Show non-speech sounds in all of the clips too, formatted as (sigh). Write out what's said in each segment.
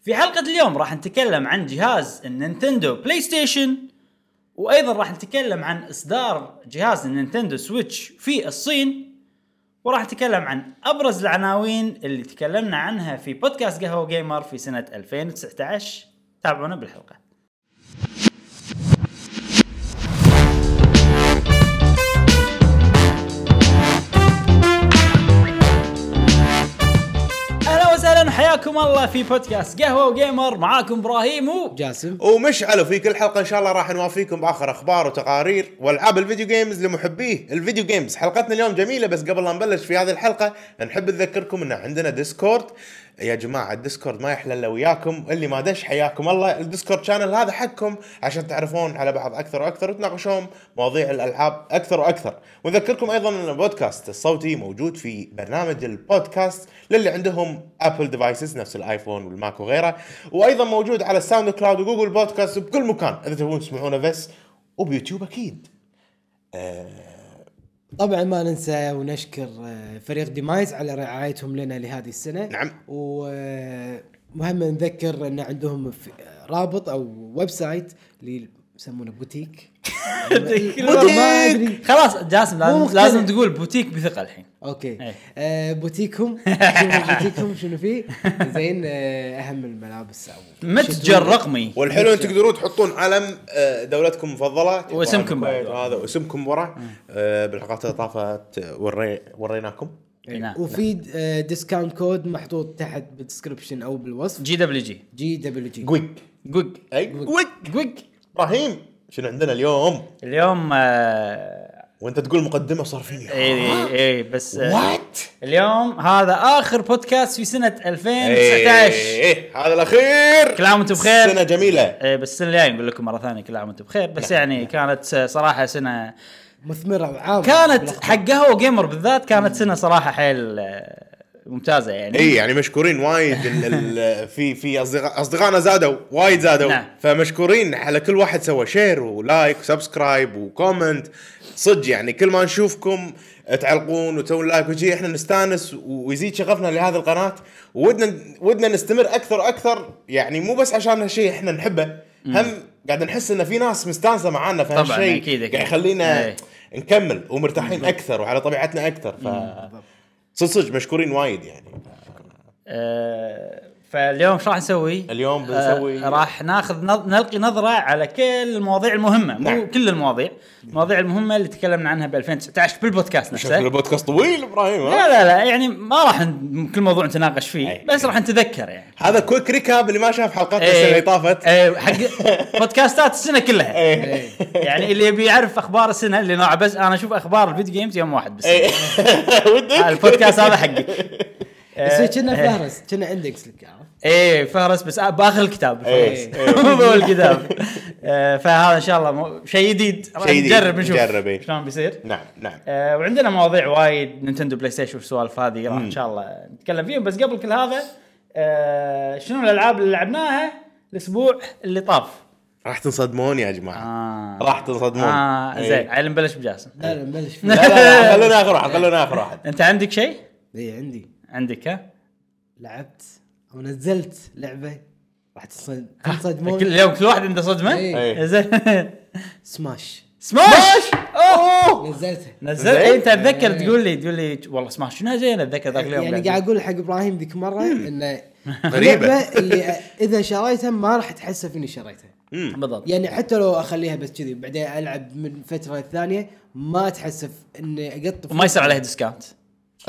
في حلقة اليوم راح نتكلم عن جهاز النينتندو بلاي ستيشن وايضا راح نتكلم عن اصدار جهاز النينتندو سويتش في الصين وراح نتكلم عن ابرز العناوين اللي تكلمنا عنها في بودكاست قهوة جيمر في سنة 2019 تابعونا بالحلقة اهلا وسهلا حياكم الله في بودكاست قهوة وجيمر معاكم ابراهيم و (laughs) جاسم ومشعلوا في كل حلقه ان شاء الله راح نوافيكم باخر اخبار وتقارير والعاب الفيديو جيمز لمحبيه الفيديو جيمز حلقتنا اليوم جميله بس قبل لا نبلش في هذه الحلقه نحب نذكركم ان عندنا ديسكورد يا جماعه الديسكورد ما يحلى الا وياكم اللي ما دش حياكم الله الديسكورد شانل هذا حقكم عشان تعرفون على بعض اكثر واكثر وتناقشون مواضيع الالعاب اكثر واكثر ونذكركم ايضا ان البودكاست الصوتي موجود في برنامج البودكاست للي عندهم ابل ديفايسز نفس الايفون والماك وغيره وايضا موجود على الساوند كلاود وجوجل بودكاست بكل مكان اذا تبون تسمعونه بس وبيوتيوب اكيد طبعا ما ننسى ونشكر آه، فريق ديمايز على رعايتهم لنا لهذه السنه نعم. ومهم نذكر ان عندهم في- رابط او ويب سايت اللي يسمونه بوتيك والله ما ادري خلاص جاسم مو لازم, مقتنع. لازم تقول بوتيك بثقة الحين اوكي إيه. (laughs) آه بوتيكهم شنو بوتيكهم شنو فيه زين آه اهم الملابس او متجر رقمي والحلو ان تقدرون تحطون علم آه، دولتكم المفضله تبغى واسمكم الكويت بعد. وهذا واسمكم ورا آه، بالحلقات اللي طافت آه، وري وريناكم إيه. نعم. وفي آه ديسكاونت كود محطوط تحت بالدسكربشن او بالوصف جي دبليو جي جي دبليو جي قويك جوج اي قويك جوج ابراهيم شنو عندنا اليوم اليوم آه، وانت تقول مقدمه صار فيني اي اي بس آه، وات اليوم هذا اخر بودكاست في سنه 2019 إيه، هذا الاخير كل عام وانتم إيه. بخير. سنه جميله إيه، بس السنه الجايه نقول لكم مره ثانيه كل عام وانتم بخير بس يعني كانت آه، صراحه سنه مثمره وعاظمه كانت بالأخبار. حق قهوه جيمر بالذات كانت سنه صراحه حيل آه، ممتازه يعني اي يعني مشكورين وايد ال ال (laughs) في في اصدقاء اصدقائنا زادوا وايد زادوا نعم. نعم. فمشكورين على كل واحد سوى شير ولايك وسبسكرايب وكومنت صدق يعني كل ما نشوفكم تعلقون وتسوون لايك وشي احنا نستانس ويزيد شغفنا لهذه القناه ودنا ودنا نستمر اكثر اكثر يعني مو بس عشان هالشيء احنا نحبه هم قاعد نحس ان في ناس مستانسه معانا في طبعاً، هالشيء أكيد، أكيد. قاعد يخلينا إيه. نكمل ومرتاحين اكثر وعلى طبيعتنا اكثر ف صدق صدق مشكورين وايد يعني آه، فاليوم شو راح نسوي؟ اليوم بنسوي- آه راح ناخذ نظ... نلقي نظره على كل المواضيع المهمه مو نعم. كل المواضيع المواضيع المهمه اللي تكلمنا عنها ب 2019 بالبودكاست شوف نفسه البودكاست طويل ابراهيم لا ها؟ لا لا يعني ما راح ن- كل موضوع نتناقش فيه أي. بس راح نتذكر يعني هذا كويك ريكاب اللي ما شاف حلقتنا إيه. السنه اللي طافت ايه (laughs) حق بودكاستات السنه كلها إيه. يعني اللي يبي يعرف اخبار السنه اللي نوع بس انا اشوف اخبار الفيديو جيمز يوم واحد بس إيه. (laughs) آه، ودك البودكاست هذا (laughs) حقك بس كنا إيه. فهرس كنا اندكس لك عرفت ايه فهرس بس باخر الكتاب (laughs) إيه. فهرس. مو باول الكتاب آه، فهذا ان شاء الله مو- شيء جديد راح شيء جديد. نجرب نشوف نجرب، إيه. شلون بيصير (laughs) نعم نعم آه، وعندنا مواضيع وايد نينتندو بلاي ستيشن والسوالف هذه راح ان شاء الله نتكلم فيهم بس قبل كل هذا آه، شنو الالعاب اللي لعبناها الاسبوع اللي طاف راح تنصدمون يا جماعه آه. راح تنصدمون اه إيه. زين عيل نبلش بجاسم لا لا بلش لا لا لا خلونا اخر واحد خلونا اخر (laughs) واحد انت عندك شيء؟ اي عندي عندك ها؟ لعبت او نزلت لعبه راح تصد- (laughs) كل تنصدمون اليوم كل واحد عنده صدمه؟ إيه. زين (laughs) سماش سماش اوه نزلتها نزلت زين. إيه، انت اتذكر تقول لي تقول لي والله سماش شنو زين اتذكر ذاك اليوم يعني قاعد اقول حق ابراهيم (laughs) ذيك مره انه غريبة. اللعبة اللي اذا شريتها ما راح تحسف اني شريتها بالضبط يعني حتى لو اخليها بس كذي بعدين العب من فتره للثانيه ما اتحسف اني اقط وما يصير عليه (laughs) ديسكاونت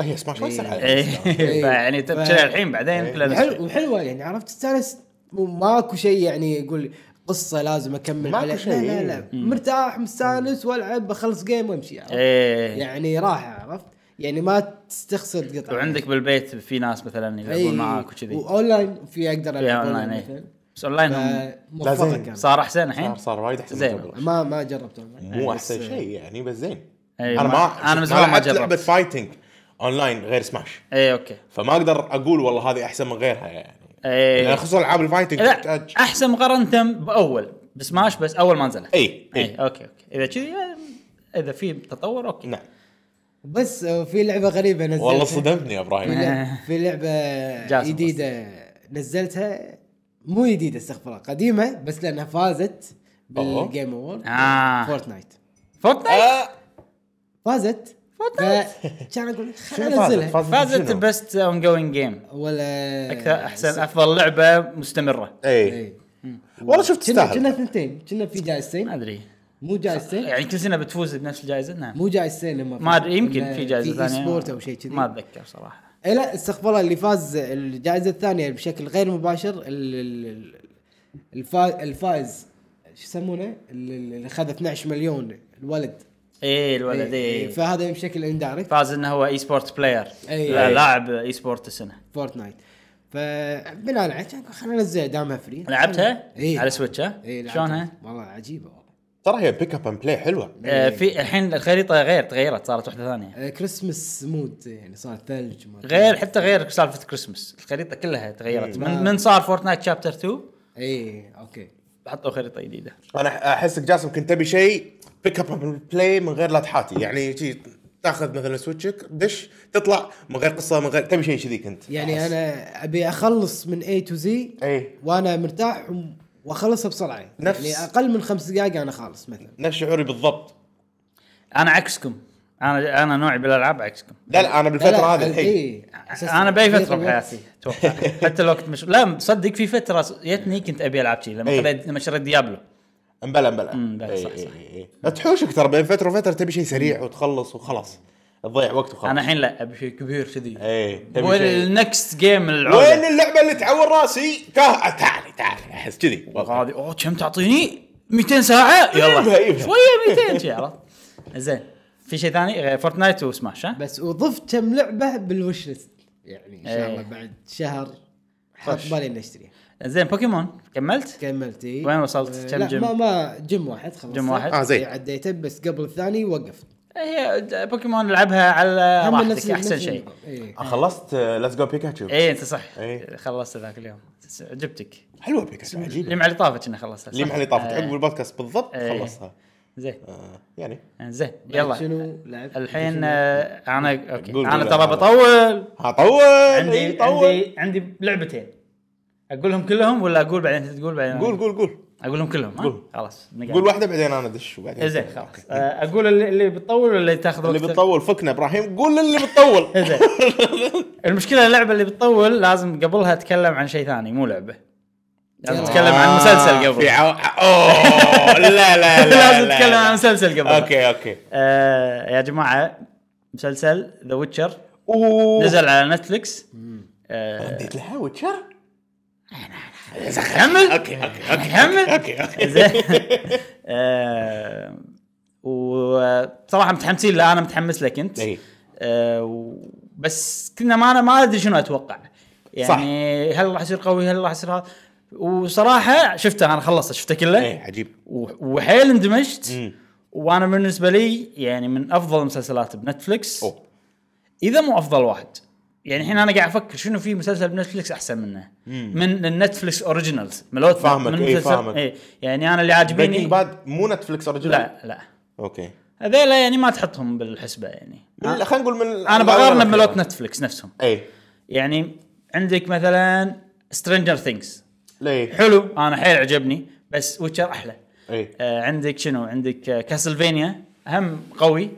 هي سماش ما يصير إيه. عليها. (laughs) فيعني ف- تشتري الحين بعدين كلها نفس الشيء. حلو وحلوه يعني عرفت تستانس وماكو شيء يعني يقول قصه لازم اكمل ماكو عليها شيء. لا لا لا مرتاح مستانس والعب بخلص جيم وامشي عرفت؟ ايه يعني راحه عرفت؟ يعني ما تستخسر قطعه وعندك بالبيت في ناس مثلا إي، يلعبون معاك وكذي واونلاين في اقدر فيها العب اونلاين ايه اونلاين مثلا بس اونلاين هم فموفقه زين. كان صار احسن الحين صار صار وايد احسن زين. من قبل. ما ما جربت اونلاين مو بس- احسن شيء يعني بس زين إيه، انا ما- ما أنا من زمان ما لعبت جربت. لعبه فايتنج اونلاين غير سماش ايه اوكي فما اقدر اقول والله هذه احسن من غيرها يعني ايه يعني خصوصا العاب الفايتنج لا تحتاج احسن مقارنه باول بسماش بس اول ما نزلت اي ايه اي اوكي اوكي اذا كذي آه، اذا في تطور اوكي نعم بس آه، في لعبه غريبه نزلتها إيه. (laughs) والله صدمتني يا في ابراهيم لعبة- في لعبه جاسم جديده نزلتها مو جديده استغفر الله قديمه بس لانها فازت أوه. بالجيم اوورد آه. فورتنايت فورتنايت آه، فازت فورتنايت كان اقول شنو خليني فازت؟ انزلها فازت فازت بشنو؟ بست اون جوينج جيم ولا اكثر احسن افضل لعبه مستمره اي إيه. والله شفت كنا كنا تستاهل ثنتين كنا في جائزتين ما ادري مو جائزتين يعني كل سنه بتفوز بنفس الجائزه نعم مو جائزتين لما ما ادري يمكن إنه في جائزه في ثانيه ثانيه سبورت او شيء كذي ما اتذكر صراحه إيه لا استغفر الله اللي فاز الجائزه الثانيه بشكل غير مباشر ال- ال- ال- الفا الفائز شو يسمونه ال- ال- اللي اخذ 12 مليون الولد إيه. ايه الولد ايه فهذا بشكل اندايركت فاز انه هو اي سبورت بلاير إيه. لا، لاعب اي سبورت السنه فورتنايت فبناء عليه كان خلينا ننزلها دامها فري لعبتها؟ إيه. على سويتش ها؟ اي شلونها؟ والله عجيبه والله ترى هي بيك اب اند بلاي حلوه آه، في الحين الخريطه غير تغيرت صارت واحده ثانيه آه، كريسمس مود يعني صار ثلج ما- غير حتى غير سالفه كريسمس الخريطه كلها تغيرت إيه، من, من صار فورتنايت شابتر 2 اي اوكي حطوا خريطه جديده انا احسك جاسم كنت تبي شيء بيك اب اند بلاي من غير لا تحاتي يعني شي تاخذ مثلا سويتشك دش تطلع من غير قصه من غير تبي شيء كذي كنت يعني انا ابي اخلص من اي تو زي اي وانا مرتاح وم- واخلصها بسرعه نفس- يعني اقل من خمس دقائق انا خالص مثلا نفس شعوري بالضبط انا عكسكم انا انا نوعي بالالعاب عكسكم لا لا انا بالفتره هذه الحين اي انا باي فتره بحياتي اتوقع حتى الوقت مش لا صدق في فتره جتني كنت ابي العب شيء لما إيه. قريت- لما شريت ديابلو مبلا مبلا أمم، بلى، إي، صح، إي، صح. إي، إي. إيه، تحوشك ترى بين فتره وفتره تبي شيء سريع وتخلص وخلاص تضيع وقت وخلاص انا الحين لا ابي شيء كبير كذي اي تبي شيء والنكست جيم إيه. وين العودة اللعبه اللي تعور راسي كه آه، تعالي تعالي احس كذي هذه اوه كم تعطيني 200 ساعه إيبها، يلا إيبها. شويه 200 شي عرفت زين في شيء ثاني غير فورتنايت وسماش ها بس وضفت كم لعبه بالوش ليست يعني ان شاء إيه. الله بعد شهر حط طيب. خش. بالي اني اشتريها زين بوكيمون كملت كملت إيه. وين وصلت؟ كم لا، جيم؟ ما ما جيم واحد خلصت جيم واحد؟ آه، زين. عديته بس قبل الثاني وقفت إيه، هي د- بوكيمون لعبها على هم راحتك نفس- احسن نفس- شيء إيه. خلصت آه، ليتس جو بيكاتشو اي انت صح إيه. خلصت ذاك اليوم س- عجبتك حلوه بيكاتشو عجيبه اللمعه اللي طافت كنا خلصتها صح؟ اللمعه اللي طافت آه، عقب البودكاست بالضبط إيه. خلصها زين آه، يعني زين يلا شنو لعبت الحين شنو؟ آه، انا اوكي قول انا قول. ترى بطول ها طول إيه، عندي طول عندي عندي لعبتين اقولهم كلهم ولا اقول بعدين انت تقول بعدين أنا قول قول قول اقولهم كلهم ها؟ قول. خلاص نقعد. قول واحده بعدين انا ادش وبعدين زين خلاص آه، اقول اللي اللي بتطول ولا اللي تاخذ إيه، اللي وقت؟ إيه، بتطول فكنا ابراهيم قول اللي (laughs) بتطول زين (laughs) المشكله اللعبه اللي بتطول لازم قبلها اتكلم عن شيء ثاني مو لعبه لازم اتكلم عن آه، مسلسل (laughs) في قبل عو... اوه لا (laughs) لا لا لازم لا، اتكلم لا. عن مسلسل قبل اوكي اوكي آه، يا جماعه مسلسل ذا ويتشر اوه نزل على آه، نتفلكس رديت لها ويتشر إيه. كمل اوكي اوكي اوكي كمل اوكي اوكي (laughs) زين آه، وصراحه متحمسين لا انا متحمس لك انت إيه. آه، و- بس كنا ما انا ما ادري شنو اتوقع يعني هل راح يصير قوي هل راح يصير هذا وصراحه شفته انا خلصت شفته كله ايه عجيب و- وحيل اندمجت مم. وانا بالنسبه لي يعني من افضل المسلسلات بنتفلكس اوه اذا مو افضل واحد يعني الحين انا قاعد افكر شنو في مسلسل بنتفلكس احسن منه من النتفلكس اوريجينالز ملوت فاهمك، من إيه، مسلسل- فاهمك. إيه يعني انا اللي بريكنج عاجبيني باد مو نتفلكس اوريجنال لا لا اوكي هذيلا يعني ما تحطهم بالحسبه يعني من- خلينا نقول من إيه. انا بقارنه بملوت نتفلكس نفسهم اي يعني عندك مثلا سترينجر ثينجز ليه حلو انا حيل عجبني بس ويتشر احلى اي آه عندك شنو عندك آه كاسلفينيا هم قوي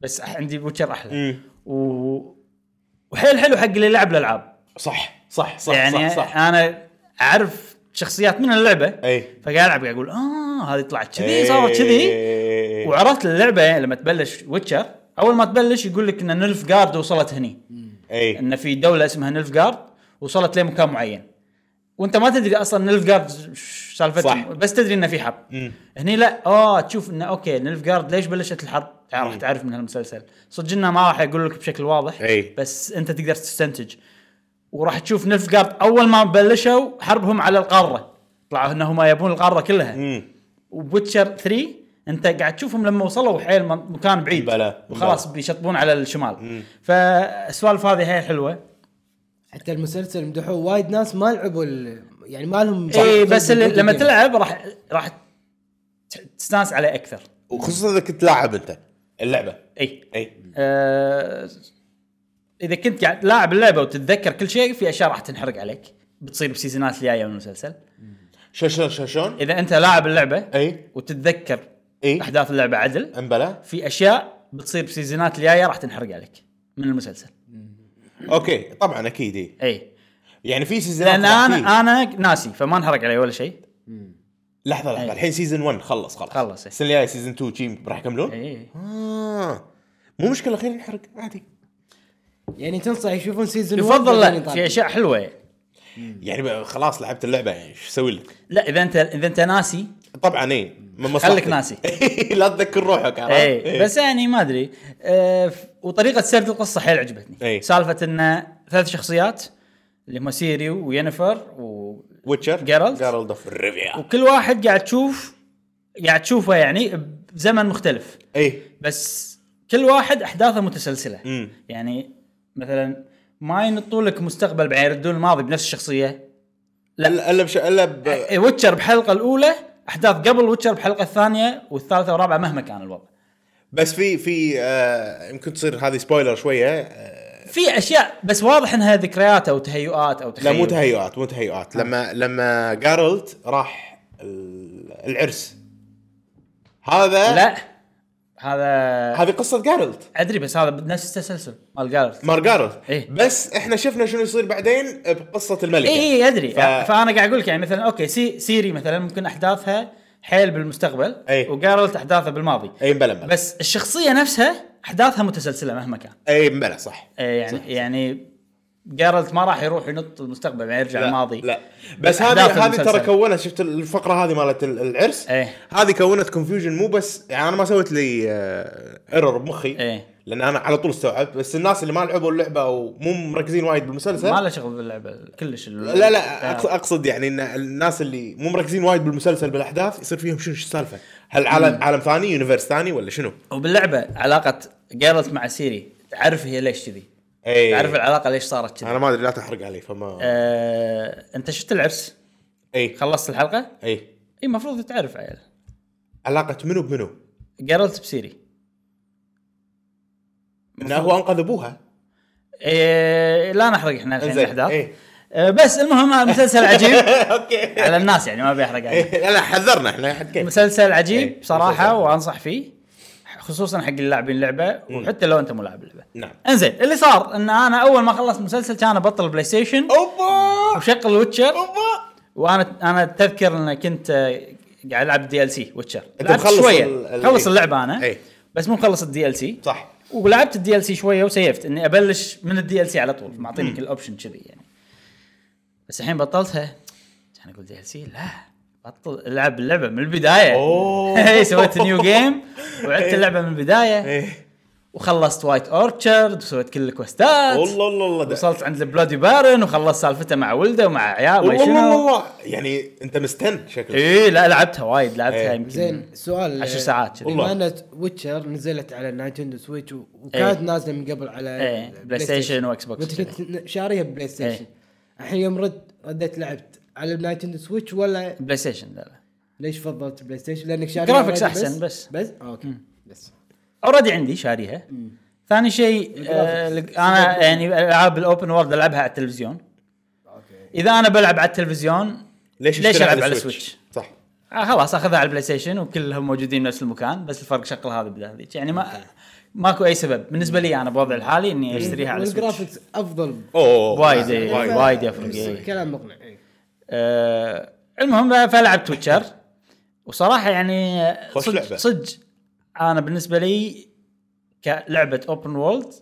بس أح- عندي ويتشر احلى مم. و... وحيل حلو حق اللي لعب الالعاب صح صح صح يعني صح صح انا اعرف شخصيات من اللعبه اي فقاعد العب قاعد اقول اه هذه طلعت إيه. كذي صارت كذي وعرفت اللعبه لما تبلش ويتشر اول ما تبلش يقول لك ان نلف جارد وصلت هني اي ان في دوله اسمها نلفغارد وصلت لمكان معين وانت ما تدري اصلا نلفغارد ش- صح. سالفتهم بس تدري انه في حرب هني لا اه تشوف انه اوكي نلفغارد ليش بلشت الحرب تعال راح تعرف من هالمسلسل صدق انه ما راح يقول لك بشكل واضح أي. بس انت تقدر تستنتج وراح تشوف نلفغارد اول ما بلشوا حربهم على القاره طلعوا انهم يبون القاره كلها وبوتشر 3 انت قاعد تشوفهم لما وصلوا حيل من- مكان بعيد بلى، وخلاص بيشطبون على الشمال فالسوالف هذه هي حلوه حتى المسلسل مدحوه وايد ناس ما لعبوا ال... يعني ما لهم اي إيه، بس اللي- لما Video game. تلعب راح راح ت- تستانس عليه اكثر وخصوصا اذا كنت لاعب إيه. انت اللعبه اي اي آه اذا كنت قاعد لاعب اللعبه وتتذكر كل شيء في اشياء راح تنحرق عليك بتصير بسيزونات الجايه من المسلسل شلون شلون شلون؟ إيه. اذا انت لاعب اللعبه اي وتتذكر اي احداث اللعبه عدل امبلا في اشياء بتصير بسيزونات الجايه راح تنحرق عليك من المسلسل إيه. اوكي طبعا اكيد اي اي إيه. يعني في سيزونات لان انا انا ناسي فما انحرق علي ولا شيء لحظه لحظه أي. الحين سيزون 1 خلص خلاص إيه. خلص، إيه. إي. السنه الجايه سيزون 2 شي راح يكملون؟ اي آه. مو مشكله خلينا نحرق عادي يعني تنصح يشوفون سيزون يفضل لا في اشياء حلوه يعني. يعني بقى خلاص لعبت اللعبه يعني ايش اسوي لك؟ لا اذا انت اذا انت ناسي طبعا اي من مصلحتك. خليك (laughs) ناسي. إيه، لا تذكر روحك عرفت؟ إيه. اي بس يعني ما ادري آه، ف- وطريقه سرد القصه حيل عجبتني إي. سالفه انه ثلاث شخصيات اللي هم سيري وينيفر و... ويتشر Geralt. جارلد اوف ريفيا وكل واحد قاعد تشوف قاعد تشوفه يعني بزمن مختلف اي بس كل واحد احداثه متسلسله إيه. مم. يعني مثلا ما ينطوا لك مستقبل بعدين يردون الماضي بنفس الشخصيه الا الا بش... الا ب... ويتشر بحلقه الاولى احداث قبل ويتشر بحلقه الثانيه والثالثه والرابعه مهما كان الوضع بس في في آه يمكن تصير هذه سبويلر شويه آه في اشياء بس واضح انها ذكريات او تهيؤات او لا تخيل مو تهيؤات مو تهيؤات لما لما جارلت راح ال- العرس هذا لا هذا هذه قصه جارلت ادري بس هذا نفس التسلسل مال جارث مار جارلت إيه. بس احنا شفنا شنو يصير بعدين بقصه الملكه اي اي ادري إيه، ف- ف... فانا قاعد اقول لك يعني مثلا اوكي سي... سيري مثلا ممكن احداثها حيل بالمستقبل إي. وجارلت احداثها بالماضي اي مبلا مبلا بس الشخصيه نفسها احداثها متسلسله مهما كان اي مبلا صح إيه يعني صح يعني جارلت ما راح يروح ينط المستقبل يعني يرجع لا، الماضي لا بس أحداث هذه هذه المسلسل. ترى كونت شفت الفقره هذه مالت ال- العرس إيه. هذه كونت كونفيوجن مو بس يعني انا ما سويت لي ايرور بمخي إيه. لان انا على طول استوعبت بس الناس اللي ما لعبوا اللعبه ومو مركزين وايد بالمسلسل ما له شغل باللعبه كلش آه. لا لا أقص- اقصد يعني ان الناس اللي مو مركزين وايد بالمسلسل بالاحداث يصير فيهم شنو شو السالفه؟ هل عالم عالم ثاني يونيفرس ثاني ولا شنو؟ وباللعبه علاقه جارلت مع سيري تعرف هي ليش كذي اي تعرف العلاقه ليش صارت كذي انا إيه. ما ادري لا تحرق علي فما إيه. آه، انت شفت العرس اي خلصت الحلقه اي اي المفروض تعرف عيل علاقه إيه. منو بمنو؟ جارلت بسيري انه هو انقذ ابوها إيه لا نحرق احنا الحين إنزين، الاحداث إيه. (laughs) إيه. بس المهم هذا مسلسل عجيب اوكي على الناس يعني ما بيحرق عليه إيه، لا لا حذرنا احنا حق كيف مسلسل إيه، عجيب مسلسل. بصراحه وانصح فيه خصوصا حق اللاعبين لعبه وحتى لو انت مو لاعب لعبه نعم انزين اللي صار ان انا اول ما خلصت مسلسل كان ابطل بلاي ستيشن اوبا وشغل ويتشر اوبا وانا انا اتذكر ان كنت آه، قاعد العب دي ال سي ويتشر أنت لعبت مخلص شويه ال- ال- خلص اللعبه انا إيه. بس مو مخلص الدي ال سي صح ولعبت الدي ال سي شويه وسيفت اني ابلش من الدي ال سي على طول معطيني كل اوبشن كذي يعني بس الحين بطلتها كان اقول دي ال سي لا بطل العب اللعبه من البدايه أوه. إيه. إي، (laughs) سويت نيو جيم وعدت اللعبه من البدايه ايه وخلصت وايت اورشرد وسويت كل الكوستات والله والله والله ده- وصلت عند البلودي بارن وخلصت سالفته مع ولده ومع عيال وما والله والله شنو والله يعني انت مستن شكلك اي لا لعبتها وايد لعبتها إيه. يمكن زين سؤال عشر ساعات كذي. والله والله. ان ويتشر نزلت على نايتندو سويتش و- وكانت إيه. ايه نازله من قبل على إيه، بلاي ستيشن وإكس بوكس وانت كنت شاريها بلاي ستيشن إيه. الحين يوم رد رديت لعبت على نايتندو سويتش ولا بلاي ستيشن لا لا ليش فضلت بلاي ستيشن لانك شاريها جرافيكس already أحسن بس. بس آه، اوكي بس اوريدي عندي شاريها ثاني شيء آه، الجرافيكس. انا يعني العاب الاوبن وورد العبها على التلفزيون اوكي اذا انا بلعب على التلفزيون ليش ليش اشتري العب على السويتش؟ صح آه خلاص اخذها على البلاي ستيشن وكلهم موجودين بنفس المكان بس الفرق شغل هذا بدل هذيك يعني ما ماكو اي سبب بالنسبه لي انا بوضعي الحالي اني اشتريها على السويتش والجرافيكس افضل اوه وايد إيه، وايد. وايد يفرق بس إيه. كلام مقنع إيه. آه المهم بقى فلعبت تويتشر وصراحه يعني آه، خوش صدق لعبة. صدق انا بالنسبه لي كلعبه اوبن وورلد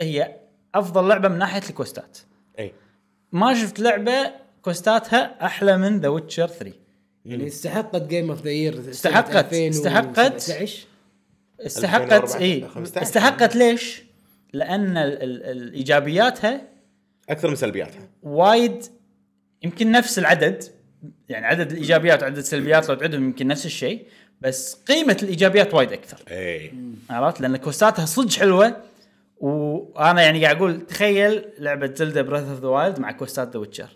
هي افضل لعبه من ناحيه الكوستات اي ما شفت لعبه كوستاتها احلى من ذا ويتشر 3 يعني استحقت جيم اوف ذا يير استحقت- استحقت. استحقت 2014 اي 15. استحقت ليش؟ لان ال ال ال ايجابياتها اكثر من سلبياتها وايد يمكن نفس العدد يعني عدد الايجابيات وعدد السلبيات لو تعدهم يمكن نفس الشيء بس قيمه الايجابيات وايد اكثر اي عرفت لان كوستاتها صدق حلوه وانا يعني قاعد اقول تخيل لعبه زلدا براذ اوف ذا وايلد مع كوستات ذا ويتشر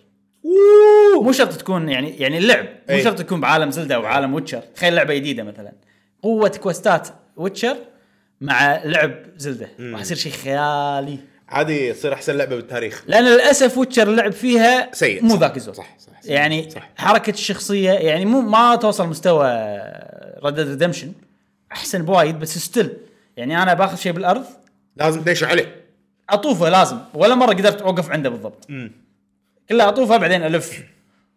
مو شرط تكون يعني يعني اللعب مو أي. شرط تكون بعالم زلدا او عالم ويتشر تخيل لعبه جديده مثلا قوه كوستات ويتشر مع لعب زلدا راح يصير شيء خيالي عادي تصير احسن لعبه بالتاريخ لان للاسف ويتشر لعب فيها سيء مو صح. ذاك الزود صح صح, صح. يعني صح. حركه الشخصيه يعني مو ما توصل مستوى ريد ريدمشن احسن بوايد بس ستيل يعني انا باخذ شيء بالارض لازم تدش عليه اطوفه لازم ولا مره قدرت اوقف عنده بالضبط امم كلها اطوفه بعدين الف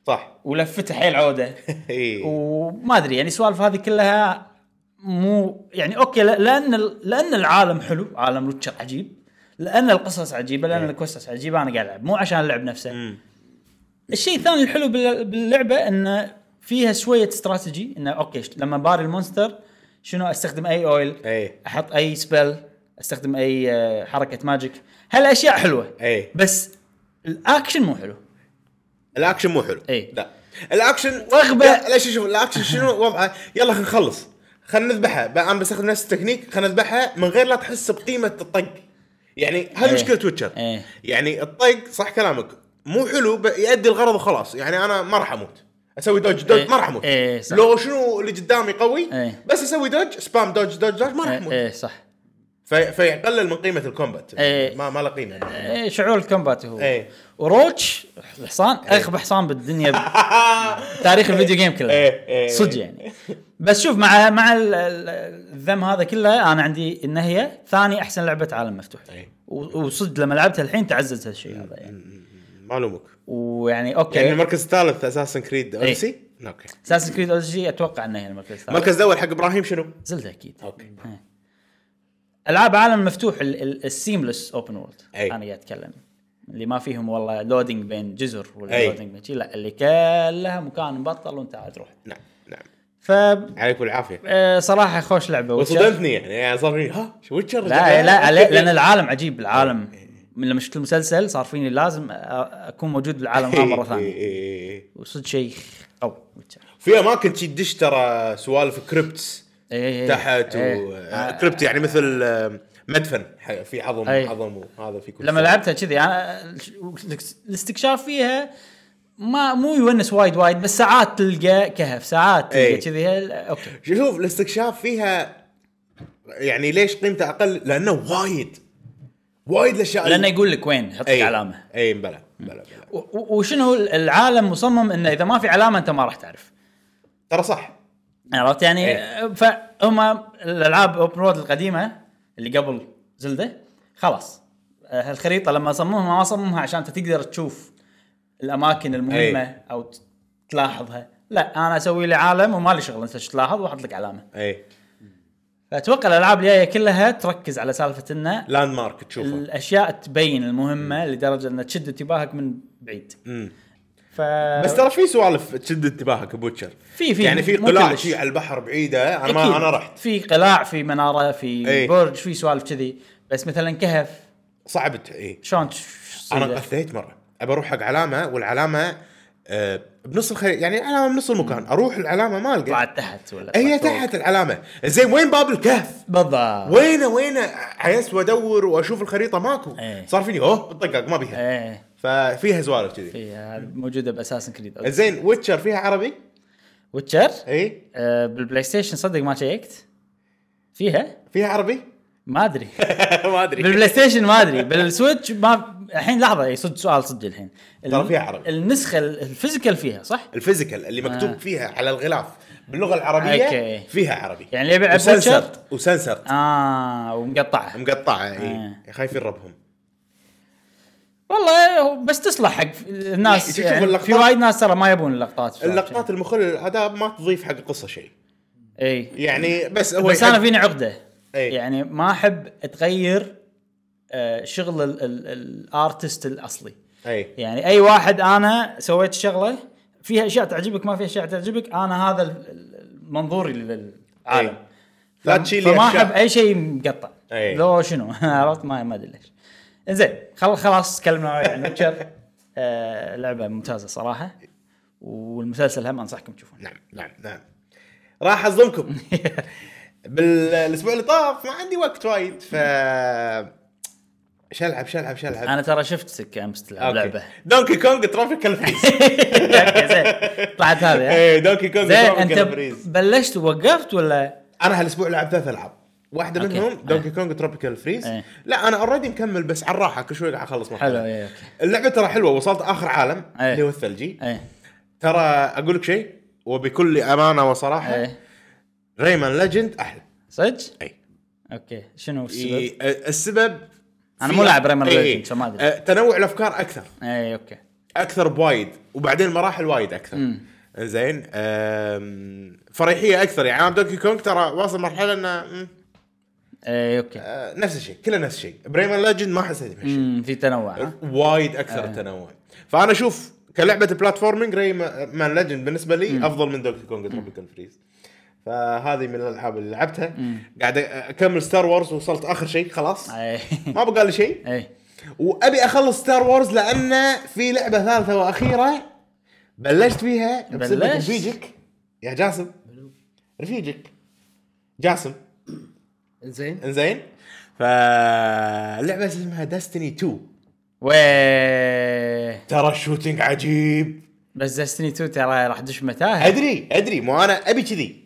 صح (laughs) ولفته حيل عوده إيه. وما ادري يعني السوالف هذه كلها مو يعني اوكي لا- لان ال- لان العالم حلو عالم ويتشر عجيب لان القصص عجيبه لان الكوستس عجيبه انا قاعد العب مو عشان اللعب نفسه إيه. مم. الشيء الثاني الحلو بال- باللعبه انه فيها شويه استراتيجي انه اوكي ش- لما باري المونستر شنو استخدم اي اويل ايه احط اي سبل استخدم اي آه، حركه ماجيك هالاشياء حلوه ايه بس الاكشن مو حلو الاكشن مو حلو إيه. لا الاكشن رغبة. يا- لا شوف شوف الاكشن شنو وضعه يلا خلينا نخلص خلينا نذبحها بقى انا بستخدم نفس التكنيك خلينا نذبحها من غير لا تحس بقيمه الطق يعني هذه إيه. مشكله ويتشر إيه. يعني الطق صح كلامك مو حلو ب- يؤدي الغرض وخلاص يعني انا ما راح اموت اسوي دوج دوج إيه. ما راح اموت إيه، صح. لو شنو اللي قدامي قوي إيه. بس اسوي دوج سبام دوج دوج دوج ما راح ايه اموت إيه، صح في- فيقلل من قيمه الكومبات إيه. ما ما له قيمه إيه، شعور الكومبات هو إيه. وروتش الحصان اغبى حصان (laughs) بالدنيا تاريخ الفيديو جيم كله إيه، إيه. صدق يعني بس شوف مع مع ال- ال- الذم هذا كله انا عندي ان هي ثاني احسن لعبه عالم مفتوح إيه. و- وصدق لما لعبتها الحين تعزز هالشيء هذا يعني ما الومك ويعني اوكي يعني يعني المركز الثالث اساسن كريد إيه. اوديسي اوكي اساس كريد اوديسي اتوقع انها هي المركز الثالث المركز الاول حق ابراهيم شنو؟ زلده اكيد اوكي إيه. العاب عالم مفتوح السيملس اوبن وورلد أي. انا قاعد اتكلم اللي ما فيهم والله لودنج بين جزر ولا أي. لودنج بين شي، لا اللي كلها مكان مبطل وانت عاد تروح نعم نعم ف عليك بالعافيه آه، صراحه خوش لعبه ويتشر. وصدمتني يعني يعني صار فيني ها شو ويتشر لا (laughs) لا علي- لان العالم عجيب العالم من لما شفت المسلسل صار فيني لازم أ- اكون موجود بالعالم هذا (laughs) مره إيه، ثانيه ثانيه وصدق شيء قوي ويتشر. إيه. في اماكن تشي تدش ترى سوالف كريبتس إيه، إيه، إيه. تحت و... إيه. آه، كريبت يعني مثل آه، مدفن ح- في عظم أي. عظم وهذا في كل إيه. لما شيء. لعبتها كذي انا الاستكشاف فيها ما مو يونس وايد وايد بس ساعات تلقى كهف ساعات تلقى إيه. كذي هل- اوكي شوف الاستكشاف فيها يعني ليش قيمته اقل؟ لانه وايد وايد إيه. الاشياء لانه يقول لك وين حط لك علامه اي بلى بلى بلى و- و- وشنو العالم مصمم انه اذا ما في علامه انت ما راح تعرف ترى صح عرفت يعني إيه. فهم الالعاب اوبن وورلد القديمه اللي قبل زلده خلاص آه، الخريطه لما صممها ما صممها عشان انت تقدر تشوف الاماكن المهمه إيه. او ت- تلاحظها لا انا اسوي لي عالم وما لي شغل انت شو تلاحظ واحط لك علامه اي فاتوقع الالعاب الجايه كلها تركز على سالفه انه لاند مارك تشوفه الاشياء تبين المهمه لدرجه انها تشد انتباهك من بعيد مم. ف بس ترى في سوالف تشد انتباهك بوتشر في- في، يعني في مو قلاع كلش. شي على البحر بعيده انا أكيد. ما انا رحت في قلاع في مناره في إيه. برج في سوالف كذي بس مثلا كهف صعبت اي شلون تش- انا تصيده؟ قثيت مره ابى اروح حق علامه والعلامه آه بنص الخريطه يعني العلامه بنص المكان اروح العلامه ما القى طلعت تحت ولا هي طلعت فوق. تحت العلامه زين وين باب الكهف بالضبط وينه وينه عيس وادور واشوف الخريطه ماكو إيه. صار فيني اوه بطقق ما بيها ايه ففيها سوالف كذي في إيه، هذه موجوده باساسن كريد زين ويتشر فيها عربي إيه، ويتشر اي آه بالبلاي ستيشن صدق ما شيكت فيها فيها عربي (laughs) ما ادري (laughs) ما ادري بالبلاي ستيشن ما ادري بالسويتش ما الحين لحظه اي صدق سؤال صدق الحين ترى فيها عربي. النسخه ال- الفيزيكال فيها صح؟ الفيزيكال اللي مكتوب آه. فيها على الغلاف باللغه العربيه أوكي. فيها عربي يعني اللي يبيع وسنسرت بوتشر؟ وسنسرت اه ومقطعه مقطعه اي آه. خايفين ربهم والله هو بس تصلح حق الناس شوف يعني اللقطات- في وايد ناس ترى ما يبون اللقطات اللقطات المخله للاداء ما تضيف حق القصه شيء اي يعني بس هو بس يحب- انا فيني عقده إي. يعني ما احب تغير آه، شغل ال- ال- الارتست الاصلي اي يعني اي واحد انا سويت شغله فيها اشياء تعجبك ما فيها اشياء تعجبك انا هذا ال- ال- منظوري للعالم إي. لا تشيل فما أشياء. احب اي شيء مقطع إي. لو شنو (laughs) عرفت ما ما ادري ليش زين خل خلاص تكلمنا عن (laughs) ويتشر آه لعبه ممتازه صراحه والمسلسل هم انصحكم (laughs) تشوفونه نعم نعم نعم راح اصدمكم بالاسبوع اللي طاف ما عندي وقت وايد ف شلعب شلعب شلعب انا ترى شفتك امس تلعب أوكي. لعبه دونكي كونج ترافيكال فريز (laughs) أوكي، زين طلعت هذه ها؟ ايه دونكي كونج زين ترافيكال انت فريز بلشت ووقفت ولا انا هالاسبوع لعبت ثلاث العاب واحده أوكي. منهم دونكي كونج تروبيكال فريز إيه. لا انا اوريدي مكمل بس على الراحه كل شوي قاعد اخلص حلو إيه، مرحله اي اوكي اللعبه ترى حلوه وصلت اخر عالم إيه. اللي هو الثلجي اي ترى اقول لك شيء وبكل امانه وصراحه اي ريمان ليجند احلى صدق؟ اي اوكي شنو السبب؟ إي، أه، السبب أنا في- مو لاعب Rayman إي، إي. Legends، فما أدري. أه، تنوع الافكار اكثر اي اوكي اكثر بوايد وبعدين مراحل وايد اكثر امم زين أم، فريحيه اكثر يعني انا دوكي كونج ترى واصل مرحله انه مم، اي اوكي أه، نفس الشيء كله نفس الشيء بريمان ليجند ما حسيت بهالشيء أه. امم في تنوع (laughs) ها؟ وايد اكثر التنوع فانا اشوف كلعبه بلاتفورمينج ري مان ليجند بالنسبه لي افضل من دوكي كونج تروبيكال فريز فهذه من الالعاب اللي لعبتها قاعد اكمل ستار وورز وصلت اخر شيء خلاص اي ما بقى لي شيء اي وابي اخلص ستار وورز لان في لعبه ثالثه واخيره بلشت فيها بسبب بلشت؟ رفيجك يا جاسم رفيجك جاسم زين انزين فاللعبه اسمها داستني 2 وي ترى الشوتينج عجيب بس دستني 2 ترى راح تدش متاهه ادري ادري مو انا ابي كذي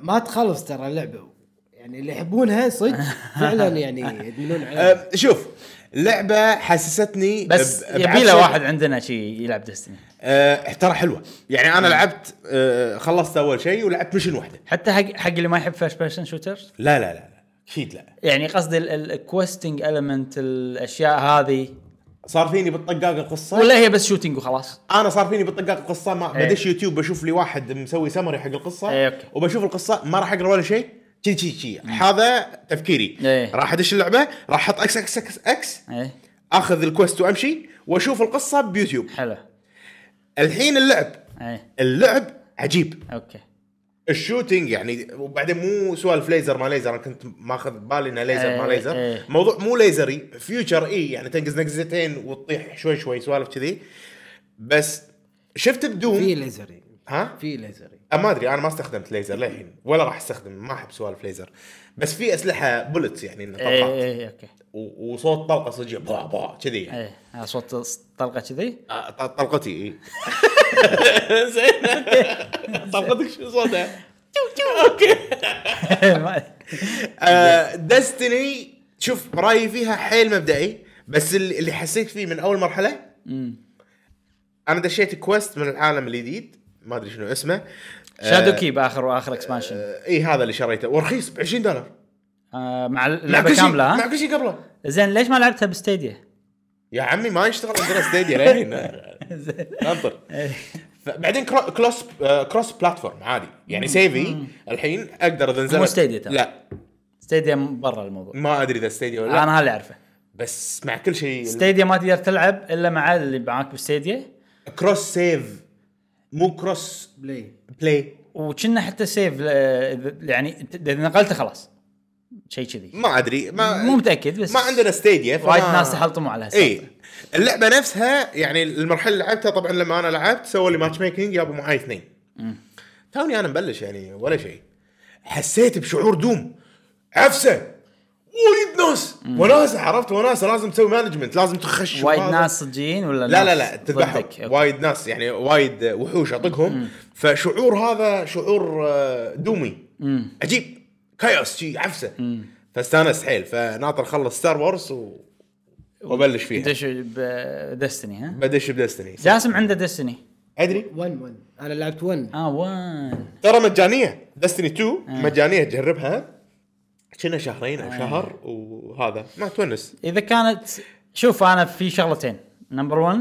ما تخلص ترى اللعبه يعني اللي يحبونها (laughs) صدق فعلا يعني يدمنون عليها أم، شوف لعبه حسستني بس ب- يبي بعفشة. له واحد عندنا شي يلعب دستني أه، ترى حلوه يعني انا لعبت أه، خلصت اول شيء ولعبت مشن واحده حتى حق حق اللي ما يحب فيرست بيرسون شوترز لا لا لا لا اكيد لا يعني قصدي الكوستنج المنت الاشياء هذه صار فيني بالطقاق القصه ولا هي بس شوتنج وخلاص انا صار فيني بالطقاق القصه ما إيه. بدش يوتيوب بشوف لي واحد مسوي سمري حق القصه إيه، أوكي. وبشوف القصه ما راح اقرا ولا شيء شي شي شي هذا تفكيري إيه. راح ادش اللعبه راح احط اكس اكس اكس اكس ايه اخذ الكوست وامشي واشوف القصه بيوتيوب حلو الحين اللعب ايه اللعب عجيب اوكي الشوتينج يعني وبعدين مو سوالف ليزر ما ليزر انا كنت ماخذ بالي انه ليزر ما إيه، ليزر إيه. موضوع مو ليزري فيوتشر اي يعني تنقز نقزتين وتطيح شوي شوي سوالف كذي بس شفت في بدوم ليزري ها في ليزري أه، ما ادري انا ما استخدمت ليزر للحين ولا راح استخدم ما احب سوالف ليزر بس في اسلحه بولتس يعني إنه ايه طلقات ايه اوكي و- وصوت طلقه صجيه با با كذي يعني. ايه ها صوت طلقه (laughs) كذي (laughs) آه، ط- طلقتي اي زين طلقتك شو صوتها؟ اوكي ما- دستني أه، شوف رايي فيها حيل مبدئي بس اللي اللي حسيت فيه من اول مرحله انا دشيت كويست من العالم الجديد ما ادري شنو اسمه شادو كيب اخر واخر اكسبانشن اي هذا اللي شريته ورخيص ب 20 دولار آه، مع مع اللعبه كل شيء كامله مع ها كل شيء قبله زين ليش ما لعبتها بستيديا؟ يا عمي ما يشتغل عندنا ستيديا (laughs) لين انطر بعدين كروس آه، كروس بلاتفورم عادي يعني سيفي الحين اقدر اذا نزلت مو ستيديا ترى. لا ستيديا برا الموضوع ما ادري اذا ستيديا ولا لا انا هاللي اعرفه بس مع كل شيء ستيديا ما تقدر تلعب الا مع اللي معاك بستيديا كروس سيف مو كروس بلاي بلاي وكنا حتى سيف آه، إذا- يعني أنت- اذا نقلته خلاص شيء كذي ما ادري ما مو متاكد بس نعم. ما عندنا إيه. ستيديا فما- وايد ناس تحلطموا على هالسالفة. اي اللعبه نفسها يعني المرحله اللي لعبتها طبعا لما انا لعبت سووا لي ماتش ميكنج جابوا معاي اثنين توني انا مبلش يعني ولا شيء حسيت بشعور دوم عفسه وايد ناس وناسه عرفت وناسه لازم تسوي مانجمنت لازم تخش وايد وهذا. ناس صجيين ولا لا لا ناس لا تذبحهم ضدك؟ أوكي. وايد ناس يعني وايد وحوش اطقهم فشعور هذا شعور آه، دومي عجيب كايوس شي عفسه فاستانست حيل فناطر خلص ستار وورز و... وابلش فيها دش بدستني ها بدش بدستني جاسم عنده دستني ادري 1 1 انا (laughs) لعبت 1 اه وان ترى مجانيه دستني 2 إيه. مجانيه تجربها كنا شهرين او شهر وهذا ما تونس اذا كانت شوف انا في شغلتين نمبر 1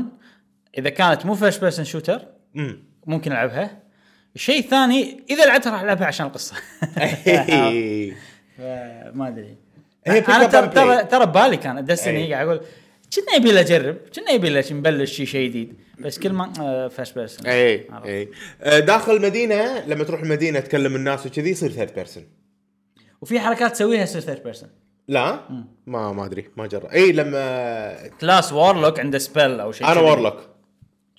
اذا كانت مو فيرست بيرسون شوتر امم ممكن العبها الشيء الثاني اذا لعبتها راح العبها عشان (laughs) القصه إيه، إيه. ف- ما ادري هي pick انا up ترى and play. إيه. ترى ترى ببالي كان دستني إي. قاعد اقول كنا يبي لي اجرب كنا يبي لي نبلش شيء شيء جديد بس كل ما آه، فيرست بيرسون اي عرفت. اي آه، داخل المدينه لما تروح المدينه تكلم الناس وكذي يصير ثيرد بيرسون وفي حركات تسويها يصير ثيرد بيرسون لا ما ما ادري ما جرب اي لما كلاس وارلوك عنده سبل او شيء انا كذي. وارلوك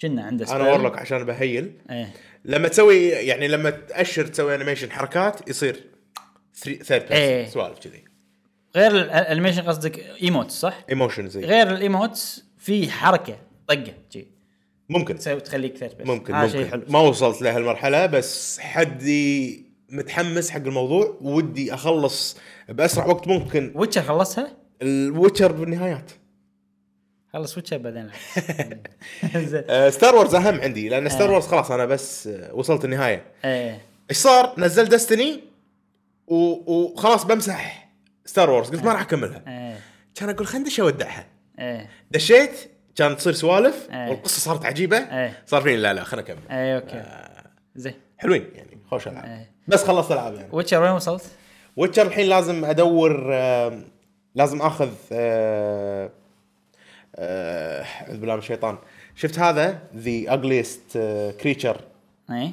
كنا عنده سبل انا وارلوك عشان بهيل ايه لما تسوي يعني لما تاشر تسوي انيميشن حركات يصير ثيرد إيه. بيرسون سوالف كذي غير ال- الانيميشن قصدك ايموتس صح؟ ايموشنز إيه. غير الايموتس في حركه طقه جي ممكن تسوي تخليك ثيرد بيرسون ممكن هذا آه، شيء ممكن حلو ما وصلت لهالمرحله بس حدي متحمس حق الموضوع ودي اخلص باسرع وقت ممكن ويتشر خلصها؟ الويتشر بالنهايات خلص ويتشر (laughs) بعدين زين ستار وورز اهم عندي لان ستار وورز خلاص انا بس آه، وصلت النهايه ايه ايش صار؟ نزل دستني و... وخلاص بمسح ستار وورز قلت ما راح اكملها ايه كان اقول خلينا ندش اودعها ايه دشيت كانت تصير سوالف إيه. والقصه صارت عجيبه إيه. صار فيني لا لا خلينا اكمل ايه اوكي زين حلوين يعني خوش العاب إيه. بس خلصت العاب يعني ويتشر وين وصلت؟ ويتشر الحين لازم ادور آم، لازم اخذ آه، آه، اعوذ بالله من الشيطان شفت هذا ذا اجليست كريتشر ايه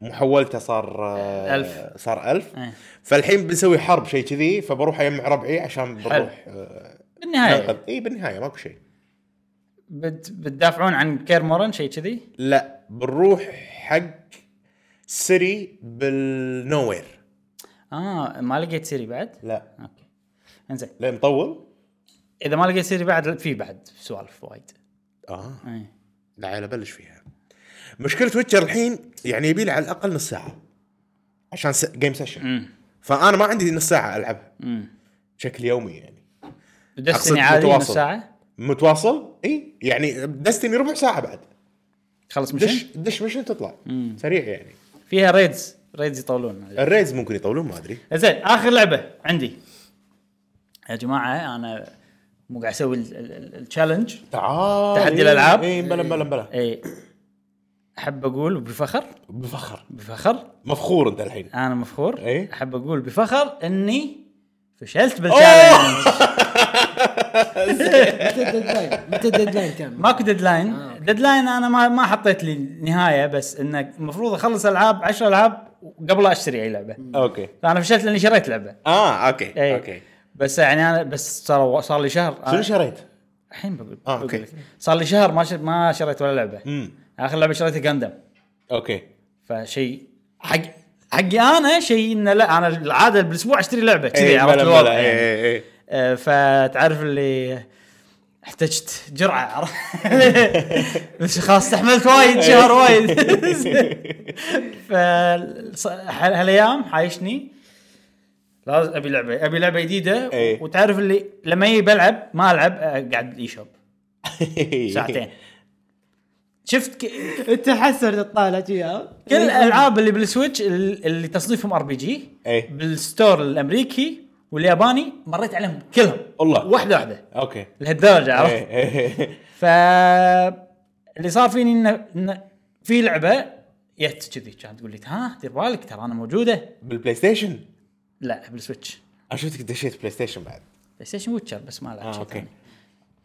محولته صار آه، ألف. صار ألف إيه. فالحين بنسوي حرب شيء كذي فبروح اجمع ربعي عشان بنروح آه، بالنهايه ننقذ. اي بالنهايه ماكو شيء بت... بتدافعون عن كير مورن شيء كذي؟ لا بنروح حق سري بالنوير اه ما لقيت سيري بعد؟ لا اوكي انزين لا مطول اذا ما لقيت سيري بعد في بعد سوالف وايد اه ايه لا عيل ابلش فيها مشكله ويتشر الحين يعني يبي لي على الاقل نص ساعه عشان س... جيم سيشن امم فانا ما عندي نص ساعه العبها امم بشكل يومي يعني أقصد دستني عادي نص متواصل. ساعه متواصل اي يعني دستني ربع ساعه بعد تخلص دش مشن دش مشن تطلع مم. سريع يعني فيها ريدز ريدز يطولون الريز ممكن يطولون ما ادري زين اخر لعبه عندي يا جماعه انا مو قاعد اسوي ال- ال- ال- التشالنج تعال تحدي الألعاب؟ اي بلا بلا بلا اي احب اقول إيه. بفخر بفخر بفخر مفخور انت الحين انا مفخور إي. احب اقول بفخر اني فشلت بالتشالنج متى الديدلاين؟ متى الديدلاين كان؟ ماكو ديدلاين آه، أوكي. ديدلاين انا ما ما حطيت لي نهايه بس انه المفروض اخلص العاب 10 العاب قبل لا اشتري اي لعبه اوكي فانا فشلت لاني شريت لعبه اه اوكي إي. آه. اوكي بس يعني انا بس صار صار لي شهر شنو شريت؟ الحين بقول آه، أوكي. بقول لك. صار لي شهر ما ش... ما شريت ولا لعبه امم اخر لعبه شريتها جاندم اوكي فشيء حق حقي انا شيء انه لا انا العاده بالاسبوع اشتري لعبه كذي إي، عرفت إيه، بلا الوضع بلا، إيه. إي، يعني. إي، إي. آه، فتعرف اللي احتجت جرعه عرفت؟ (laughs) بس خلاص استحملت وايد إيه. شهر وايد فهالايام حايشني لازم ابي لعبه ابي لعبه جديده إي. وتعرف اللي لما يجي بلعب ما العب آه، قاعد بالاي شوب ساعتين إيه. شفت ك- انت حسر تطالع شي ها؟ يعني كل الالعاب اللي بالسويتش ال- اللي تصنيفهم ار بي جي إيه. بالستور الامريكي والياباني مريت عليهم كلهم والله. واحده واحده اوكي لهالدرجه عرفت إيه. ف اللي صار فيني انه إنه في لعبه جت كذي كانت تقول لي ها دير بالك ترى انا موجوده بالبلاي ستيشن لا بالسويتش انا شفتك دشيت بلاي ستيشن بعد بلاي ستيشن ويتشر بس ما لعبت آه، شيء أوكي. ثاني.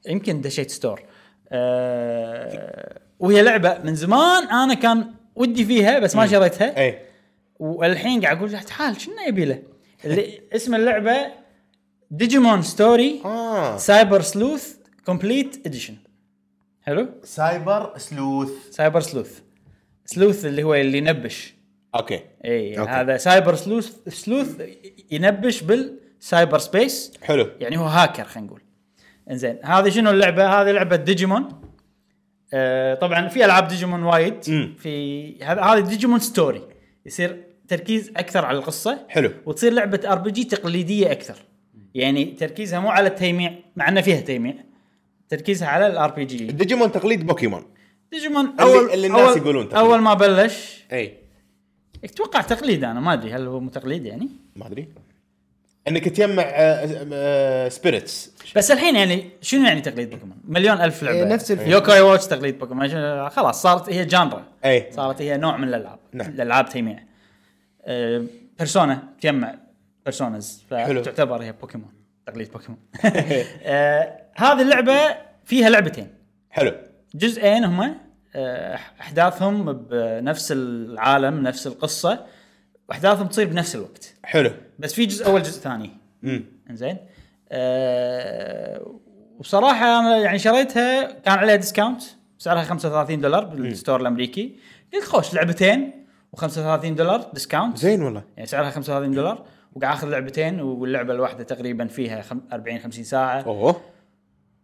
يمكن دشيت ستور أه وهي لعبه من زمان انا كان ودي فيها بس إيه. ما شريتها اي والحين قاعد اقول له تعال شنو يبي له؟ اللي- اسم اللعبه ديجيمون ستوري اه سايبر سلوث كومبليت اديشن حلو؟ سايبر سلوث سايبر سلوث سلوث اللي هو اللي ينبش اوكي اي أوكي. هذا سايبر سلوث سلوث ينبش بالسايبر سبيس حلو يعني هو هاكر خلينا نقول انزين هذه شنو اللعبه هذه لعبه ديجيمون آه طبعا في العاب ديجيمون وايد مم. في هذا هذه ديجيمون ستوري يصير تركيز اكثر على القصه حلو. وتصير لعبه ار بي جي تقليديه اكثر يعني تركيزها مو على التيميع مع انه فيها تيميع تركيزها على الار بي جي ديجيمون تقليد بوكيمون ديجيمون اللي- اول اللي الناس أول- يقولون تقليد. اول ما بلش اي اتوقع تقليد انا ما ادري هل هو مو تقليد يعني ما ادري انك تجمع آه، سبيريتس بس الحين يعني شنو يعني تقليد بوكيمون؟ مليون الف لعبه إيه، نفس الفكرة. يوكاي واتش تقليد بوكيمون شنو- خلاص صارت هي جانرا إيه. صارت هي نوع من الالعاب نعم. الالعاب تجميع أه بيرسونا تجمع بيرسونز حلو. فتعتبر هي بوكيمون تقليد (laughs) بوكيمون أه هذه اللعبه فيها لعبتين حلو جزئين هما أه، احداثهم بنفس العالم نفس القصه واحداثهم تصير بنفس الوقت حلو بس في جزء اول جزء ثاني امم انزين أه وبصراحه انا يعني شريتها كان عليها ديسكاونت سعرها 35 دولار بالستور الامريكي قلت خوش لعبتين و35 دولار ديسكاونت زين والله يعني سعرها 35 دولار وقاعد اخذ لعبتين واللعبه الواحده تقريبا فيها خم- 40 50 ساعه اوه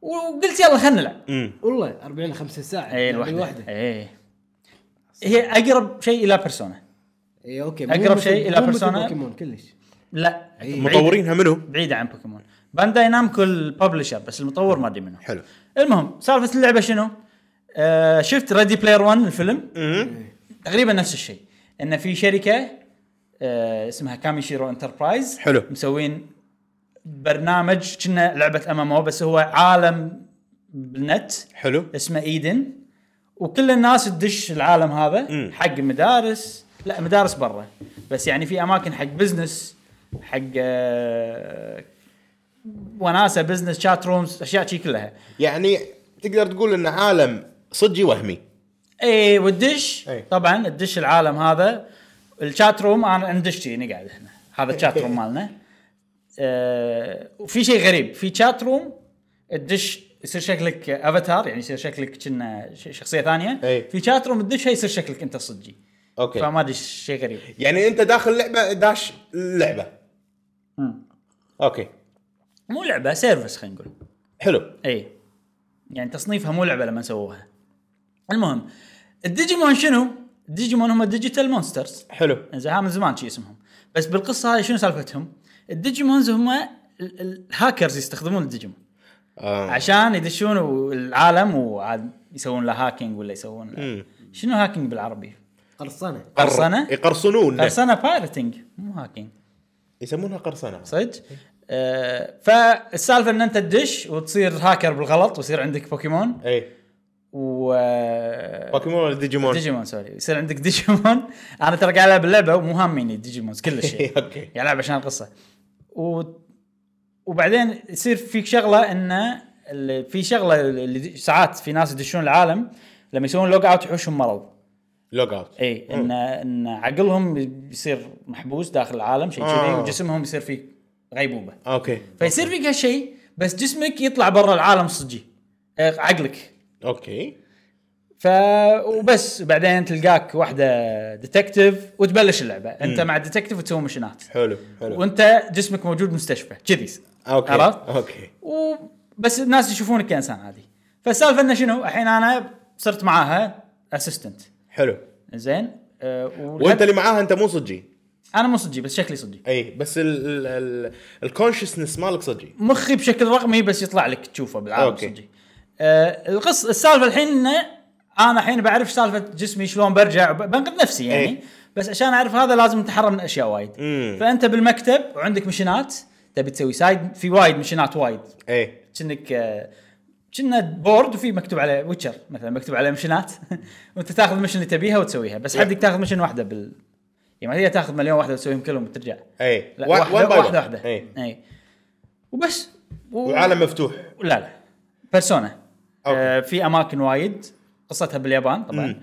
وقلت يلا خلنا نلعب إيه، امم والله 40 50 ساعه اي يعني الوحده الوحده اي هي اقرب شيء الى بيرسونا اي اوكي أقرب إيه، مو مثل- شيء إلى مو مثل Persona. بوكيمون كلش لا إيه. بعيد- مطورينها منو؟ بعيده عن بوكيمون بانداي نامكو الببلشر بس المطور ما ادري منو حلو المهم سالفه اللعبه شنو؟ آه شفت ريدي بلاير 1 الفيلم مم. تقريبا نفس الشيء ان في شركه آه اسمها كاميشيرو انتربرايز حلو. مسوين برنامج كنا لعبه ام ام بس هو عالم بالنت حلو اسمه ايدن وكل الناس تدش العالم هذا مم. حق مدارس لا مدارس برا بس يعني في اماكن حق بزنس حق آه، وناسه بزنس شات رومز اشياء شي كلها يعني تقدر تقول ان عالم صجي وهمي اي إيه، والدش أي. طبعا تدش العالم هذا الشات روم انا ندش هنا قاعد احنا هذا الشات روم مالنا آه، وفي شيء غريب في شات روم تدش يصير شكلك افاتار يعني يصير شكلك كنا ش- شخصيه ثانيه أي. في شات روم تدش يصير شكلك انت صجي اوكي فما ادري شيء غريب يعني انت داخل لعبه داش لعبه مم. اوكي مو لعبه سيرفس خلينا نقول حلو اي يعني تصنيفها مو لعبه لما سووها المهم الديجيمون شنو؟ الديجيمون هم ديجيتال مونسترز حلو زين ها من زمان شي اسمهم بس بالقصه هاي شنو سالفتهم؟ الديجيمونز هم ال- ال- الهاكرز يستخدمون الديجيمون آه. عشان يدشون و- العالم وعاد يسوون له هاكينج ولا يسوون له مم. شنو هاكينج بالعربي؟ قرصنه قرصنة؟ يقرصنون قرصنه بايرتنج مو هاكينج يسمونها قرصنه صدق؟ آه فالسالفه ان انت تدش وتصير هاكر بالغلط ويصير عندك بوكيمون اي و آه، بوكيمون ولا ديجيمون ديجيمون سوري يصير عندك ديجيمون (laughs) انا ترى قاعد العب اللعبه ومو هاميني الديجيمونز كل شيء اوكي قاعد العب عشان القصه و... وبعدين يصير فيك شغله انه اللي- في شغله اللي ساعات في ناس يدشون العالم لما يسوون لوج اوت يحوشهم مرض لوج اوت اي ان ان عقلهم يصير محبوس داخل العالم شيء كذي آه. وجسمهم يصير فيه غيبوبه اوكي فيصير فيك هالشيء بس جسمك يطلع برا العالم صجي آه، عقلك اوكي ف وبس بعدين تلقاك واحده ديتكتيف وتبلش اللعبه انت مع الديتكتيف وتسوي مشنات حلو حلو وانت جسمك موجود مستشفى كذي اوكي عرفت؟ اوكي وبس الناس يشوفونك كانسان عادي فالسالفه انه شنو الحين انا صرت معاها اسيستنت حلو زين أه وانت وانت اللي معاها انت مو صجي انا مو صجي بس شكلي صجي اي بس الكونشسنس مالك صجي مخي بشكل رقمي بس يطلع لك تشوفه بالعالم أوكي. صجي أه القص السالفه الحين انه انا الحين بعرف سالفه جسمي شلون برجع وب- بنقذ نفسي يعني إيه. بس عشان اعرف هذا لازم اتحرى من اشياء وايد مم. فانت بالمكتب وعندك مشينات تبي تسوي سايد في وايد مشينات وايد اي كأنك آه، كنا بورد وفي مكتوب عليه ويتشر مثلا مكتوب عليه مشنات (laughs) وانت تاخذ المشن اللي تبيها وتسويها بس حدك تاخذ مشن واحده بال يعني ما تقدر تاخذ مليون واحده وتسويهم كلهم وترجع اي لا وا- واحده one إيه. by واحده, one. واحدة, إيه. واحدة. اي اي وبس و... وعالم مفتوح لا لا بيرسونا أوكي. آه في اماكن وايد قصتها باليابان طبعا مم.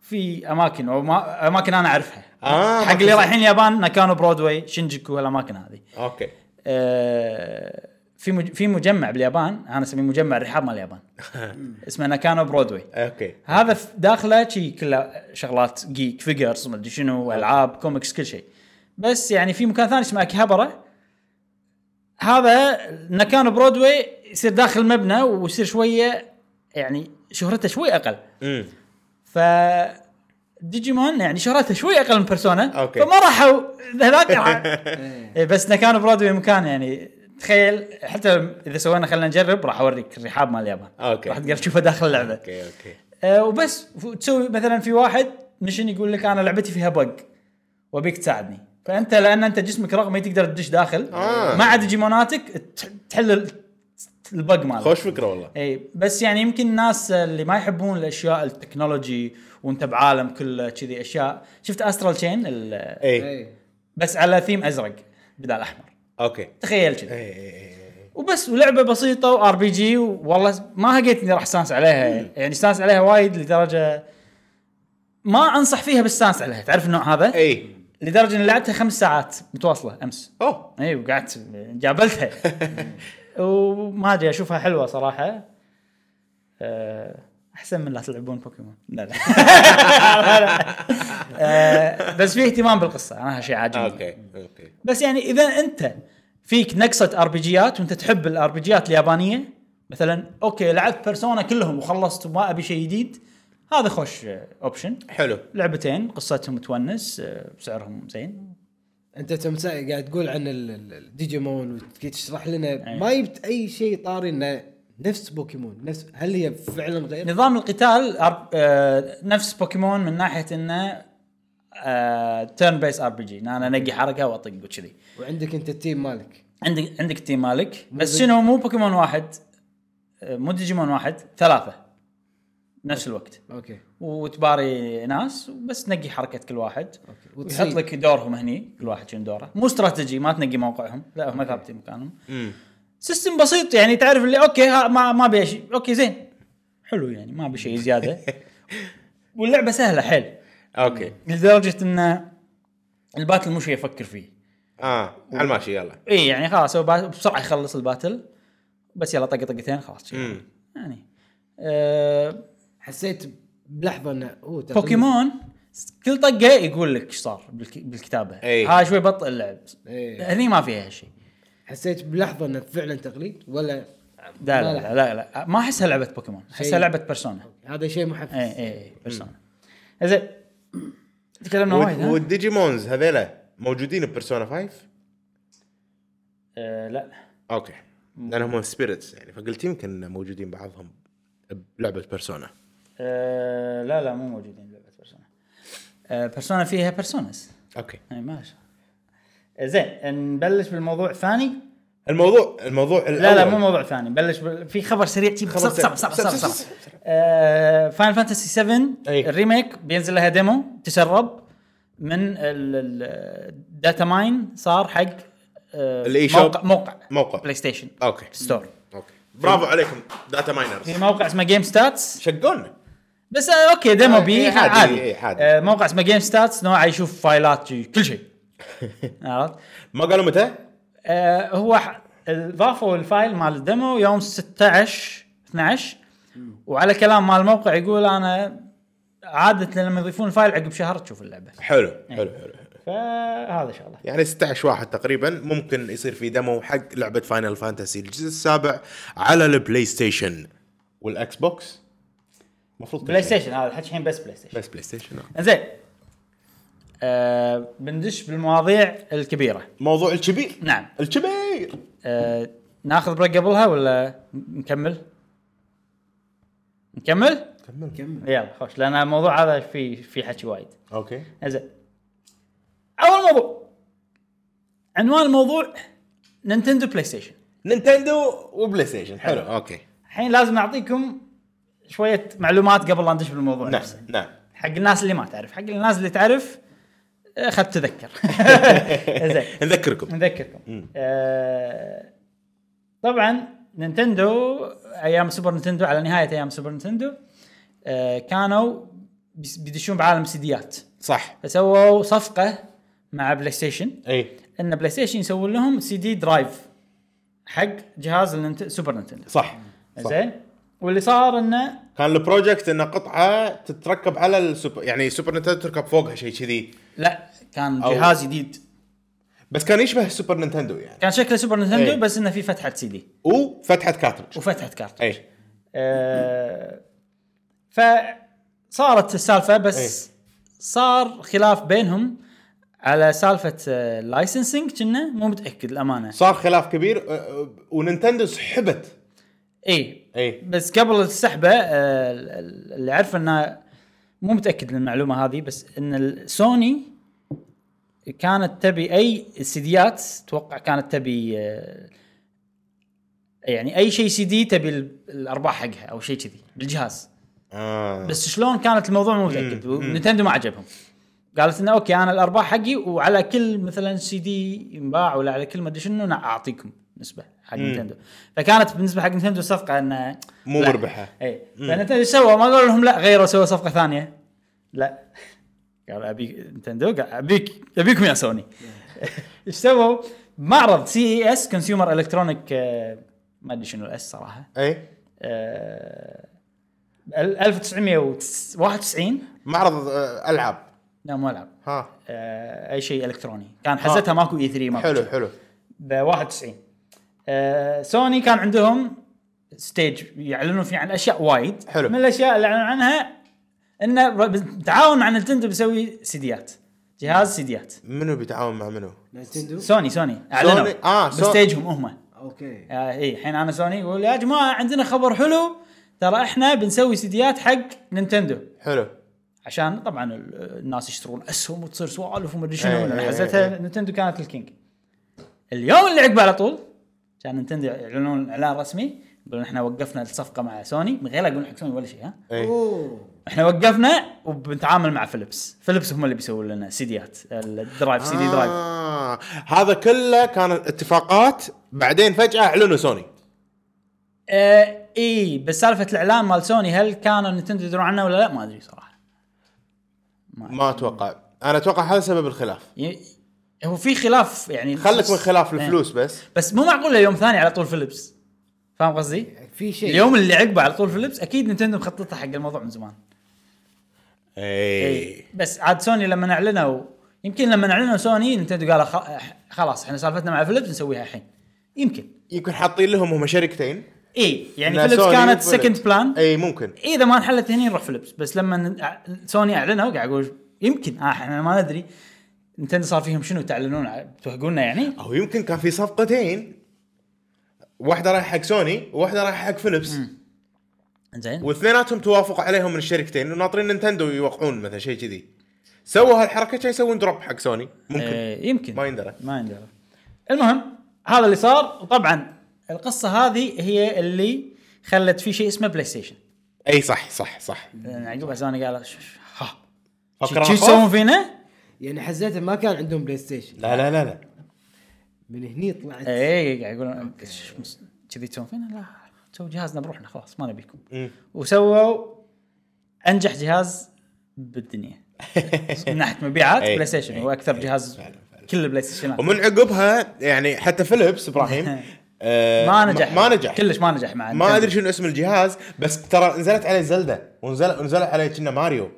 في اماكن وما... اماكن انا اعرفها آه، حق أماكن اللي زي- رايحين اليابان ناكانو برودواي شينجيكو هالاماكن هذه اوكي آه، في مج... في مجمع باليابان انا اسميه مجمع الرحاب مال (laughs) اليابان اسمه ناكانو برودواي اوكي هذا ف- داخله شي كله شغلات جيك فيجرز ما ادري شنو العاب كوميكس كل شيء بس يعني في مكان ثاني اسمه اكهبره هذا ناكانو برودواي يصير داخل مبنى ويصير شويه يعني شهرته شوي اقل امم ف ديجيمون يعني شهرته شوي اقل من بيرسونا أوكي. فما راحوا هذاك (laughs) إيه، بس مكان برودواي مكان يعني تخيل حتى اذا سوينا خلينا نجرب راح اوريك الرحاب مال اليابان أوكي. راح تقدر تشوفه داخل اللعبه اوكي اوكي أه وبس تسوي مثلا في واحد مشن يقول لك انا لعبتي فيها بق وابيك تساعدني فانت لان انت جسمك رقمي تقدر تدش داخل آه. مع ديجيموناتك تح- تحل ال- البق ماله خوش فكره والله اي بس يعني يمكن الناس اللي ما يحبون الاشياء التكنولوجي وانت بعالم كله كذي اشياء شفت استرال تشين ال- اي اي بس على ثيم ازرق بدال احمر اوكي تخيل كذي اي اي اي وبس ولعبه بسيطه وار بي جي والله ما هقيت اني راح استانس عليها يعني, يعني استانس عليها وايد لدرجه ما انصح فيها بالستانس عليها تعرف النوع هذا اي لدرجه اني لعبتها خمس ساعات متواصله امس اوه اي وقعدت (laughs) جابلتها وما ادري اشوفها حلوه صراحه أه، احسن من لا تلعبون بوكيمون لا (laughs) لا, أه، بس في اهتمام بالقصه انا هالشيء عاجبني اوكي اوكي بس يعني اذا انت فيك نقصه ار بي جيات وانت تحب الار بي جيات اليابانيه مثلا اوكي لعبت بيرسونا كلهم وخلصت وما ابي شيء جديد هذا خوش اوبشن حلو لعبتين قصتهم تونس آه، بسعرهم زين انت تم سا- قاعد تقول عن ال- ال- الديجيمون وتشرح إيه. لنا ما جبت اي شيء طاري انه نفس بوكيمون نفس هل هي فعلا غير؟ نظام القتال أر- آه، نفس بوكيمون من ناحيه انه تيرن بيس ار بي جي انا انقي حركه واطق وكذي وعندك انت التيم مالك عندك عندك تيم مالك بس بيج- شنو مو بوكيمون واحد آه، مو ديجيمون واحد ثلاثه بنفس الوقت اوكي وتباري ناس وبس تنقي حركه كل واحد اوكي ويحط وتصيد لك دورهم هني كل واحد شنو دوره مو استراتيجي ما تنقي موقعهم لا هم ثابتين مكانهم امم سيستم بسيط يعني تعرف اللي اوكي ها ما ما ابي شيء اوكي زين حلو يعني ما ابي شيء زياده واللعبه سهله حيل اوكي لدرجه ان الباتل مو شيء افكر فيه اه على الماشي يلا اي يعني خلاص هو با- بسرعه يخلص الباتل بس يلا طق طقتين خلاص شي. امم يعني أه حسيت بلحظه انه اوه تقريباً- بوكيمون كل طقه يقول لك ايش صار بالك- بالكتابه إي. ها شوي بطئ اللعب إيه. هني ما فيها شيء حسيت بلحظه انه فعلا تقليد ولا لا ما لا, لها. لا لا لا ما احسها لعبه بوكيمون احسها شيء. لعبه بيرسونا هذا شيء محفز اي اي اي بيرسونا زين تكلمنا وايد وال- ها؟ والديجيمونز هذيلا موجودين ببيرسونا 5 آه، لا اوكي لان هم سبيريتس يعني فقلت يمكن موجودين بعضهم بلعبه بيرسونا آه، لا لا مو موجودين لعبه بيرسونا آه، بيرسونا فيها إيه، بيرسونز اوكي اي ماشي آه، زين نبلش بالموضوع الثاني الموضوع الموضوع لا لا مو موضوع ثاني نبلش بال- في خبر سريع تجيب خبر صب سريع. صب صب صب صب- آه، صب- صب فاينل فانتسي 7 أي. الريميك بينزل لها ديمو تسرب من الداتا ماين صار حق آه، ال eShop. موقع موقع موقع آه. بلاي ستيشن اوكي ستور اوكي برافو عليكم داتا ماينرز في موقع اسمه جيم ستاتس شقونا بس آه، اوكي ديمو آه، إيه، بي عادي، عادي إيه، عادي. آه، موقع اسمه جيم ستاتس نوعه يشوف فايلات شي- كل (laughs) شيء عرفت ما قالوا متى؟ آه، هو ح- ضافوا الفايل مال الديمو يوم 16 12 وعلى كلام مال الموقع يقول انا عاده لما يضيفون الفايل عقب شهر تشوف اللعبه حلو حلو إيه. حلو فهذا شغله يعني 16 واحد تقريبا ممكن يصير في دمو حق لعبه فاينل فانتسي الجزء السابع على البلاي ستيشن والاكس بوكس المفروض كل بلاي شيء. ستيشن هذا الحكي الحين بس بلاي ستيشن بس بلاي ستيشن آه. زين آه بندش بالمواضيع الكبيره الموضوع الكبير نعم الكبير آه ناخذ بريك قبلها ولا نكمل؟ نكمل؟ كمل كمل يلا خوش لان الموضوع هذا في في حكي وايد اوكي زين اول موضوع عنوان الموضوع نينتندو بلاي ستيشن نينتندو وبلاي ستيشن حلو اوكي الحين لازم اعطيكم شويه معلومات قبل لا ندش بالموضوع نعم نفسه نعم حق الناس اللي ما تعرف حق الناس اللي تعرف آه، خد تذكر زين نذكركم نذكركم آه طبعا نينتندو ايام سوبر نينتندو على نهايه ايام سوبر نينتندو آه كانوا بيس- بيدشون بعالم سيديات صح فسووا صفقه مع بلاي ستيشن اي ان بلاي ستيشن يسوون لهم سي دي درايف حق جهاز الننت... سوبر نينتندو صح صح. زين واللي صار انه كان البروجكت انه قطعه تتركب على السوبر يعني سوبر نينتندو تركب فوقها شيء كذي لا كان أو- جهاز جديد بس كان يشبه سوبر نينتندو يعني كان شكله سوبر نينتندو إيه. بس انه في فتحه سي دي وفتحه كارترج وفتحه كارت اي آه... فصارت السالفه إيه. بس صار خلاف بينهم على سالفه اللايسنسنج كنا مو متاكد الامانه صار خلاف كبير أه، أه، ونينتندو سحبت اي اي بس قبل السحبه آه، ال- ال- اللي عارفه انه مو متاكد من المعلومه هذه بس ان ال- سوني كانت تبي اي سيديات توقع كانت تبي آه، يعني اي شيء سي دي تبي ال- الارباح حقها او شيء كذي بالجهاز آه. بس شلون كانت الموضوع مو متاكد ونتندو ما عجبهم قالت انه اوكي انا الارباح حقي وعلى كل مثلا سي دي ينباع ولا على كل ما ادري شنو أنا اعطيكم نسبه حق نتندو فكانت بالنسبه حق نتندو صفقه انه مو لا. مربحه اي إيه. فنتندو ايش سوى؟ ما قالوا لهم لا غيروا سووا صفقه ثانيه لا قال ابي نتندو قال ابيك ابيكم يا (laughs) سوني ايش سووا؟ معرض E سي اي اس كونسيومر الكترونيك آه، ما ادري شنو الاس صراحه اي آه، 1991 معرض آه، العاب لا مو العاب ها آه، اي شيء الكتروني كان حزتها ماكو اي 3 ماكو حلو حلو ب 91 آه، سوني كان عندهم ستيج يعلنون فيه عن اشياء وايد حلو. من الاشياء اللي اعلنوا عنها انه بالتعاون مع نينتندو بيسوي سيديات جهاز سيديات منو بيتعاون مع منو؟ نينتندو سوني سوني اعلنوا سوني- آه، سو- بستيجهم هم اوكي آه، اي الحين انا سوني يقول يا جماعه عندنا خبر حلو ترى احنا بنسوي سيديات حق نينتندو حلو عشان طبعا ال- الناس يشترون اسهم وتصير سوالف ومدري إيه، شنو أنا إيه، حزتها نينتندو كانت الكينج اليوم اللي عقبه على طول كان نينتندو يعلنون اعلان رسمي يقولون احنا وقفنا الصفقه مع سوني من غير لا اقول حق سوني ولا شيء ها اي اوه احنا وقفنا وبنتعامل مع فيلبس فيلبس هم اللي بيسوون لنا سيديات الدرايف سي دي درايف آه هذا كله كانت اتفاقات بعدين فجاه اعلنوا سوني اه اي بس سالفه الاعلان مال سوني هل كانوا نينتندو يدرون عنه ولا لا ما ادري صراحه ما اتوقع انا اتوقع هذا سبب الخلاف ي- هو في خلاف يعني خلك من خلاف إيه. الفلوس بس بس مو معقول يوم ثاني على طول فيلبس فاهم قصدي؟ يعني في شيء اليوم اللي عقبه على طول فيلبس اكيد نينتندو مخططه حق الموضوع من زمان إيه. اي بس عاد سوني لما اعلنوا يمكن لما اعلنوا سوني نينتندو قالوا خ- خلاص احنا سالفتنا مع فيلبس نسويها الحين يمكن يمكن حاطين لهم هم شركتين اي يعني إن فيلبس سوني كانت وفيلبس. سكند بلان اي ممكن اذا ما انحلت هني نروح فيلبس بس لما ن- سوني اعلنوا قاعد اقول يمكن اه احنا ما ندري نينتندو صار فيهم شنو تعلنون ع- توهقونا يعني او يمكن كان في صفقتين واحده رايحه حق سوني وواحده رايحه حق فيلبس زين واثنيناتهم توافقوا عليهم من الشركتين وناطرين نينتندو يوقعون مثلا شيء كذي سووا هالحركه كان يسوون دروب حق سوني ممكن آه، يمكن ما يندرى. ما يندرى المهم هذا اللي صار وطبعا القصه هذه هي اللي خلت في شيء اسمه يعني بلاي ستيشن اي إيه، صح صح صح لأن عقبها سوني قال ش- ش- ها فكرنا شو خوف؟ تسوون فينا؟ يعني حزتها ما كان عندهم بلاي ستيشن لا لا لا لا من هني طلعت اي إيه، قاعد يقولون ش- مس- كذي تسوون فينا؟ لا سووا جهازنا بروحنا خلاص ما نبيكم مم. وسووا انجح جهاز (laughs) بالدنيا من ناحيه مبيعات إي، بلاي ستيشن إي، هو اكثر إي، جهاز إيه. فعلاً، فعلاً. كل البلاي ستيشنات ومن عقبها يعني حتى (laughs) فيلبس ابراهيم آه، ما نجح ما نجح كلش ما نجح مع ما نينتندو. ادري شنو اسم الجهاز بس ترى نزلت عليه زلدة ونزل ونزلت عليه كنا ماريو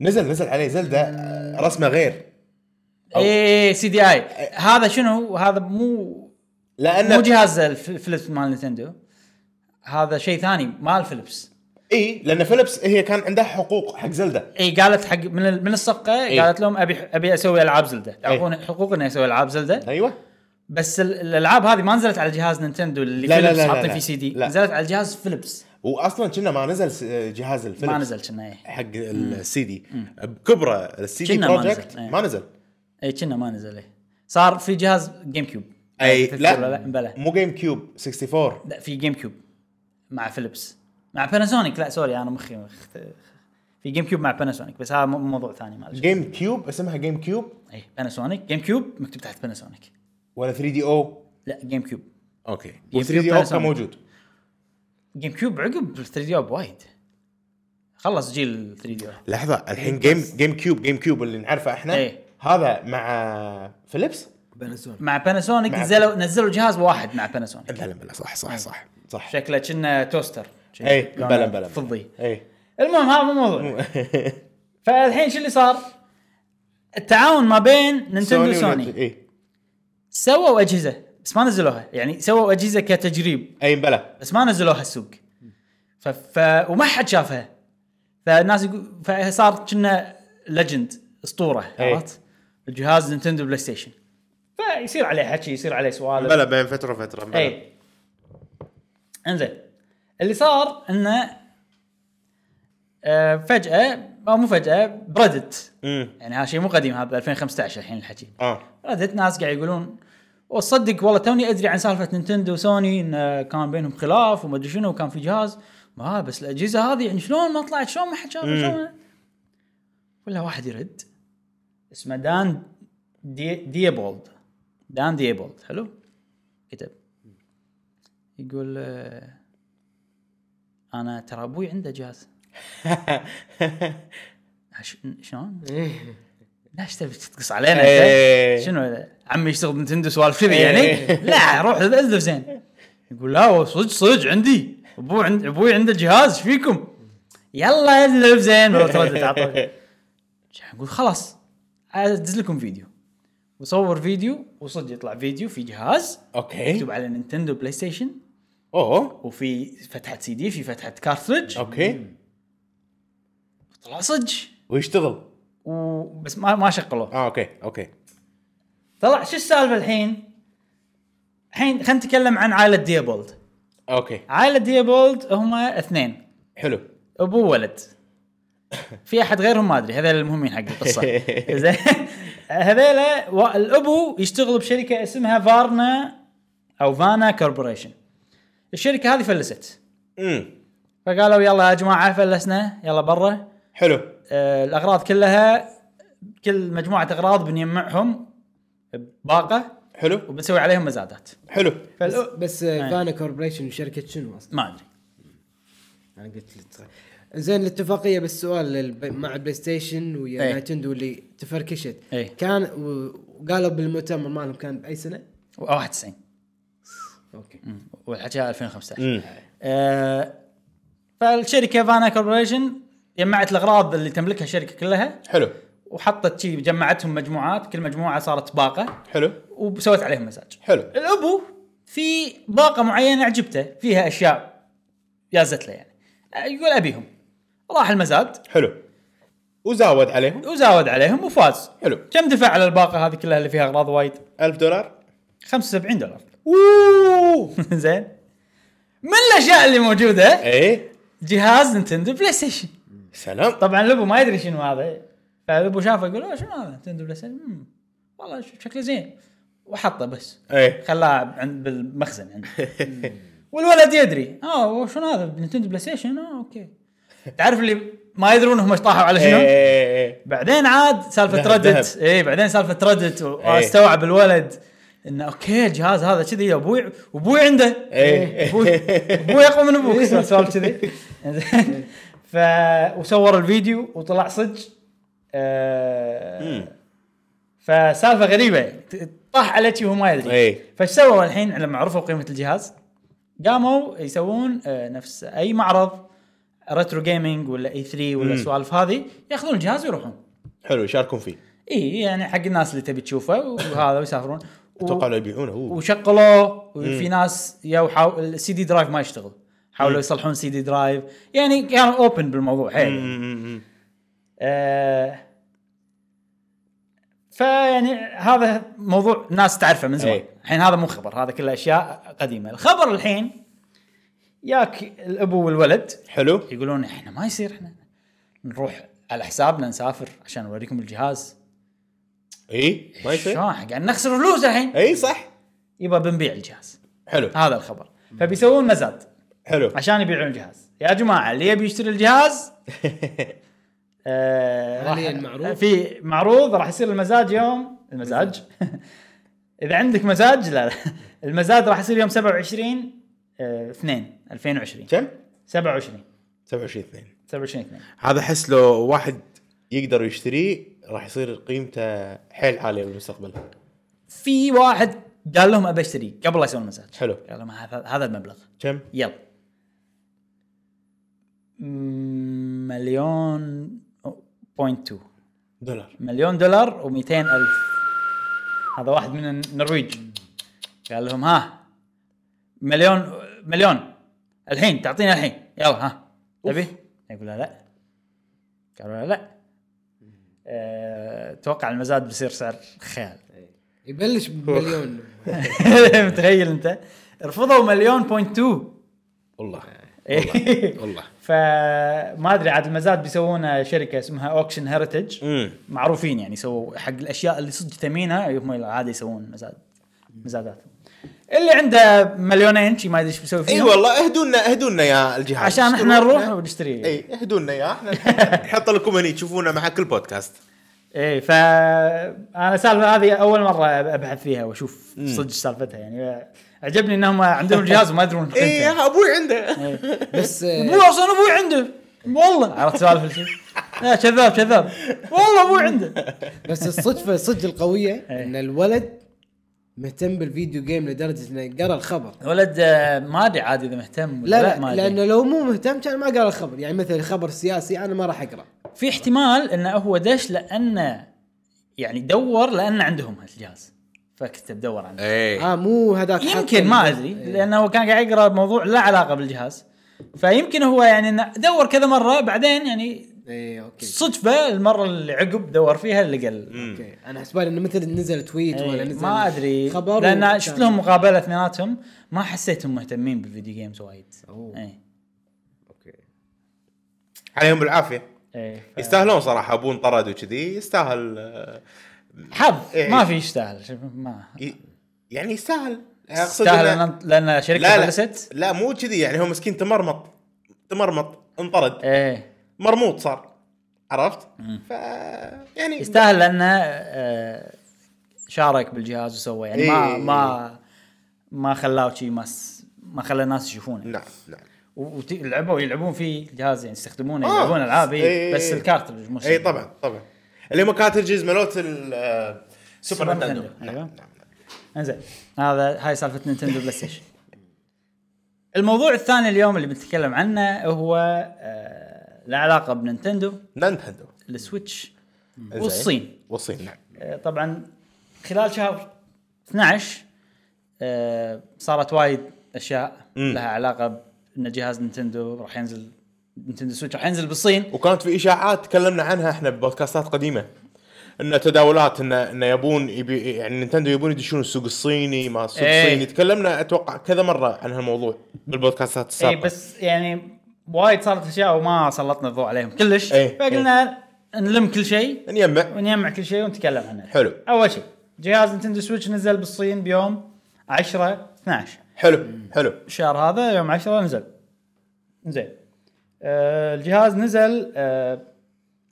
نزل نزل عليه زلدة آه، رسمه غير أو- اي إيه، سي دي اي إيه. هذا شنو هذا مو مو لان جهاز الف- الفليبس مال نينتندو هذا شيء ثاني مال فيلبس اي لان فيلبس هي كان عندها حقوق حق زلدة اي قالت حق من ال- من الصفقه إي. قالت لهم ابي ابي اسوي العاب زلده يعطون حقوق اني اسوي العاب زلده ايوه بس ال- الالعاب هذه ما نزلت على جهاز نينتندو اللي لا، لا، فيلبس لا، لا، حاطين لا. فيه سي دي لا. نزلت على جهاز فيلبس واصلا كنا ما نزل س- جهاز الفيلبس ما نزل كنا إي. حق السي دي بكبره السي دي كنا ما نزل، بروجكت إيه. ما نزل اي كنا ما نزل إي. صار في جهاز جيم كيوب اي إيه، تذكر لا, ولا لا بلا مو جيم كيوب 64 لا في جيم كيوب مع فيلبس مع باناسونيك لا سوري انا مخي مخت... في جيم كيوب مع باناسونيك بس هذا مو- موضوع ثاني معلش جيم كيوب اسمها جيم كيوب اي باناسونيك جيم كيوب مكتوب تحت باناسونيك ولا 3 دي او لا جيم كيوب اوكي جيم 3 كيوب دي او Panasonic. كان موجود جيم كيوب عقب 3 دي او بوايد خلص جيل 3 دي او لحظه الحين جيم جيم كيوب جيم كيوب اللي نعرفه احنا إيه. هذا مع فيليبس باناسونيك مع باناسونيك مع- نزلوا نزلوا جهاز واحد مع باناسونيك بلا بلا صح صح صح صح شكله كنا توستر شي اي لونه إيه، بلا بلا إيه، يعني إيه. فضي اي (laughs) المهم هذا مو موضوع فالحين شو اللي صار؟ التعاون ما بين نينتندو وسوني اي سووا اجهزه بس ما نزلوها يعني سووا اجهزه كتجريب اي إيه، بلا بس ما نزلوها السوق ف... ف... وما حد شافها فالناس يقول فصار كنا ليجند اسطوره أي. عرفت؟ الجهاز نينتندو بلاي ستيشن فيصير عليه حكي يصير عليه سوالف بلا بين فتره وفتره بلا اي انزين اللي صار انه آه، فجاه او مو فجاه بردت امم يعني هذا شيء مو قديم هذا ب 2015 الحين الحكي اه ردت ناس قاعد يقولون وصدق والله توني ادري عن سالفه نينتندو وسوني ان آه، كان بينهم خلاف وما ادري شنو وكان في جهاز ما بس الاجهزه هذه يعني شلون ما طلعت شلون ما حد شافها مم. شلون ولا واحد يرد اسمه دان دي ديابولد دان ديابولد حلو كتب يقول آه، انا ترى ابوي عنده (laughs) جهاز عش- شلون؟ إيه. ليش تبي تقص علينا إيه. انت؟ شنو هذا؟ عمي يشتغل بنتندو سوالف كذي يعني؟ إيه. لا روح الف زين يقول لا هو صدق صدق عندي ابوي عند ابوي عنده جهاز ايش فيكم؟ يلا الف زين ولو تردد عطوه. يقول خلاص ادز لكم فيديو وصور فيديو وصدق يطلع فيديو في جهاز اوكي مكتوب على نينتندو بلاي ستيشن اوه وفي فتحه سي دي في فتحه كارترج اوكي طلع صج ويشتغل و- بس ما ما شغلوه اه اوكي اوكي طلع شو السالفه الحين؟ الحين خلينا نتكلم عن عائله ديابولد. اوكي عائله ديابولد هم اثنين حلو ابو وولد. في احد غيرهم ما ادري هذول المهمين حق القصه. زين هذيلا و- الابو يشتغل بشركه اسمها فارنا او فانا كوربوريشن. الشركه هذه فلست. امم فقالوا يلا يا جماعه فلسنا يلا برا حلو آه، الاغراض كلها كل مجموعه اغراض بنجمعهم باقه حلو وبنسوي عليهم مزادات. حلو بس, فالأ... بس آه، فانا كوربريشن شركه شنو اصلا؟ ما ادري انا قلت لك زين الاتفاقيه بس سؤال للب- مع بلاي ستيشن ويا إيه. نايتندو اللي تفركشت إيه. كان و- وقالوا بالمؤتمر مالهم كان باي سنه؟ 91 اوكي والحكي هذا 2015 امم آه فالشركه فانا كوربريشن جمعت الاغراض اللي تملكها الشركه كلها حلو وحطت شي جمعتهم مجموعات كل مجموعه صارت باقه حلو وسوت عليهم مزاج حلو الابو في باقه معينه عجبته فيها اشياء يازت له يعني آه، يقول ابيهم راح المزاد حلو وزاود عليهم وزاود عليهم وفاز حلو كم دفع على الباقه هذه كلها اللي فيها اغراض وايد 1000 دولار 75 دولار (laughs) اوه زين من الاشياء اللي موجوده ايه جهاز نتندو بلاي ستيشن سلام طبعا لبو ما يدري شنو هذا فلبو شافه يقول "أوه، شنو هذا نتندو بلاي ستيشن مم، والله ش- شكله زين وحطه بس ايه خلاه عند بالمخزن عنده والولد يدري اه شنو هذا نتندو بلاي ستيشن اه اوكي تعرف اللي ما يدرون هم ايش طاحوا على ايه شنو إيه، إيه. بعدين عاد سالفه ذهب، إيه. ردت اي بعدين سالفه ردت واستوعب الولد انه اوكي الجهاز هذا كذي ابوي وابوي عنده إيه. ابوي ابوي اقوى من ابوك سوالف كذي (laughs) زين. ف وصور الفيديو وطلع صدق آه مم. فسالفه غريبه ت- طاح على شي وهو ما يدري إيه. فايش سووا الحين لما عرفوا قيمه الجهاز قاموا يسوون آه، نفس اي معرض ريترو جيمنج ولا اي 3 ولا مم. السوالف هذه ياخذون الجهاز ويروحون حلو يشاركون فيه اي يعني حق الناس اللي تبي تشوفه وهذا ويسافرون و- اتوقع لو يبيعونه هو وشغلوه وفي ناس يو حاو... السي دي درايف ما يشتغل حاولوا يصلحون سي دي درايف يعني كانوا اوبن بالموضوع حيل أمم، أمم، أمم. آه... فيعني هذا موضوع ناس تعرفه من زمان إيه. الحين هذا مو خبر هذا كله اشياء قديمه الخبر الحين ياك الابو والولد حلو يقولون احنا ما يصير احنا نروح على حسابنا نسافر عشان نوريكم الجهاز اي إيه، ما يصير شلون قاعد نخسر فلوس الحين اي صح يبقى بنبيع الجهاز حلو هذا الخبر فبيسوون مزاد حلو عشان يبيعون الجهاز يا جماعه اللي يبي يشتري (laughs) الجهاز آه راح- حالياً معروض. في معروض راح يصير المزاد يوم المزاج (laughs) اذا عندك مزاج لا لا المزاد راح يصير يوم 27 آه، 2 2020 كم 27 27 2 27 2 هذا احس لو واحد يقدر يشتريه راح يصير قيمته حيل عاليه بالمستقبل في واحد قال لهم ابي اشتري قبل لا يسوون المزاد حلو. قال لهم هذا هذا المبلغ كم يلا مم، مليون بوينت 2 دولار مليون دولار و200 الف هذا واحد من النرويج قال لهم ها مليون مليون الحين تعطينا الحين يلا ها تبي يقول لا لا قالوا له لا أه، اتوقع المزاد بيصير سعر خيال (laughs) يبلش بمليون متخيل انت رفضوا مليون بوينت 2 والله آه. والله. إيه. (laughs) فما ادري عاد المزاد بيسوونه شركه اسمها اوكشن هيرتج امم معروفين يعني يسووا حق الاشياء اللي صدق ثمينه هم العاده يسوون مزاد مزادات اللي عنده مليونين شي ما ادري ايش بيسوي فيهم اي والله اهدونا اهدونا يا الجهاز عشان احنا نروح ونشتري اي اي إيه، اهدونا (laughs) يا احنا نحط لكم هني تشوفونا مع كل بودكاست اي ف انا السالفه هذه اول مره ابحث فيها واشوف صدق سالفتها يعني عجبني انهم عندهم الجهاز وما يدرون (laughs) اي قيمته. إيه، يا ابوي عنده إي. بس ابوي آه، اصلا ابوي عنده والله عرفت سوالف (laughs) الشيء لا كذاب كذاب والله ابوي عنده بس الصدفه الصدق القويه إيه. ان الولد مهتم بالفيديو جيم لدرجه انه قرا الخبر ولد آه، ما ادري عاد اذا مهتم ولا لا لا, ما لا أدري. لانه لو مو مهتم كان ما قرا الخبر يعني مثلا خبر سياسي انا ما راح اقرا في احتمال انه هو دش لانه يعني دور لانه عندهم هالجهاز فكتب دور عنه اي اه مو هذاك إيه. يمكن ما ادري إيه. لانه هو كان قاعد يقرا موضوع لا علاقه بالجهاز فيمكن هو يعني إنه دور كذا مره بعدين يعني اي اوكي صدفه المره اللي عقب دور فيها اللي قال اوكي انا حسبالي انه مثل نزل تويت إيه، ولا نزل ما ادري خبر لان وكان- شفت لهم مقابله اثنيناتهم ما حسيتهم مهتمين بالفيديو جيمز وايد إيه. أوه. اي اوكي عليهم بالعافيه اي إيه. يستاهلون صراحه ابون طرد وكذي يستاهل آه، حظ إيه. ما في يستاهل شوف، ما ي- يعني يستاهل اقصد إنه- يستاهل لأن- لان شركه لا لا, فلست لا مو كذي يعني هو مسكين تمرمط تمرمط انطرد ايه مرموط صار عرفت؟ ف يعني يستاهل لانه آه، شارك بالجهاز وسوى يعني ما إيه. ما ما خلاه شيء مس ما خلى الناس يشوفونه نعم نعم ولعبوا يلعبون فيه الجهاز يعني يستخدمونه آه. يلعبون العاب إيه. إيه بس الكارترج مو اي شيء. طبعا طبعا إيه، اللي هم كاترجز مالوت ال- آه، سوبر سوبر نتندو نتندو، نعم أيوة. نعم نعم. انزين هذا هاي سالفه نينتندو بلاي ستيشن الموضوع الثاني اليوم اللي بنتكلم عنه هو آه العلاقه بنينتندو نعم، نتندو السويتش زين. والصين والصين نعم آه، طبعا خلال شهر 12 آه، صارت وايد اشياء مم. لها علاقه بان جهاز نينتندو راح ينزل نينتندو سويتش راح ينزل بالصين وكانت في اشاعات تكلمنا عنها احنا ببودكاستات قديمه ان تداولات ان ان يبون يبي يعني نينتندو يبون يدشون السوق الصيني ما السوق إيه. الصيني تكلمنا اتوقع كذا مره عن هالموضوع بالبودكاستات السابقه اي إيه، بس يعني وايد صارت اشياء وما سلطنا الضوء عليهم كلش إيه، فقلنا نلم كل شيء نجمع ونجمع كل شيء ونتكلم عنه حلو. اول شيء جهاز نينتندو سويتش نزل بالصين بيوم 10 12 حلو حلو الشهر هذا يوم 10 نزل زين آه الجهاز نزل آه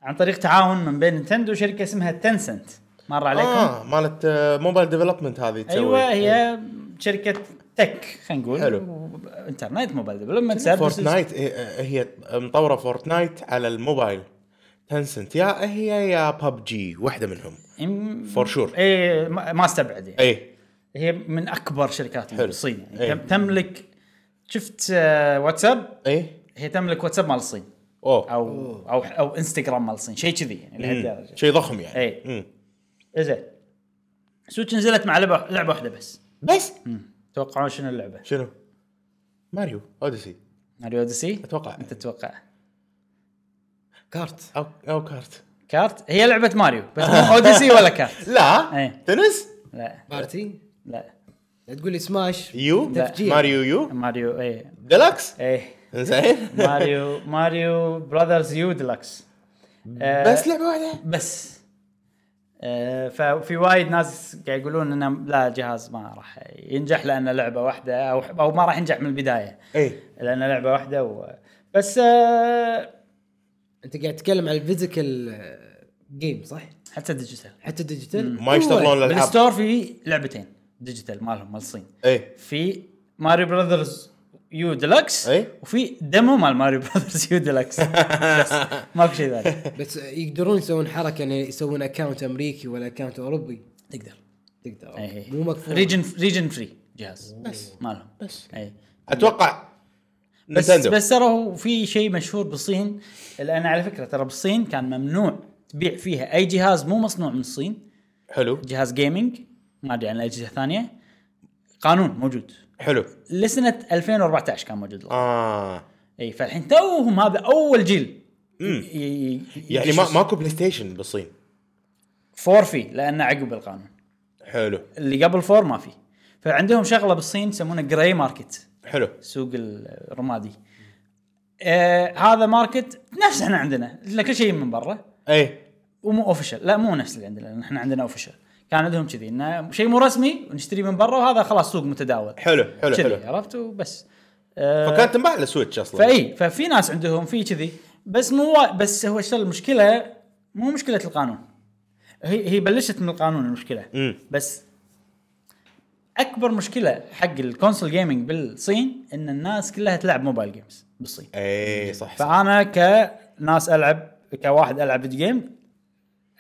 عن طريق تعاون من بين نينتندو وشركه اسمها تنسنت مر عليكم آه. اه مالت آه، موبايل ديفلوبمنت هذه تسوي إيه، ايوه هي شركه تك خلينا نقول حلو. و- انترنت موبايل ديفلوبمنت سيرفيسز. فورتنايت هي- إيه، هي مطوره فورتنايت على الموبايل تنسنت يا هي يا ببجي واحده منهم يم- For sure. إيه، اي إيه، ما ما استبعد يعني. اي هي من اكبر شركات حلو. الصين يعني إيه. تم- تملك شفت آه، واتساب اي هي تملك واتساب مال الصين اوه او او او انستغرام مال الصين شيء كذي يعني مم. لهالدرجه شيء ضخم يعني إيه. مم. زين سويتش نزلت مع لعبه لعبه واحده بس بس تتوقعون شنو اللعبه؟ شنو؟ ماريو اوديسي ماريو اوديسي؟ أتوقع. انت تتوقع كارت او او كارت كارت هي لعبه ماريو بس (laughs) مو اوديسي ولا كارت لا إيه. تنس لا بارتي لا لا تقول لي سماش يو لا. ماريو يو ماريو ايه ديلكس ايه زين ماريو ماريو براذرز يو ديلكس آه، (laughs) بس لعبه واحده بس آه، ففي وايد ناس قاعد يقولون انه لا جهاز ما راح ينجح لانه لعبه واحده او او ما راح ينجح من البدايه اي لانه لعبه واحده و... بس آه، انت قاعد تتكلم عن الفيزيكال جيم صح؟ حتى ديجيتال حتى ديجيتال ما يشتغلون الالعاب بالستور في لعبتين ديجيتال مالهم مال الصين اي في ماريو براذرز يو ديلكس إيه. وفي ديمو مال ماريو براذرز يو ديلكس بس ماكو شيء ثاني بس يقدرون يسوون حركه انه يسوون اكونت امريكي ولا اكونت اوروبي تقدر تقدر إيه. مو مكفور ريجن ريجن فري جهاز بس. مالهم بس اي اتوقع بس نتندو. بس ترى هو في شيء مشهور بالصين لان على فكره ترى بالصين كان ممنوع تبيع فيها اي جهاز مو مصنوع من الصين حلو جهاز جيمنج ما ادري عن الاجهزه الثانيه قانون موجود حلو لسنه 2014 كان موجود اه اي إيه، فالحين توهم هذا اول جيل ي- ي- يعني ما ماكو بلاي ستيشن بالصين فور في لانه عقب القانون حلو اللي قبل فور ما في فعندهم شغله بالصين يسمونه جراي ماركت حلو سوق الرمادي آه هذا ماركت نفس احنا عندنا لا كل شيء من برا اي ومو اوفشل لا مو نفس اللي عندنا لان احنا عندنا اوفشل كان عندهم كذي انه شيء مو رسمي ونشتري من برا وهذا خلاص سوق متداول حلو حلو كذي حلو عرفت وبس آه فكانت تنباع للسويتش اصلا فاي ففي ناس عندهم في كذي بس مو وا- بس هو شو المشكله مو مشكله القانون هي هي بلشت من القانون المشكله مم. بس اكبر مشكله حق الكونسول جيمنج بالصين ان الناس كلها تلعب موبايل جيمز بالصين اي إيه، صح صح فانا كناس العب كواحد العب فيديو جيم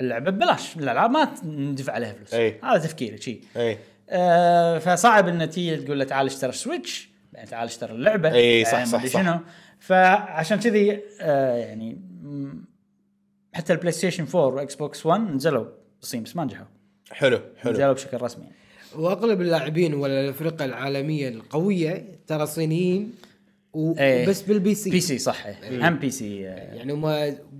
اللعبه ببلاش الالعاب ما ندفع عليها فلوس أي. هذا تفكيري شيء اي آه، فصعب ان تيجي تقول له تعال اشتري سويتش بعدين تعال اشتري اللعبه إي، إيه، صح، بعدين صح، مدري صح. شنو فعشان كذي آه، يعني مم، حتى البلاي ستيشن 4 واكس بوكس 1 نزلوا بالصين بس ما نجحوا حلو حلو نزلوا بشكل رسمي واغلب اللاعبين ولا الفرق العالميه القويه ترى صينيين و... إيه. بس بالبي سي بي سي صح إيه. هم بي سي آه، يعني هم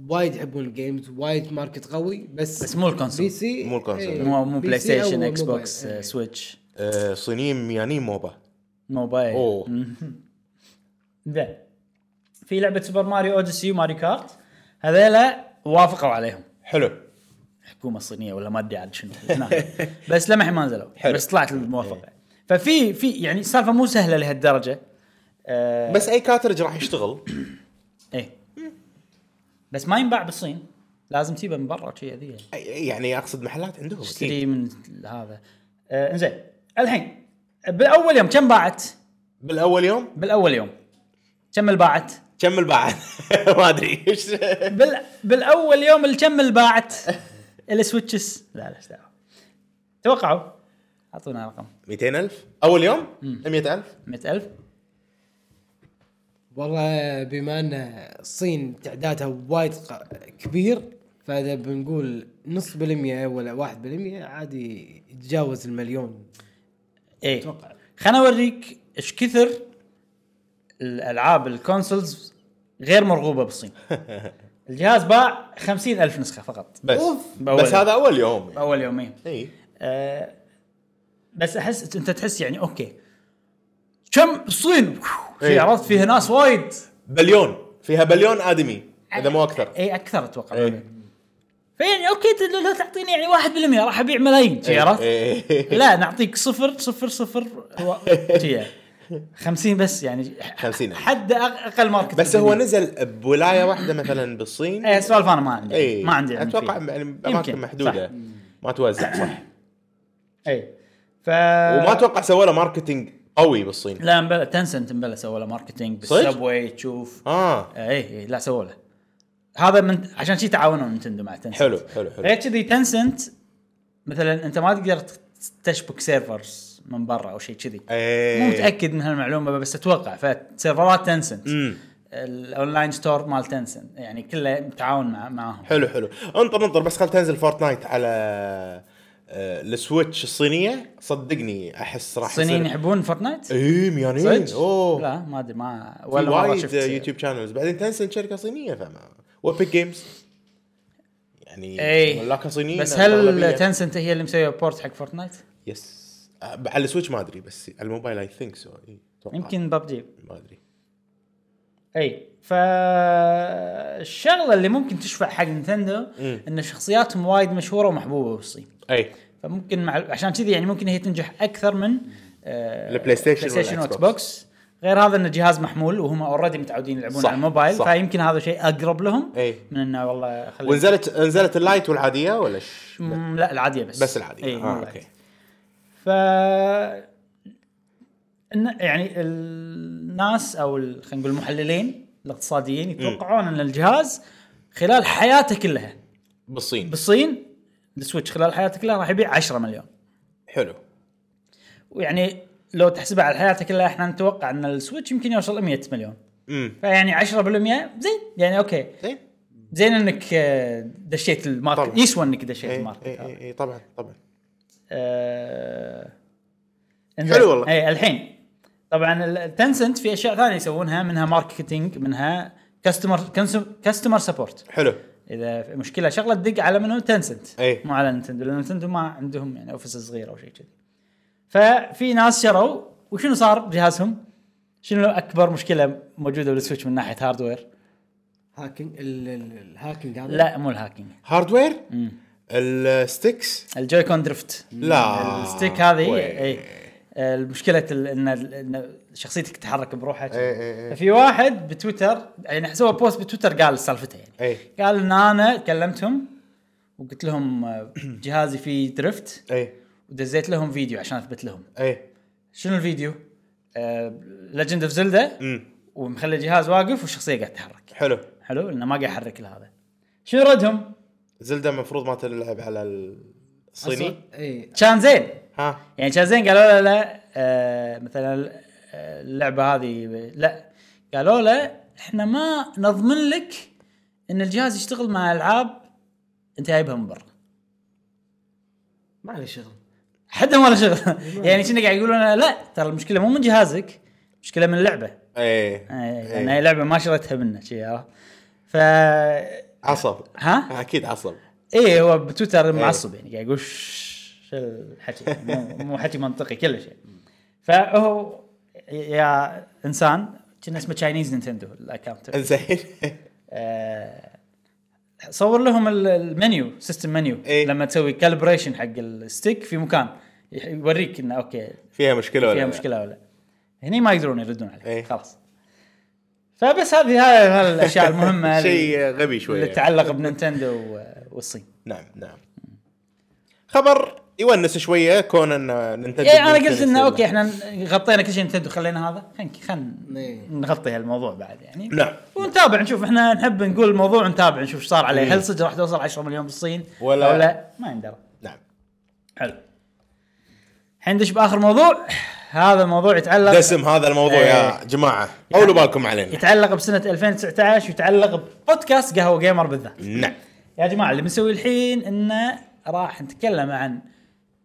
وايد يحبون الجيمز وايد ماركت قوي بس بس مو الكونسول. بي سي مو الكونسول. إيه، مو مو بي بلاي سي أو ستيشن اكس موبايل. بوكس إيه. آه، سويتش آه، صينيين ميانين موبا موبايل أوه. مم. زين في لعبه سوبر ماريو اوديسي وماريو كارت هذيلا وافقوا عليهم حلو الحكومه الصينيه ولا ما ادري عاد شنو (laughs) هناك. بس لمح ما نزلوا حلو. بس طلعت الموافقه ففي في يعني السالفه مو سهله لهالدرجه آه بس اي كاترج راح يشتغل ايه بس ما ينباع بالصين لازم تجيبه من برا شيء ذي أي- يعني اقصد محلات عندهم أكيد. تشتري من هذا آه انزين الحين بالاول يوم كم باعت؟ بالاول يوم بالاول يوم كم اللي باعت؟ كم الباعة (laughs) ما ادري ايش بال... بالاول يوم اللي كم اللي باعت؟ السويتشز لا لا إيش دعوه توقعوا اعطونا رقم 200000 اول يوم 100000 100000 والله بما ان الصين تعدادها وايد ق- كبير فاذا بنقول نص بالمية ولا واحد بالمية عادي يتجاوز المليون ايه أتوقع. خليني اوريك ايش كثر الالعاب الكونسولز غير مرغوبه بالصين (laughs) الجهاز باع 50000 نسخه فقط بس أوف. بأول بس يوم. هذا اول يوم يعني. باول يومين اي أه بس احس انت تحس يعني اوكي كم الصين في إيه. عرفت فيها ناس وايد بليون فيها بليون ادمي اذا مو اكثر اي اكثر اتوقع إيه. فيعني اوكي ت- لو تعطيني يعني 1% راح ابيع ملايين شي عرفت؟ إيه. (laughs) لا نعطيك صفر صفر صفر و- شي يعني. 50 بس يعني 50. حد أق- اقل ماركت بس هو بالدنيا. نزل بولايه واحده مثلا بالصين ايه سوالف انا ما عندي اي ما عندي علم اتوقع فيها. إيه، يعني يمكن، اماكن محدوده صح. ما توزع صح اي إيه. ف وما اتوقع سوى له ماركتينج قوي بالصين لا مبلى تنسنت مبلى سووا له ماركتينج صدق؟ بالسبوي تشوف اه اي اي لا سووا له هذا من عشان شي تعاونوا نتندو مع تنسنت حلو حلو حلو غير كذي تنسنت مثلا انت ما تقدر ت- تشبك سيرفرز من برا او شيء كذي إيه. مو متاكد من هالمعلومه بس اتوقع فسيرفرات تنسنت امم. الاونلاين ستور مال تنسنت يعني كله تعاون مع معاهم حلو حلو انطر انطر بس خل تنزل فورتنايت على آه، السويتش الصينيه صدقني احس راح يصير- الصينيين يحبون فورتنايت؟ اي ميانين صدق؟ اوه لا ما ادري ما ولا ولا مره إيه، وايد شفت يوتيوب شانلز بعدين تنسنت شركه صينيه فما وابيك جيمز يعني اي ملاكها صينيين إيه. بس الأغلبية. هل تنسنت هي اللي مسويه بورت حق فورتنايت؟ يس آه، على السويتش ما ادري بس على الموبايل اي ثينك سو يمكن ببجي إيه، ما ادري اي فالشغله اللي ممكن تشفع حق نينتندو مم. ان شخصياتهم وايد مشهوره ومحبوبه بالصين اي فممكن مع عشان كذي يعني ممكن هي تنجح اكثر من آه، البلاي ستيشن بلاي ستيشن والإكس واكس بوكس غير هذا ان الجهاز محمول وهم اوريدي متعودين يلعبون صح، على الموبايل صح. فيمكن هذا شيء اقرب لهم إي. من انه والله خلينا إيه. ونزلت نزلت اللايت والعاديه ولا ش... مم، لا العاديه بس بس العاديه اي آه اوكي ف إن- يعني الناس او ال- خلينا نقول المحللين الاقتصاديين يتوقعون ان الجهاز خلال حياته كلها بالصين بالصين السويتش خلال حياته كلها راح يبيع 10 مليون حلو ويعني لو تحسبها على حياته كلها احنا نتوقع ان السويتش يمكن يوصل 100 مليون امم فيعني 10% زين يعني اوكي زين زين انك آه، دشيت الماركت طبعاً. إيه، يسوى انك دشيت اي الماركت اي هذا. اي- اي طبعا طبعا آه، حلو والله. اي الحين طبعا ال- تنسنت في اشياء ثانيه يسوونها منها ماركتينج منها كاستمر كاستمر سبورت حلو اذا في مشكله شغله تدق على منو تنسنت أي. مو على نتندو لان نتندو ما عندهم يعني اوفيس صغير او شيء كذي ففي ناس شروا وشنو صار بجهازهم؟ شنو اكبر مشكله موجوده بالسويتش من ناحيه هاردوير؟ هاكينج ال- ال- الهاكينج هذا لا مو الهاكينج هاردوير الستكس الجويكون درفت لا الستيك هذه وي. اي آه، المشكله ال- ان ال- إن شخصيتك تتحرك بروحها إي إي إي. ففي واحد بتويتر يعني سوى بوست بتويتر قال سالفته يعني اي قال ان انا كلمتهم وقلت لهم آه، جهازي فيه درفت اي ودزيت لهم فيديو عشان اثبت لهم اي شنو الفيديو؟ آه، ليجند اوف زلدا امم ومخلي الجهاز واقف والشخصيه قاعده تتحرك حلو حلو انه ما قاعد يحرك هذا شنو ردهم؟ زلدة المفروض ما تلعب على الصيني أصلاً- اي كان زين ها يعني كان زين قالوا له لا آه مثلا آه، اللعبه هذه لا قالوا له احنا ما نضمن لك ان الجهاز يشتغل مع العاب انت جايبها من برا ما عليه شغل حدا ولا شغل يعني كنا قاعد يقولون لا ترى المشكله مو من جهازك مشكله من اللعبه ايه إيه، إيه. لان هي لعبه ما شريتها منه شي عرفت ف عصب ها؟ اكيد عصب ايه إيه. هو بتويتر معصب يعني قاعد يقول "شش، شو الحكي مو- مو حكي منطقي كل شيء فهو يا انسان كان اسمه تشاينيز نينتندو الاكونت زين آه، صور لهم ال- المنيو سيستم منيو إيه. لما تسوي كالبريشن حق الستيك في مكان يح- يوريك انه اوكي (laughs) فيها مشكله ولا فيها لا؟ مشكله ولا لا. هني ما يقدرون يردون عليك إيه. خلاص فبس هذه هذه هذه الاشياء المهمه (laughs) شيء غبي شوي اللي تتعلق بنينتندو و- والصين نعم نعم خبر يونس شويه كون ان نينتندو يعني انا قلت نينتندو انه يلا. اوكي احنا غطينا كل شيء نتندو خلينا هذا خلينا إيه. خلينا نغطي هالموضوع بعد يعني نعم. ونتابع نشوف احنا نحب نقول الموضوع ونتابع نشوف ايش صار عليه إيه. هل صدق راح توصل 10 مليون بالصين ولا- أو لا ما يندرى نعم حلو الحين ندش باخر موضوع هذا الموضوع يتعلق دسم هذا الموضوع إيه. يا جماعه يعني اولوا بالكم علينا يتعلق بسنه 2019 ويتعلق ببودكاست قهوه جيمر بالذات نعم يا جماعه اللي بنسويه الحين انه راح نتكلم عن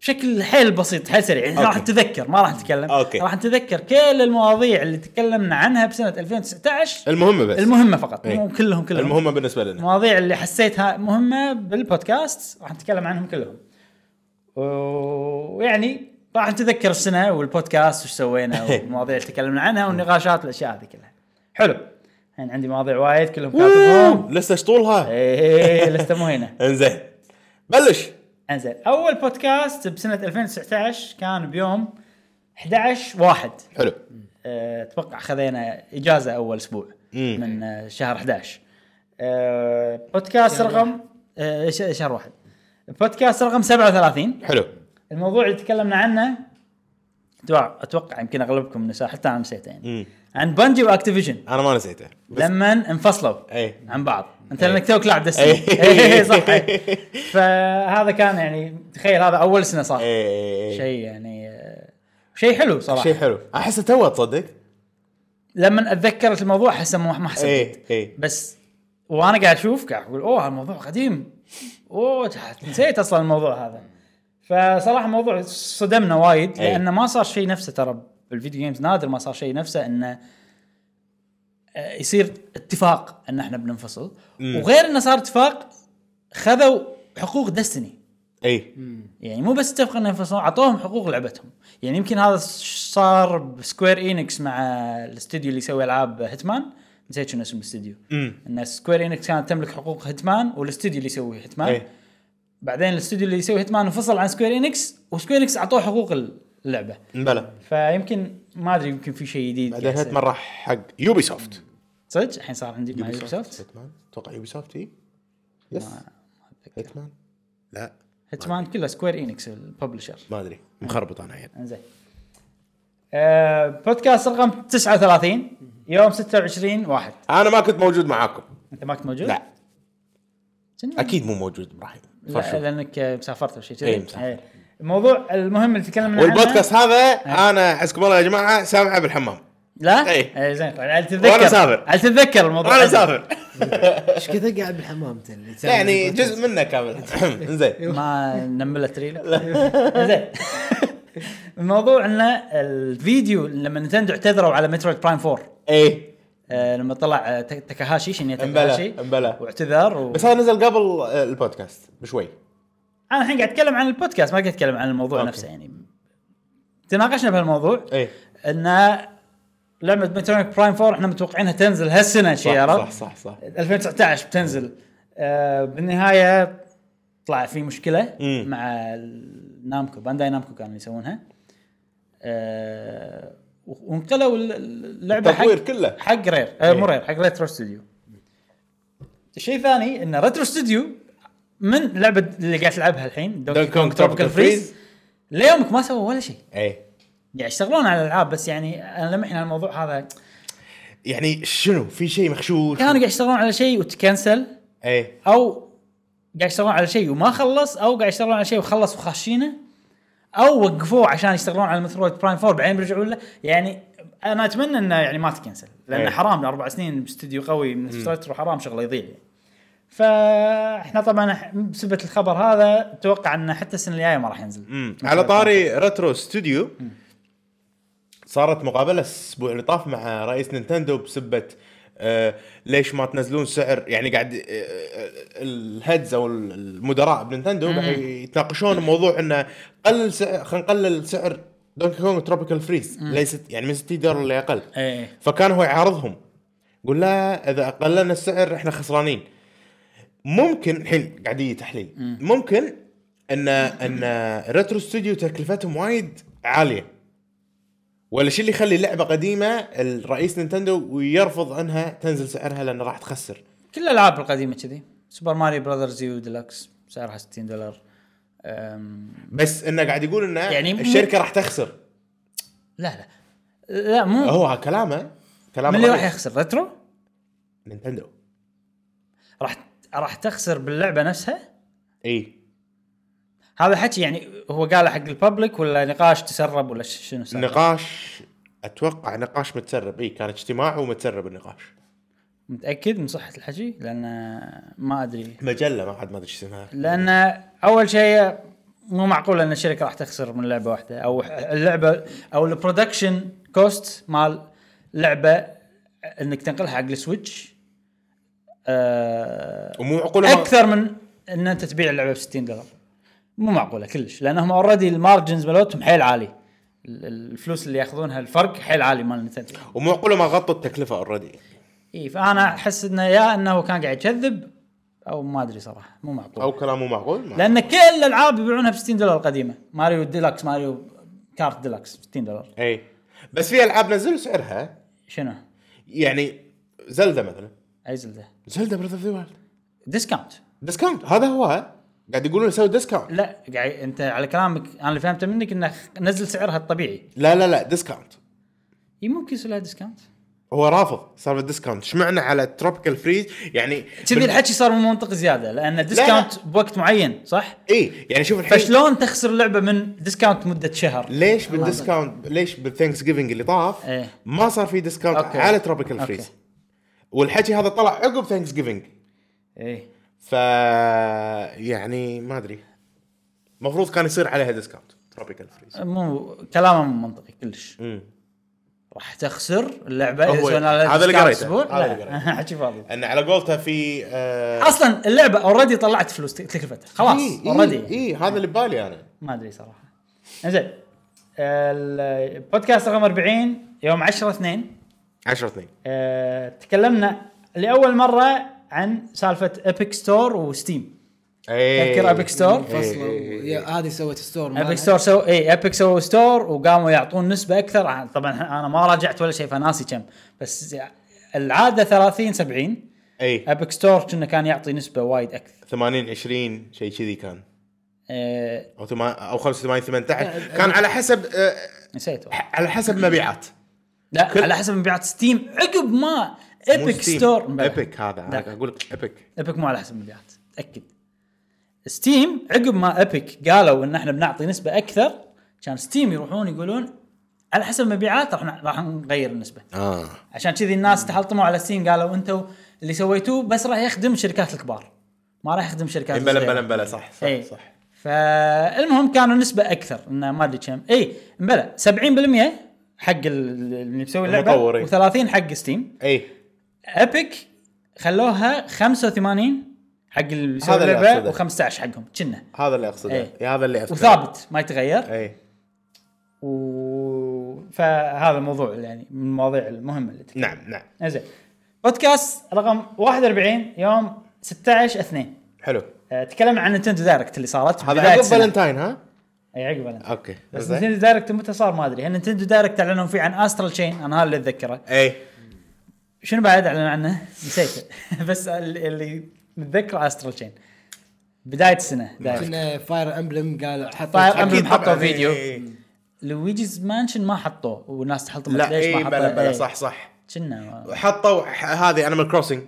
بشكل حيل بسيط حيل سريع يعني راح أوكي. نتذكر ما راح نتكلم أوكي. راح نتذكر كل المواضيع اللي تكلمنا عنها بسنه 2019 المهمه بس المهمه فقط إيه. مو كلهم كلهم المهمه بالنسبه لنا المواضيع اللي حسيتها مهمه بالبودكاست راح نتكلم عنهم كلهم و- ويعني راح نتذكر السنه والبودكاست وش سوينا إيه. والمواضيع اللي تكلمنا عنها والنقاشات والاشياء هذه كلها حلو الحين عندي مواضيع وايد كلهم كاتبهم لسه شطولها ايه لسه مو هنا انزين بلش انزين اول بودكاست بسنه 2019 كان بيوم 11 واحد حلو أه، اتوقع خذينا اجازه اول اسبوع مم. من أه، شهر 11 أه، بودكاست رقم أه، ش- شهر واحد بودكاست رقم 37 حلو الموضوع اللي تكلمنا عنه اتوقع اتوقع يمكن اغلبكم نساه حتى انا نسيته يعني مم. عن بنجي واكتيفيجن انا ما نسيته بس لما انفصلوا ايه. عن بعض انت لانك توك لاعب دستني ايه. (laughs) ايه صح (laughs) ايه. فهذا كان يعني تخيل هذا اول سنه صار ايه شيء شيء يعني آه، شيء حلو صراحه شيء شي. حلو احسه تو تصدق لما اتذكرت الموضوع احس إنه ما حسيت ايه ايه بس وانا قاعد اشوف قاعد اقول اوه الموضوع قديم اوه نسيت اصلا الموضوع هذا فصراحه الموضوع صدمنا وايد أي. لانه ما صار شيء نفسه ترى بالفيديو جيمز نادر ما صار شيء نفسه انه آه، يصير اتفاق ان احنا بننفصل وغير انه صار اتفاق خذوا حقوق دستني ايه يعني مو بس اتفقوا انه ينفصلون عطوهم حقوق لعبتهم يعني يمكن هذا ش- صار بسكوير اينكس مع الاستوديو اللي يسوي العاب هيتمان نسيت شنو اسم الاستوديو امم ان سكوير انكس كانت تملك حقوق هيتمان والاستوديو اللي يسوي هيتمان ايه بعدين الاستوديو اللي يسوي هيتمان انفصل عن سكوير انكس وسكوير انكس اعطوه حقوق اللعبه بلى فيمكن ما ادري يمكن في شيء جديد بعدين قاعد يصير. هيتمان راح حق يوبي سوفت صدق الحين صار عندي مع يوبي سوفت هيتمان اتوقع يوبي سوفت اي يس هيتمان لا هيتمان كله سكوير انكس الببلشر ما ادري مخربط يعني. انا عيل انزين آه بودكاست رقم 39 يوم 26 واحد انا ما كنت موجود معاكم انت ما كنت موجود؟ لا كنا- اكيد مو موجود ابراهيم لا فرشو. لانك آه، مسافرت او شيء إيه، كذي مسافر. إيه. الموضوع المهم اللي تكلمنا عنه والبودكاست هذا انا حسكم الله يا جماعه سامعه بالحمام لا؟ إيه. اي زين طيب. هل تتذكر وأنا مسافر. هل تتذكر الموضوع انا عندك؟ مسافر ايش كثر قاعد بالحمام انت اللي تسوي يعني البودكاست؟ جزء منه كامل (laughs) زين ما نملت (laughs) ريلك زين الموضوع انه الفيديو لما نتندو اعتذروا على مترويد برايم 4 ايه آه لما طلع آه، تك- تاكاهاشي شنيا امبلا، تاكاهاشي امبلا. واعتذر و... بس هذا نزل قبل آه، البودكاست بشوي انا الحين قاعد اتكلم عن البودكاست ما قاعد اتكلم عن الموضوع أوكي. نفسه يعني تناقشنا بهالموضوع ايه ان لعبه مترويد برايم 4 احنا متوقعينها تنزل هالسنه شي صح عرفت؟ صح صح, صح. 2019 بتنزل آه بالنهايه طلع في مشكله مم. مع ال- نامكو بانداي نامكو كانوا يسوونها آه وانقلوا ال- اللعبه التطوير حق كله. حق رير آه مو إيه. رير حق ريترو ستوديو الشيء الثاني ان ريترو ستوديو من لعبه اللي قاعد تلعبها الحين Donkey Kong Tropical Freeze. ليومك ما سووا ولا شيء ايه يعني يشتغلون على الالعاب بس يعني انا لمحنا الموضوع هذا يعني شنو في شيء مخشوش كانوا قاعد يشتغلون على شيء وتكنسل ايه او قاعد يشتغلون على شيء وما خلص او قاعد يشتغلون على شيء وخلص وخاشينه او وقفوه عشان يشتغلون على مترويد برايم 4 بعدين بيرجعوا له يعني انا اتمنى انه يعني ما تكنسل لان إيه. حرام اربع سنين باستديو قوي من فترة حرام شغله يضيع يعني. فاحنا طبعا ح- بسبه الخبر هذا اتوقع انه حتى السنه الجايه ما راح ينزل مم. على طاري ريترو ستوديو صارت مقابله الاسبوع اللي طاف مع رئيس نينتندو بسبه آه ليش ما تنزلون سعر يعني قاعد آه، آه، الهيدز او المدراء بنينتندو قاعد يتناقشون موضوع انه قلل سعر خلينا نقلل سعر دونكي كونغ تروبيكال فريز ليست يعني من 60 دولار لاقل ايه فكان هو يعارضهم قول لا اذا قللنا السعر احنا خسرانين ممكن الحين قاعد يجي تحليل ممكن ان ان ريترو ستوديو تكلفتهم وايد عاليه ولا شيء اللي يخلي لعبه قديمه الرئيس نينتندو ويرفض انها تنزل سعرها لان راح تخسر كل الالعاب القديمه كذي سوبر ماري براذرز يو ديلكس سعرها 60 دولار أم، بس انه قاعد يقول انه يعني يعني مو- الشركه راح تخسر لا لا لا مو هو كلامه من كلامه اللي راح رئيس يخسر ريترو نينتندو راح راح تخسر باللعبه نفسها اي هذا حكي يعني هو قاله حق الببليك ولا نقاش تسرب ولا ش- شنو صار؟ نقاش اتوقع نقاش متسرب اي كان اجتماع ومتسرب النقاش متاكد من صحه الحكي لان ما ادري مجله ما حد ما ادري ايش اسمها لان اول شيء مو معقول ان الشركه راح تخسر من لعبه واحده او اللعبه او البرودكشن كوست مال لعبه انك تنقلها حق السويتش آه، ومو معقوله ما- اكثر من ان انت تبيع اللعبه ب 60 دولار مو معقوله كلش لانهم اوريدي المارجنز مالتهم حيل عالي ال- الفلوس اللي ياخذونها الفرق حيل عالي مال إيه، نتندو ومو معقوله ما غطوا التكلفه اوريدي اي فانا احس انه يا انه كان قاعد يكذب او ما ادري صراحه مو معقول او كلام مو معقول ما. لان كل الالعاب يبيعونها ب 60 دولار القديمه ماريو ديلكس ماريو كارت ديلكس 60 دولار اي إيه. بس في العاب نزلوا سعرها شنو يعني زلده مثلا اي زلده زلده براذر ذا وايلد ديسكاونت ديسكاونت هذا هو قاعد يقولون سوي ديسكاونت لا قاعد انت على كلامك انا اللي فهمته منك انه خ- نزل سعرها الطبيعي لا لا لا ديسكاونت اي ممكن يصير لها ديسكاونت هو رافض سالفه ديسكاونت اشمعنى على تروبيكال فريز يعني كذي الحكي صار مو منطق زياده لان ديسكاونت بوقت معين صح؟ اي يعني شوف الحين فشلون تخسر لعبه من ديسكاونت مده شهر؟ ليش بالديسكاونت ليش بالثانكس جيفنج اللي طاف إيه. ما صار في ديسكاونت أوكي. على تروبيكال أوكي. فريز والحكي هذا طلع عقب ثانكس جيفنج ايه ف يعني ما ادري المفروض كان يصير عليها ديسكاونت تروبيكال فريز مو كلامه مو منطقي كلش مم. راح تخسر اللعبه اذا هو- سوينا لها هذا اللي discount قريته، أسبوع. هذا لا، اللي قريته. (laughs) حكي فاضي ان على قولتها في آه، اصلا اللعبه اوريدي طلعت فلوس تكلفتها خلاص إي- إي- اوريدي اي إيه، هذا اللي ببالي انا ما ادري صراحه انزين البودكاست رقم 40 يوم 10 2 10 2 أه تكلمنا لاول مره عن سالفه ايبك ستور وستيم إيه. تذكر Epic Store؟ فصلوا يا- هذه سوت ستور مالها. ابيك ستور سو اي ابيك سووا ستور وقاموا يعطون نسبه اكثر عن- طبعا انا ما راجعت ولا شيء فناسي كم بس العاده 30 70 اي ابيك ستور كنا كان يعطي نسبه وايد اكثر 80 20 شيء كذي كان أه او ثما- او 85 18 كان على حسب آه، نسيت والله. على حسب مبيعات لا كل- على حسب مبيعات ستيم عقب ما ابيك ستور ايبك هذا لا. انا قاعد اقول لك ايبك ايبك مو على حسب مبيعات تاكد ستيم عقب ما ايبك قالوا ان احنا بنعطي نسبه اكثر كان ستيم يروحون يقولون على حسب مبيعات راح ن- راح نغير النسبه اه عشان كذي الناس تحلطموا على ستيم قالوا انتم اللي سويتوه بس راح يخدم الشركات الكبار ما راح يخدم شركات بلا الصغيرة. بلا بلا صح صح اي صح فالمهم كانوا نسبه اكثر انه ما ادري كم اي بلا 70% حق ال- اللي مسوي اللعبه المطورين. و30 حق ستيم اي ابيك خلوها 85 حق اللي مسوي هذا اللي اللعبه أقصده. و15 حقهم كنا هذا اللي اقصده إي. إي، هذا اللي إيه. اذكره وثابت ما يتغير اي و... فهذا موضوع يعني من المواضيع المهمه اللي تكلمنا نعم نعم زين بودكاست رقم 41 يوم 16 2 حلو أه، تكلمنا عن نتندو دايركت اللي صارت هذا بداية عقب السنة. فالنتاين ها اي عقب فالنتاين اوكي بس زين. نتندو دايركت متى صار ما ادري هل نتندو دايركت اعلنوا فيه عن استرال تشين انا هذا اللي اتذكره اي شنو بعد اعلن عنه؟ نسيته (laughs) بس ال- اللي متذكره استرال تشين بدايه السنه دايركت كنا فاير امبلم قال Fire حطوا Emblem. أكيد حطوا طبعاً، إيه. إي، فيديو. إي، إي. لويجيز مانشن ما حطوه والناس تحطمت لا ليش ما اي حطوه بلا بلا إيه. صح صح كنا حطوا ح- هذه انيمال كروسنج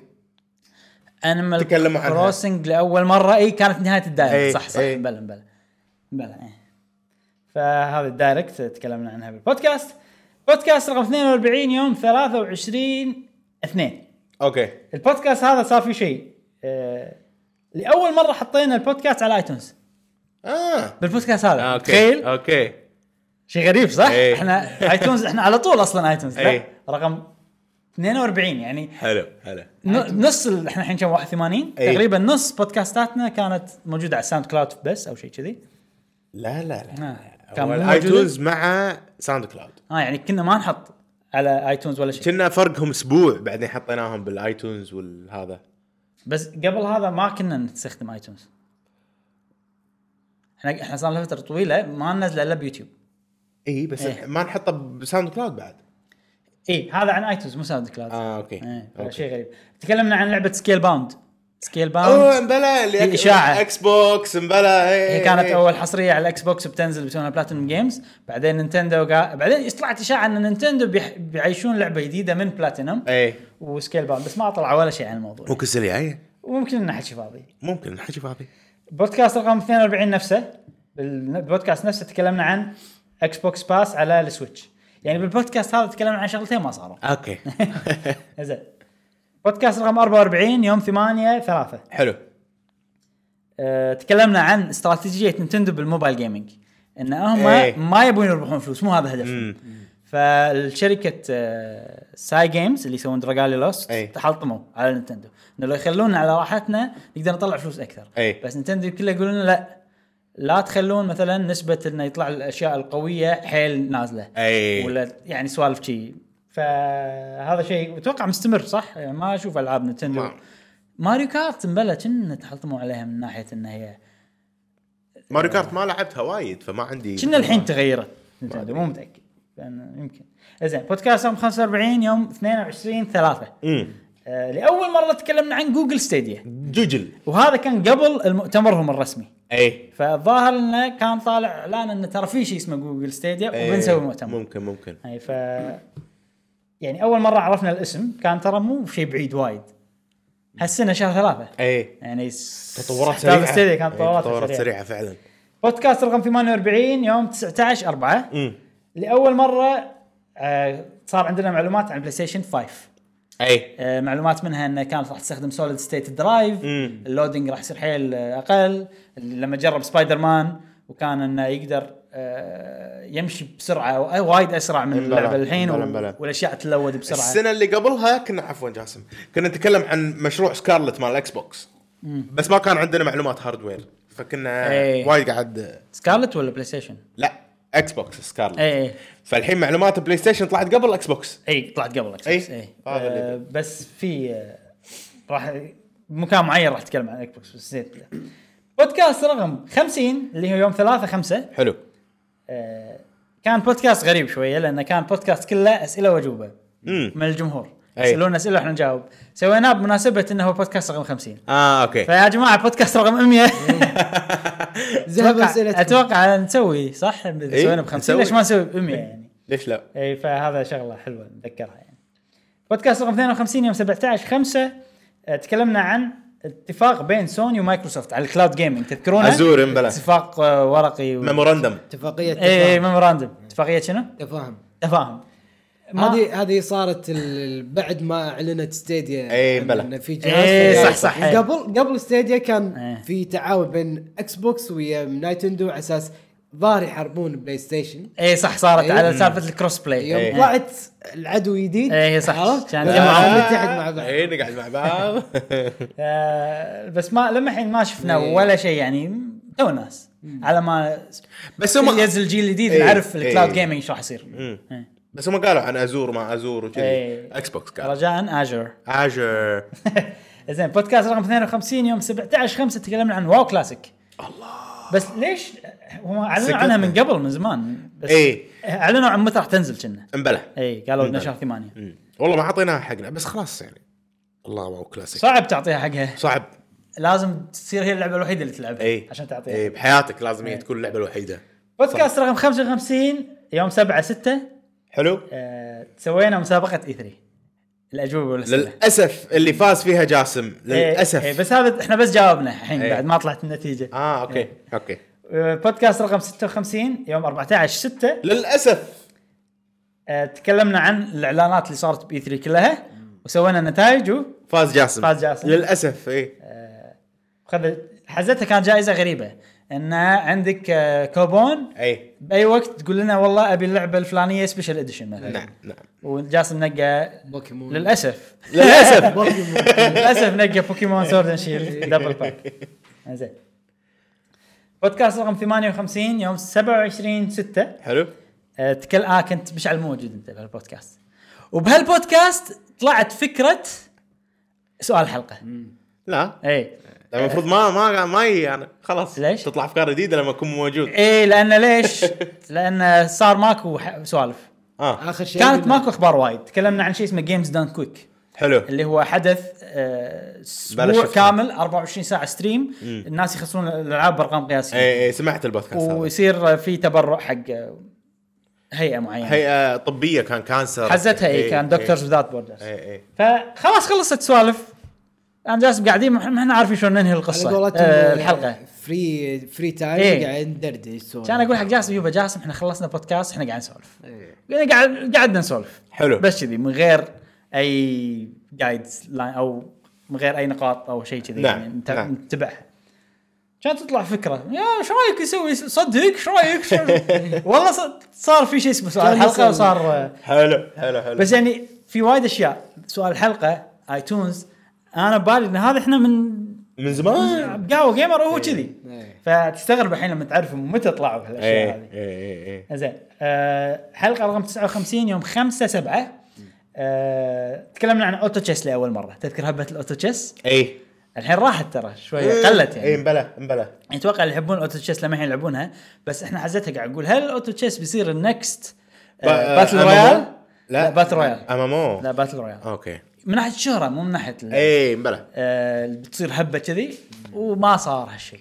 انيمال تكلموا عنها. كروسنج لاول مره اي كانت نهايه الدايركت إيه، صح صح إيه. بلا بلا بلا إيه. فهذا الدايركت تكلمنا عنها بالبودكاست بودكاست رقم 42 يوم 23 2 اوكي البودكاست هذا صار فيه شيء آه، لاول مره حطينا البودكاست على ايتونز اه بالبودكاست هذا اوكي تخيل اوكي شيء غريب صح؟ آه. إيه. احنا ايتونز احنا على طول اصلا ايتونز لا إيه. رقم 42 يعني حلو حلو ن- نص ال- احنا الحين كم 81 إيه. تقريبا نص بودكاستاتنا كانت موجوده على ساوند كلاود بس او شيء كذي لا لا لا آه. كان هو مو موجودة؟ الايتونز مع ساوند كلاود اه يعني كنا ما نحط على ايتونز ولا شيء كنا فرقهم اسبوع بعدين حطيناهم بالايتونز والهذا بس قبل هذا ما كنا نستخدم ايتونز احنا احنا صار لنا فتره طويله ما ننزله الا بيوتيوب اي بس إيه. ما نحطه بساوند كلاود بعد اي إيه، هذا عن ايتونز مو ساوند كلاود اه اوكي, ايه أوكي. شيء غريب تكلمنا عن لعبه سكيل باوند سكيل باوند اوه امبلا اللي في إشاعة. اكس بوكس امبلا إيه، هي كانت إيه. اول حصريه على الاكس بوكس بتنزل بيسمونها بلاتينوم جيمز بعدين نينتندو قا... بعدين طلعت اشاعه ان نينتندو بيح... بيعيشون لعبه جديده من بلاتينوم ايه وسكيل باوند بس ما طلع ولا شيء عن الموضوع ممكن السنه الجايه وممكن انه حكي فاضي ممكن نحكي فاضي بودكاست رقم 42 نفسه بال- بالبودكاست نفسه تكلمنا عن اكس بوكس باس على السويتش يعني بالبودكاست هذا تكلمنا عن شغلتين ما صاروا (laughs) اوكي زين بودكاست رقم 44 يوم 8 3 حلو أه، تكلمنا عن استراتيجيه نينتندو بالموبايل جيمنج ان هم إيه. ما يبون يربحون فلوس مو هذا هدفهم مم. فالشركه آه، ساي جيمز اللي يسوون دراجالي لوست إيه. تحطموا على نينتندو انه لو يخلونا على راحتنا نقدر نطلع فلوس اكثر إيه. بس نينتندو كله يقولون لنا لا لا تخلون مثلا نسبه انه يطلع الاشياء القويه حيل نازله إيه. ولا يعني سوالف شي فهذا شيء اتوقع مستمر صح؟ يعني ما اشوف العاب نينتندو ما. ماريو كارت مبلا كنا تحطموا عليها من ناحيه ان هي ماريو كارت ما لعبتها وايد فما عندي كنا الحين تغيرت نينتندو مو متاكد لأن يمكن زين بودكاست يوم 45 يوم 22 3 مم. آه لاول مره تكلمنا عن جوجل ستيديا جوجل وهذا كان قبل المؤتمرهم الرسمي اي فالظاهر انه كان طالع اعلان انه ترى في شيء اسمه جوجل ستيديا إيه، وبنسوي مؤتمر ممكن ممكن اي ف يعني اول مره عرفنا الاسم كان ترى مو شيء بعيد وايد هالسنه شهر ثلاثه اي يعني س- تطورات استاذ سريعه السيدي كانت إيه، تطورات تطورات سريعه سريعه فعلا بودكاست رقم 48 يوم 19 4 امم لاول مره آه، صار عندنا معلومات عن بلاي ستيشن 5 اي آه، معلومات منها انه كانت راح تستخدم سوليد ستيت درايف مم. اللودنج راح يصير حيل آه، اقل لما جرب سبايدر مان وكان انه يقدر آه، يمشي بسرعه آه، وايد اسرع من بلى، اللعبه الحين بلى، و- بلى. والاشياء تلود بسرعه السنه اللي قبلها كنا عفوا جاسم كنا نتكلم عن مشروع سكارلت مال الاكس بوكس بس ما كان عندنا معلومات هاردوير فكنا إيه. وايد قاعد سكارلت ولا بلاي ستيشن؟ إيه، لا اكس بوكس سكارلت اي اي فالحين معلومات بلاي ستيشن طلعت قبل اكس بوكس اي إيه، طلعت قبل اكس إي. بوكس اي هذا اللي- آه، بس في آه، راح مكان معين راح اتكلم عن اكس بوكس بس زين بودكاست رقم 50 اللي هو يوم 3 5 حلو كان بودكاست غريب شويه لانه كان بودكاست كله اسئله واجوبه مم. من الجمهور إي. يسالون اسئله واحنا نجاوب سويناه بمناسبه انه هو بودكاست رقم 50 اه اوكي فيا جماعه بودكاست رقم 100 زهب اتوقع, اسئلتكم. أتوقع نسوي صح؟ سوينا ب 50 نسوي. ليش ما نسوي ب 100 يعني؟ ليش لا؟ اي فهذا شغله حلوه نتذكرها يعني. بودكاست رقم 52 يوم 17 5 تكلمنا عن اتفاق بين سوني ومايكروسوفت على الكلاود جيمنج تذكرونه؟ عزور بلا. اتفاق آه، ورقي و... ميموراندم اتفاقيه إيه، اي اي تفاهم ميموراندم اتفاقيه إيه، شنو؟ إيه، تفاهم تفاهم ما- هذه هذه صارت ال- بعد ما اعلنت ستيديا إيه، عن بلى. انه في إيه، جهاز صح، تفاهم. صح. قبل قبل ستيديا كان إيه. في تعاون بين اكس بوكس ويا نايتندو على اساس ظاهر يحاربون بلاي ستيشن اي إيه، صح صارت إيه. إي. على إيه. سالفه الكروس بلاي يوم طلعت العدو جديد إيه، صح. عرفت؟ كان آه، جمعهم. نتحد مع بعض اي نقعد إيه، مع (laughs) بعض آه بس ما لما الحين ما شفنا إيه. إي. ولا شيء يعني تو ناس على ما بس هم ينزل الجيل الجديد إي. نعرف الكلاود إي. جيمنج ايش راح يصير إيه، مم. إي. بس هم قالوا عن ازور ما ازور وكذي إيه. اكس بوكس قال رجاء اجر اجر زين بودكاست رقم 52 يوم 17 5 تكلمنا عن واو كلاسيك الله بس ليش هم اعلنوا عنها من قبل من زمان بس إيه. اعلنوا عن متى راح تنزل كنا امبلا اي قالوا انه شهر ثمانية مم. والله ما اعطيناها حقنا بس خلاص يعني الله واو كلاسيك صعب تعطيها حقها صعب لازم تصير هي اللعبه الوحيده اللي تلعبها اي عشان تعطيها إيه. اي إيه، بحياتك لازم هي تكون اللعبه الوحيده بودكاست رقم 55 يوم 7 6 حلو آه سوينا مسابقه اي 3 الاجوبه والاسئله للاسف اللي فاز فيها جاسم إيه، إيه، للاسف بس هذا احنا بس جاوبنا الحين إيه. بعد ما طلعت النتيجه اه اوكي اوكي آه، بودكاست رقم 56 يوم 14 6 للاسف آه، تكلمنا عن الاعلانات اللي صارت باي 3 كلها وسوينا نتائج فاز جاسم إيه. فاز جاسم. للاسف اي وخذ حزتها كانت جائزه غريبه ان عندك آه، كوبون اي باي وقت تقول لنا والله ابي اللعبه الفلانيه سبيشل اديشن مثلا نعم (laughs) نعم وجاسم نقى بوكيمون للاسف للاسف بوكيمون للاسف نقى بوكيمون سورد اند شيلد دبل باك زين بودكاست رقم 58 يوم 27 6 حلو آه، تكل اه كنت مشعل مو موجود انت بهالبودكاست وبهالبودكاست طلعت فكره سؤال الحلقه لا اي لا، المفروض ما ما ما يجي انا خلاص ليش؟ تطلع افكار جديده لما اكون موجود اي لان ليش؟ لان صار ماكو ح- سوالف اه اخر شيء كانت قلنا- ماكو اخبار وايد تكلمنا عن شيء اسمه جيمز دان كويك حلو اللي هو حدث آه، بلش اسبوع أفهم. كامل 24 ساعه ستريم الناس يخسرون الالعاب بارقام قياسيه اي اي إيه، سمعت البودكاست هذا ويصير في تبرع حق آه، هيئه معينه هيئه طبيه آه، كان كانسر حزتها اي إيه، كان إيه. دكتورز وذات بوردرز اي اي فخلاص خلصت سوالف انا جاسم قاعدين ما احنا عارفين شلون ننهي على القصه قولتهم آه الحلقه فري فري تايم إيه. قاعد ندردش سوالف. كان اقول حق جاسم يوبا جاسم احنا خلصنا بودكاست احنا قاعدين نسولف إيه. يعني قاعد قعدنا نسولف حلو بس كذي من غير اي جايدز لاين او من غير اي نقاط او شيء كذي نعم، يعني نت- نعم. نتبعها كانت تطلع فكره يا ايش رايك نسوي صدق ايش رايك (laughs) شو- والله ص- صار في شيء اسمه سؤال كان الحلقه يسوي. وصار آه، حلو حلو حلو بس يعني في وايد اشياء سؤال الحلقه ايتونز انا ببالي ان هذا احنا (laughs) من من زمان قهوه جيمر هو كذي إيه. فتستغرب الحين لما تعرف متى طلعوا هالاشياء اي هذه اي اي زين آه، حلقه رقم 59 يوم 5 7 آه، تكلمنا عن اوتو تشيس لاول مره تذكر هبه الاوتو تشيس اي الحين راحت ترى إيه. شويه قلت اي يعني مبلى مبلى اتوقع اللي يحبون اوتو تشيس لما الحين يلعبونها بس احنا حزتها قاعد اقول هل الاوتو تشيس بيصير النكست آه، با- باتل آه، رويال؟ MMO؟ لا. لا باتل رويال امامو لا باتل رويال اوكي من ناحيه الشهره مو من ناحيه ال- اي مبلى آه، بتصير هبه كذي وما صار هالشيء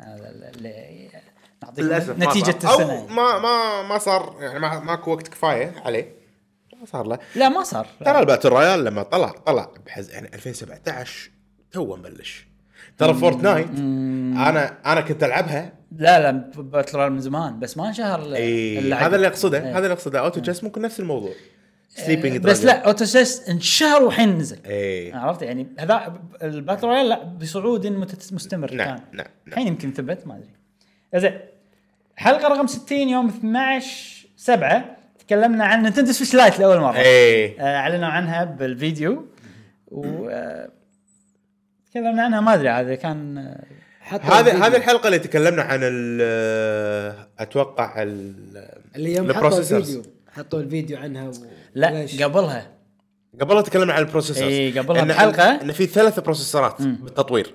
هذا اللي نعطيكم ما نتيجه صار. أو السنه يعني. ما ما ما صار يعني ما ماكو وقت كفايه عليه ما صار له لا ما صار ترى الباتل رويال لما طلع طلع بحز يعني 2017 تو مبلش ترى فورتنايت انا انا كنت العبها لا لا باتل رويال من زمان بس ما انشهر ال- اي إيه. اللعبة. هذا اللي اقصده إيه. هذا اللي اقصده اوتو تشيس ممكن نفس الموضوع سليبنج بس لا اوتو سيس انشهر وحين نزل اي عرفت يعني هذا الباتل رويال لا بصعود متت- مستمر نعم، كان نعم، نعم. الحين يمكن ثبت ما ادري زين حلقه رقم 60 يوم 12 7 تكلمنا عن نينتندو سويتش لايت لاول مره إيه. اي آه، اعلنوا عنها بالفيديو و آه، تكلمنا عنها ما ادري هذا كان آه، حطوا هذه الفيديو. هذه الحلقه اللي تكلمنا عن ال اتوقع ال اللي يوم حطوا البروسيسورز. الفيديو حطوا الفيديو عنها و... لا ليش؟ قبلها قبلها تكلمنا عن البروسيسورز إي، قبلها إن- إيه، بحلقة. ان في ثلاث بروسيسورات بالتطوير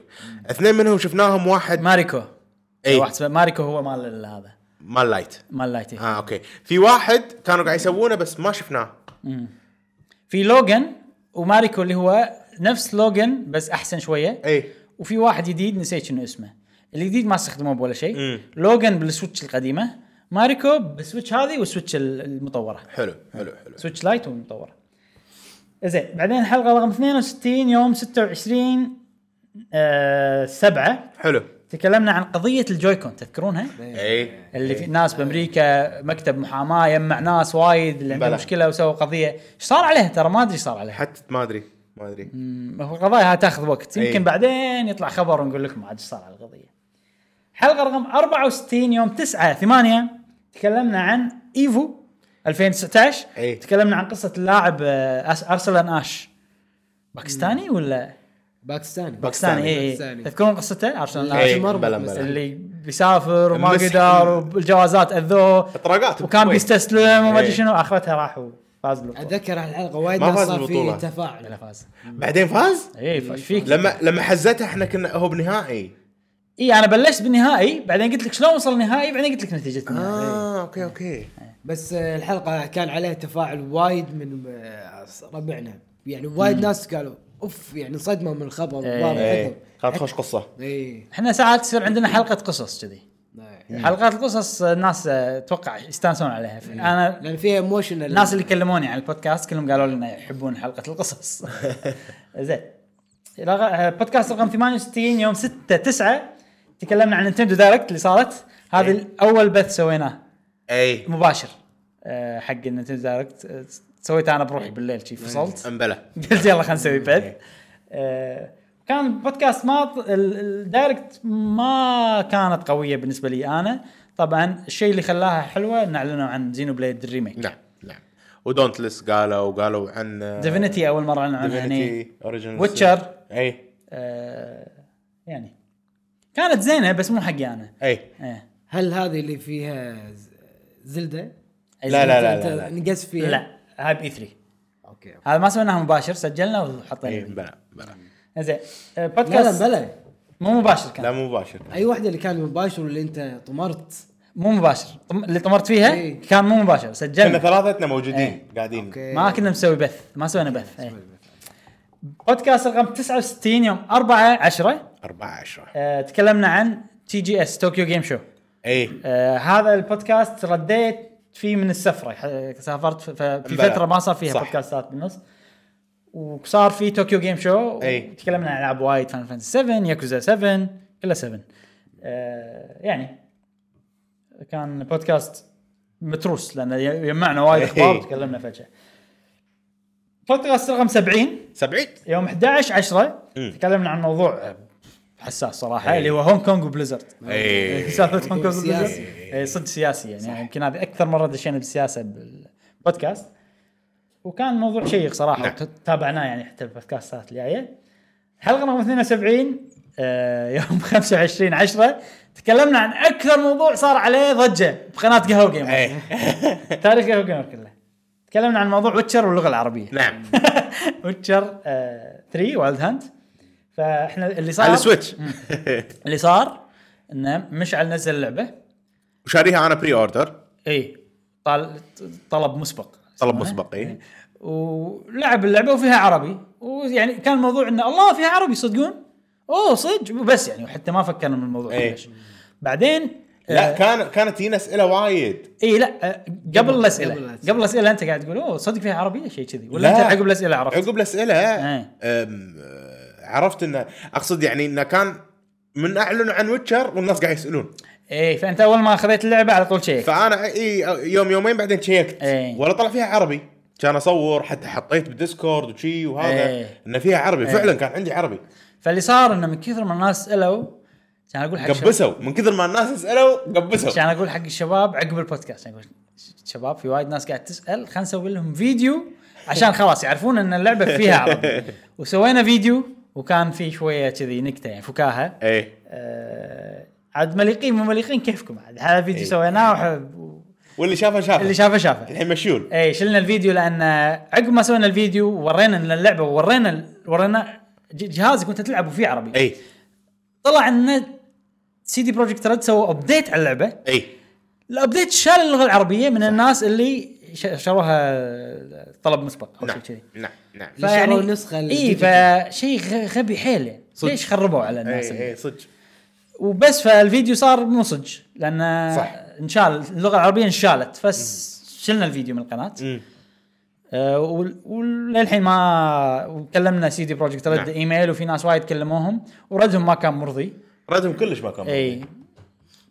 اثنين منهم شفناهم واحد إيه. ماريكو إي. واحد اسمه ماريكو هو مال ال- هذا مال لايت مال لايتي اه اوكي في واحد كانوا قاعد يسوونه بس ما شفناه في لوجن وماريكو اللي هو نفس لوجن بس احسن شويه اي وفي واحد جديد نسيت شنو اسمه الجديد ما استخدموه بولا شيء مم. لوجن بالسويتش القديمه ماريكو بالسويتش هذه والسويتش ال- المطوره حلو حلو حلو سويتش لايت والمطوره زين بعدين حلقه رقم 62 يوم 26 آه 7 حلو تكلمنا عن قضيه الجويكون تذكرونها؟ اي اللي في ناس بامريكا مكتب محاماه يجمع ناس وايد اللي عندهم بلى. مشكله وسووا قضيه ايش صار عليها ترى ما ادري ايش صار عليها حتى ما ادري ما ادري م- هو القضايا هتاخذ وقت إي. يمكن بعدين يطلع خبر ونقول لكم عاد ايش صار على القضيه حلقه رقم 64 يوم 9 8 تكلمنا عن ايفو 2019 إي. تكلمنا عن قصه اللاعب آه، أس- ارسلان اش باكستاني ولا باكستاني باكستاني اي باكستاني. تذكرون قصته ارسلان لا، اش إي، شمر إيه. بلا بس بلا. اللي بيسافر وما المسح- قدر والجوازات اذوه اطراقات وكان بالكويت. بيستسلم وما ادري إيه. شنو اخرتها راح وفاز بالبطولة. اتذكر الحلقه وايد ما ناس فاز صار البطولة. في تفاعل لا فاز بعدين فاز اي ايش فيك؟ لما لما حزتها احنا كنا هو بنهائي اي انا بلشت بالنهائي بعدين قلت لك شلون وصل النهائي بعدين قلت لك نتيجه النهائي اه اوكي اوكي بس آه، الحلقه كان عليها تفاعل وايد من آه، ربعنا يعني وايد ناس قالوا اوف يعني انصدموا من الخبر إيه. واضح اي عندهم. كانت خوش قصه اي احنا ساعات يصير عندنا حلقه قصص كذي إيه. حلقات القصص الناس آه، اتوقع يستانسون عليها انا لان يعني فيها ايموشن الناس اللي كلموني عن البودكاست كلهم قالوا لنا يحبون حلقه القصص زين رغ- بودكاست رقم 68 يوم 6 9 تكلمنا عن نينتندو دايركت اللي صارت هذا اول بث سويناه اي مباشر آه، حق نينتندو دايركت آه، سويته انا بروحي بالليل شي فصلت امبلا قلت يلا خلينا نسوي بث آه، كان بودكاست ما ال- الدايركت ما كانت قويه بالنسبه لي انا طبعا الشيء اللي خلاها حلوه ان اعلنوا عن زينو بليد الريميك نعم نعم ودونتلس قالوا وقالوا عن ديفينيتي اول مره اعلنوا عنها هني اوريجنال Witcher. اي آه يعني كانت زينه بس مو حقي انا اي إيه. هل هذه اللي فيها ز- زلده؟ لا لا لا أنت- لا, أنت نقص فيها لا هاي بي 3 اوكي أوكي. هذا ما سويناها مباشر سجلنا اي وحطينا بلا بلا زين آه، لا لا بودكاست بلا مو مباشر كان لا مباشر اي واحده اللي كان مباشر واللي انت طمرت مو مباشر طم... اللي طمرت فيها إيه. كان مو مباشر كنا سجلنا ثلاثتنا موجودين قاعدين اوكي ما كنا مسوي بث ما سوينا بث إيه. بودكاست رقم 69 يوم 4 10 4 10 آه، تكلمنا عن تي جي اس طوكيو جيم شو اي آه، هذا البودكاست رديت فيه من السفره ح- سافرت ف- في بلى. فتره ما صار فيها صح. بودكاستات بالنص وصار في طوكيو جيم شو أي. تكلمنا عن العاب وايد فان فانتسي 7 ياكوزا 7 كلها 7 آه يعني كان بودكاست متروس لانه ي- يجمعنا وايد أي. اخبار تكلمنا فجاه بودكاست رقم 70 70 يوم 11 10 مم. تكلمنا عن موضوع حساس صراحه أي. اللي هو هونغ كونغ وبليزرد اي سالفه هونغ كونغ سياسي. وبليزرد إي، إيه، صدق سياسي يعني يمكن هذه اكثر مره دشينا بالسياسه بالبودكاست وكان موضوع شيق صراحه نعم. وت- تابعناه يعني حتى البودكاستات اللي جايه حلقه رقم 72 آه، يوم (laughs) 25 10 تكلمنا عن اكثر موضوع صار عليه ضجه بقناه قهوه جيمر اي تاريخ قهوه جيمر كله تكلمنا عن موضوع ويتشر واللغه العربيه نعم (laughs) ويتشر 3 وايلد هانت فاحنا اللي صار على السويتش اللي صار انه مشعل نزل اللعبه وشاريها انا بري اوردر اي طال طلب مسبق طلب مسبق اي إيه. ولعب اللعبه وفيها عربي ويعني كان الموضوع انه الله فيها عربي صدقون اوه صدق بس يعني وحتى ما فكرنا من الموضوع إيه. كلش بعدين لا كان كانت تجينا اسئله وايد اي لا آه، قبل الاسئله قبل قبل الأسئلة. الاسئله انت قاعد تقول اوه صدق فيها عربيه شيء كذي ولا لا. انت عقب الاسئله عرفت عقب الاسئله إيه. أم، آه، عرفت انه اقصد يعني انه كان من اعلنوا عن ويتشر والناس قاعد يسالون اي فانت اول ما خذيت اللعبه على طول شيك فانا اي إيه، يوم يومين بعدين شيكت إيه. ولا طلع فيها عربي كان اصور حتى حطيت بالديسكورد وشي وهذا إيه. انه فيها عربي فعلا كان عندي عربي فاللي صار انه من كثر ما الناس سالوا كان اقول حق الشباب- قبسوا من كثر ما الناس سالوا قبسوا كان اقول حق الشباب عقب البودكاست اقول شباب في وايد ناس قاعد تسال خلينا نسوي لهم فيديو عشان خلاص يعرفون ان اللعبه فيها عربي وسوينا فيديو وكان في شويه كذي نكته يعني فكاهه اي آه عاد مليقين مو مليقين كيفكم عاد هذا فيديو إيه. سويناه وح- و- واللي شافه شافه اللي شافه شافه الحين مشيول اي شلنا الفيديو لان عقب ما سوينا الفيديو ورينا إن اللعبه وورينا ال- ورينا ج- جهازك وانت تلعب وفيه عربي اي طلع ان سي دي بروجكت ريد سووا ابديت على اللعبه اي الابديت شال اللغه العربيه من الناس اللي ش- شروها طلب مسبق او شيء نعم كذي نعم نعم اللي شروا النسخة اي الديجيتال. فشيء غ- غبي حيل يعني. ليش خربوا على الناس اي اي صدق وبس فالفيديو صار مو صج لان صح. انشال اللغه العربيه انشالت فس شلنا الفيديو من القناه مم. آه، وال- وللحين ما وكلمنا سي دي بروجكت رد نعم. ايميل وفي ناس وايد كلموهم وردهم ما كان مرضي ردهم كلش ما كان اي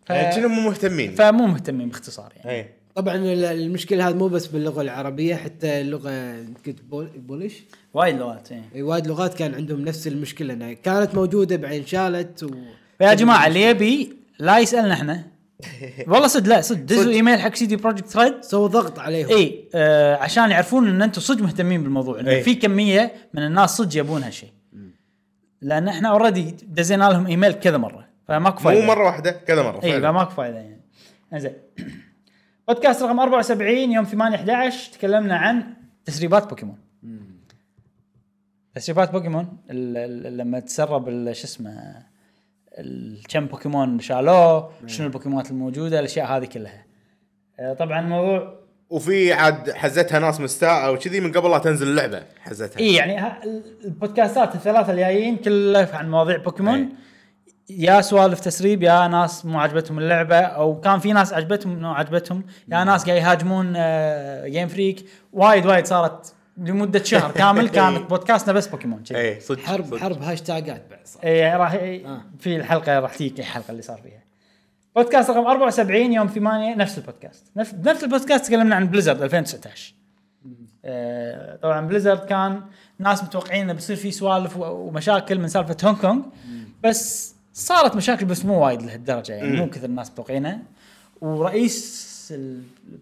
ف... يعني كأنهم مو مهتمين فمو مهتمين باختصار يعني اي طبعا ال- المشكله هذه مو بس باللغه العربيه حتى اللغه كنت بول- بولش وايد لغات إيه. اي أي وايد لغات كان عندهم نفس المشكله انها كانت موجوده بعدين شالت و... فيا جماعه اللي يبي لا يسالنا احنا والله صدق لا صدق دزوا ايميل حق سي دي بروجكت ريد سووا ضغط عليهم اي آه عشان يعرفون ان انتم صدق مهتمين بالموضوع انه إي. في كميه من الناس صدق يبون هالشيء لان احنا اوريدي دزينا لهم ايميل كذا مره فماكو فايده مو مره واحده كذا مره اي فعلاً. فماكو فايده يعني انزين (coughs) بودكاست رقم 74 يوم 8 11 تكلمنا عن تسريبات بوكيمون تسريبات بوكيمون ال- ال- لما تسرب ال- شو اسمه ال- كم بوكيمون شالوه شنو البوكيمونات الموجوده الاشياء هذه كلها آه، طبعا الموضوع وفي عاد حزتها ناس مستاءه وكذي من قبل لا تنزل اللعبه حزتها اي يعني ها- ال- البودكاستات الثلاثه اللي جايين كلها عن مواضيع إي. بوكيمون يا سوالف تسريب يا ناس مو عجبتهم اللعبه او كان في ناس عجبتهم انه عجبتهم يا ناس قاعد يهاجمون آه، جيم فريك وايد وايد صارت لمده شهر كامل إي. كانت بودكاستنا بس بوكيمون شي. اي صدق حرب صدق. حرب هاشتاجات بعد صار اي إيه، راح إي، آه. في الحلقه راح تجيك الحلقه اللي صار فيها بودكاست رقم 74 يوم 8 نفس البودكاست نفس نفس البودكاست تكلمنا عن بليزرد 2019 آه، طبعا بليزرد كان ناس متوقعين انه بيصير في سوالف و- ومشاكل من سالفه هونغ كونغ بس صارت مشاكل بس مو وايد لهالدرجه يعني مو كثر الناس متوقعينها ورئيس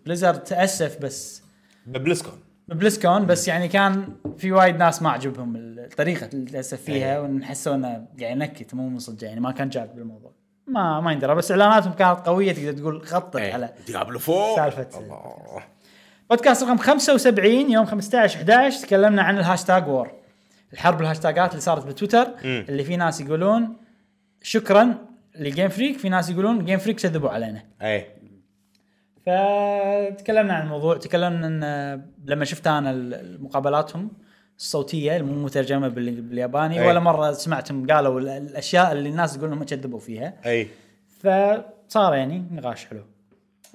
بليزرد تاسف بس بلسكون بلسكون بس يعني كان في وايد ناس ما عجبهم الطريقه اللي تاسف فيها وان حسوا انه قاعد ينكت مو من صدق يعني ما كان جاد بالموضوع ما ما يندرى بس اعلاناتهم كانت قويه تقدر تقول خطت على ديابلو 4 سالفة. الله بودكاست رقم 75 يوم 15 11 تكلمنا عن الهاشتاج وور الحرب الهاشتاجات اللي صارت بتويتر اللي في ناس يقولون شكرا لجيم فريك في ناس يقولون جيم فريك كذبوا علينا اي فتكلمنا عن الموضوع تكلمنا ان آه، لما شفت انا ال- مقابلاتهم الصوتيه مو مترجمه بال- بالياباني أي. ولا مره سمعتهم قالوا ال- الاشياء اللي الناس تقول انهم كذبوا فيها اي فصار يعني نقاش حلو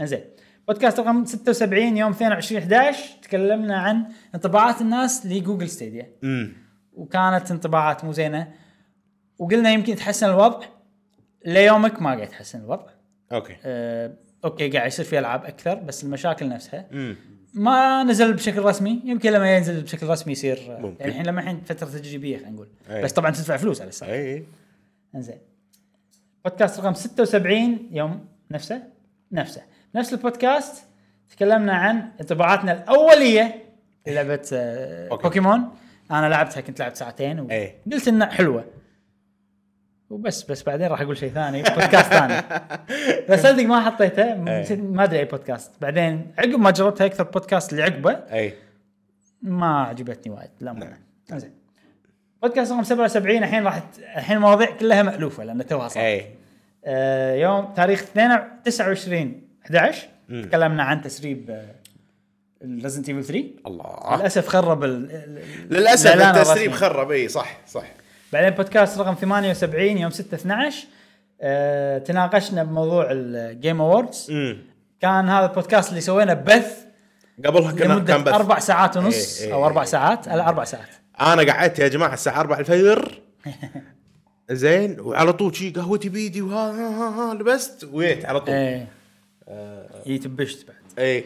انزين بودكاست رقم 76 يوم 22 11 تكلمنا عن انطباعات الناس لجوجل ستيديا امم وكانت انطباعات مو زينه وقلنا يمكن يتحسن الوضع ليومك ما قاعد يتحسن الوضع اوكي أه، اوكي قاعد يصير في العاب اكثر بس المشاكل نفسها امم ما نزل بشكل رسمي يمكن لما ينزل بشكل رسمي يصير ممكن. يعني الحين لما الحين فتره تجريبيه إيه، خلينا نقول أي. بس طبعا تدفع فلوس على السالفه اي اي انزين بودكاست رقم 76 يوم نفسه نفسه نفس البودكاست تكلمنا عن انطباعاتنا الاوليه للعبه آه، أوكي. بوكيمون انا لعبتها كنت لعبت ساعتين إيه. وقلت انها حلوه وبس بس بعدين راح اقول شيء ثاني بودكاست (laughs) ثاني بس صدق ما حطيته م- إيه. ما ادري اي بودكاست بعدين عقب ما جربتها اكثر بودكاست اللي عقبه اي ما عجبتني وايد لا مو نعم. زين بودكاست رقم 77 الحين راح ت- الحين المواضيع كلها مالوفه لان توها صارت اي آه يوم تاريخ 22 29 11 مم. تكلمنا عن تسريب آه، ريزنت ايفل 3 الله للاسف خرب ال- ال- ال- للاسف الإعلان آه. التسريب الرسمي. خرب اي صح صح بعدين بودكاست رقم 78 يوم 6 12 آه تناقشنا بموضوع الجيم اووردز امم كان هذا البودكاست اللي سوينا بث قبلها كان كان لمده بث اربع ساعات ونص إيه، إيه، او اربع إيه. ساعات على اربع ساعات انا قعدت يا جماعه الساعه 4 (laughs) الفجر زين وعلى طول شي قهوتي بيدي وها ها ها ها لبست ويت على طول إيه، ايه آه. هي تبشت إيه،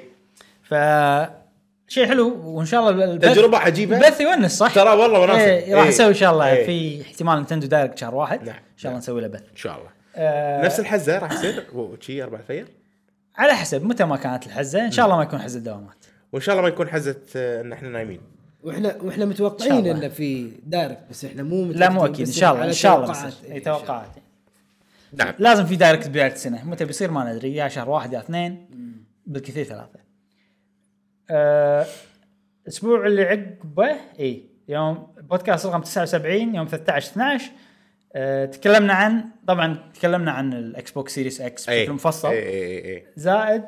بعد اي ف شيء حلو وان شاء الله البث تجربه عجيبه البث يونس صح؟ ترى والله وناسة. ايه راح إيه. نسوي ان شاء الله إيه. في احتمال نتندو دايركت شهر واحد نعم. ان شاء الله نسوي له بث ان شاء الله آه نفس الحزه راح يصير وشي 4 الفجر على حسب متى ما كانت الحزه ان شاء الله ما يكون حزه دوامات وان شاء الله ما يكون حزه آه، ان احنا نايمين واحنا واحنا إن متوقعين شاء الله. انه في دايركت بس احنا مو لا مو متأكدين، اكيد بس ان شاء الله على ان شاء الله توقعات. بيصير. إيه، اي إن شاء الله. توقعات نعم لازم في دايركت بدايه السنه متى بيصير ما ندري يا شهر واحد يا اثنين بالكثير ثلاثه آه، الاسبوع اللي عقبه اي يوم بودكاست رقم 79 يوم 13 12 آه، تكلمنا عن طبعا تكلمنا عن الاكس بوكس سيريس اكس اي بشكل مفصل اي اي اي, أي. زائد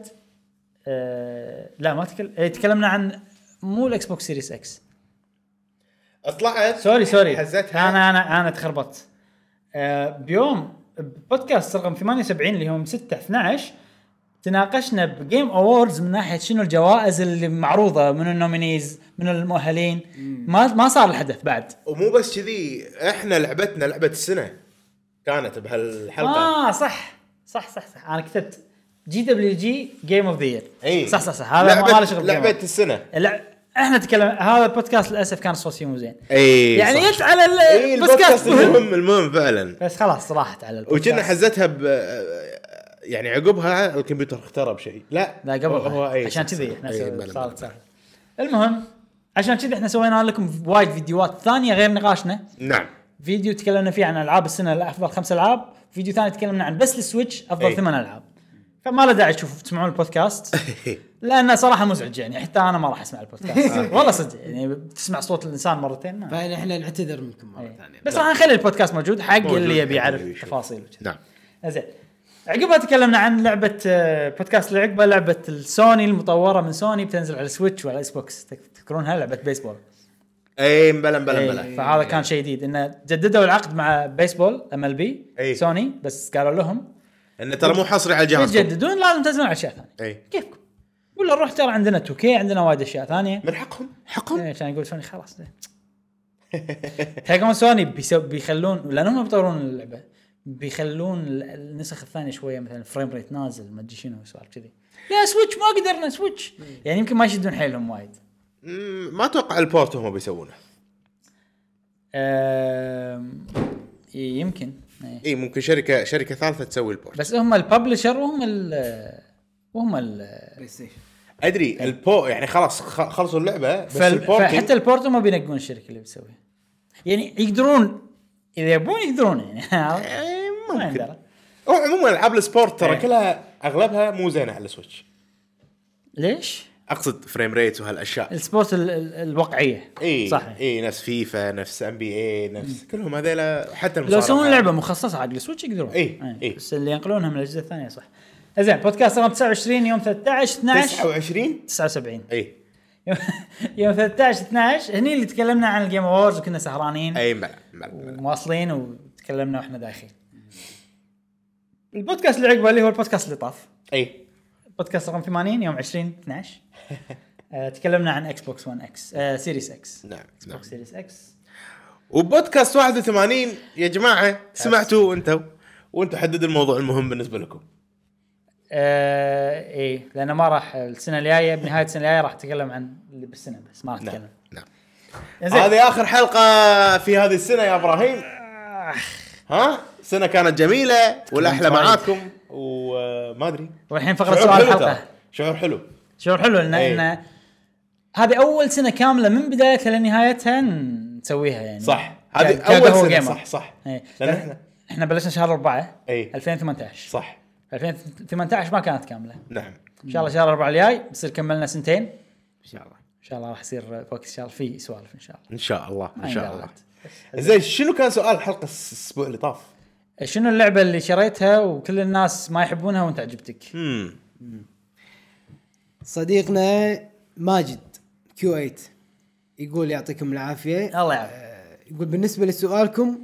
آه، لا ما تكلم إيه، تكلمنا عن مو الاكس بوكس سيريس اكس طلعت سوري سوري يعني حزتها انا انا انا تخربطت آه، بيوم بودكاست رقم 78 اللي هو من 6 12 تناقشنا بجيم اووردز من ناحيه شنو الجوائز اللي معروضه من النومينيز من المؤهلين ما ما صار الحدث بعد ومو بس كذي احنا لعبتنا لعبه السنه كانت بهالحلقه اه صح صح صح صح انا كتبت جي دبليو جي جيم اوف ذا اي يير صح صح صح هذا ما له شغل بجيم لعبه أوورد. السنه لا احنا نتكلم هذا البودكاست للاسف كان الصوت فيه مو زين اي يعني إيه، صح. جت على ال- اي البودكاست البودكاست مهم. المهم المهم فعلا (laughs) بس خلاص راحت على البودكاست وكنا حزتها ب يعني عقبها الكمبيوتر اخترب شيء لا لا هو- قبل هو أي عشان صح، كذي صح. احنا أي، سو- بلى، صارت بلى. سالفة. المهم عشان كذي احنا سوينا لكم وايد فيديوهات ثانيه غير نقاشنا (laughs) نعم (laughs) فيديو تكلمنا فيه عن العاب السنه الافضل خمس العاب فيديو ثاني تكلمنا عن بس السويتش افضل أي. ثمان العاب فما له داعي تشوف تسمعون البودكاست لانه صراحه مزعج يعني حتى انا ما راح اسمع (laughs) آه. البودكاست والله صدق يعني تسمع صوت الانسان مرتين ما. فاحنا احنا نعتذر منكم مره ثانيه إيه. بس راح نخلي البودكاست موجود حق موجود اللي يبي حق يعرف اللي يشوف. تفاصيل وكذا. نعم زين عقبها تكلمنا عن لعبه آه، بودكاست اللي عقبه لعبه السوني المطوره من سوني بتنزل على السويتش وعلى الاكس بوكس تك- تذكرونها لعبه بيسبول اي مبلا مبلا إيه، مبلا فهذا كان شيء جديد انه جددوا العقد مع بيسبول ام ال إيه. بي سوني بس قالوا لهم انه ترى مو حصري على الجهاز تجددون لازم تنزلون على اشياء ثانيه اي كيفكم ولا نروح ترى عندنا 2 كي عندنا وايد اشياء ثانيه من حقهم إيه، حقهم عشان يقول سوني خلاص تلقون سوني بيسو بيخلون لان هم بيطورون اللعبه بيخلون ال- النسخ الثانيه شويه مثلا فريم ريت نازل ما ادري شنو سوالف كذي لا سويتش ما قدرنا سويتش يعني يمكن ما يشدون حيلهم وايد مم، ما اتوقع البورت هم بيسوونه أم... إي، يمكن إي. اي ممكن شركه شركه ثالثه تسوي البورت بس هم الببلشر وهم ال وهم ال بلاي ستيشن ادري البو يعني خلاص خ- خلصوا اللعبه بس فال... البورتنج فحتى البورت ما بينقون الشركه اللي بتسويها يعني يقدرون اذا يبون يقدرون (laughs) يعني إيه، ما ممكن يندرى. هو عموما العاب السبورت ترى إيه. كلها اغلبها مو زينه على السويتش ليش؟ اقصد فريم ريت وهالاشياء السبورت ال... ال... الواقعيه اي صح اي إيه، نفس فيفا نفس ام بي اي نفس كلهم هذيلا حتى لو المصارعة. يسوون لعبه مخصصه حق السويتش يقدرون إيه، إيه. بس اللي ينقلونها من الاجهزه الثانيه صح زين بودكاست رقم 29 يوم 13 12 29 79 اي (laughs) يوم 13 12 هني اللي تكلمنا عن الجيم اووردز وكنا سهرانين اي ملعب ملعب ومواصلين وتكلمنا واحنا داخلين البودكاست اللي عقبه اللي هو البودكاست اللي طاف اي بودكاست رقم 80 يوم 20 12 آه، تكلمنا عن اكس بوكس 1 اكس سيريس اكس نعم نعم بوكس سيريس اكس وبودكاست 81 يا جماعه سمعتوا انتم وانتم حددوا الموضوع المهم بالنسبه لكم ايه لانه ما راح السنه الجايه بنهايه السنه الجايه راح اتكلم عن اللي بالسنه بس ما راح نعم اتكلم نعم زين هذه اخر حلقه في هذه السنه يا ابراهيم ها سنه كانت جميله والاحلى وايد. معاكم وما ادري والحين فقره شعور سؤال حلو الحلقه ترى. شعور حلو شعور حلو لان إيه. إن هذه اول سنه كامله من بدايتها لنهايتها نسويها يعني صح هذه ك- كقهوة اول سنه جيمر. صح صح إيه. لان احنا احنا بلشنا شهر 4 إيه. 2018 صح 2018 ما كانت كامله نعم ان شاء الله شهر 4 الجاي بصير كملنا سنتين ان ان شاء الله شاء الله راح يصير وقت ان شاء الله في سوالف ان شاء الله ان شاء الله ما ان شاء الله يندرت. زين شنو كان سؤال الحلقه الس- الاسبوع اللي طاف؟ شنو اللعبه اللي شريتها وكل الناس ما يحبونها وانت عجبتك؟ امم صديقنا ماجد كيو 8 يقول يعطيكم العافيه الله يعافيك يقول بالنسبه لسؤالكم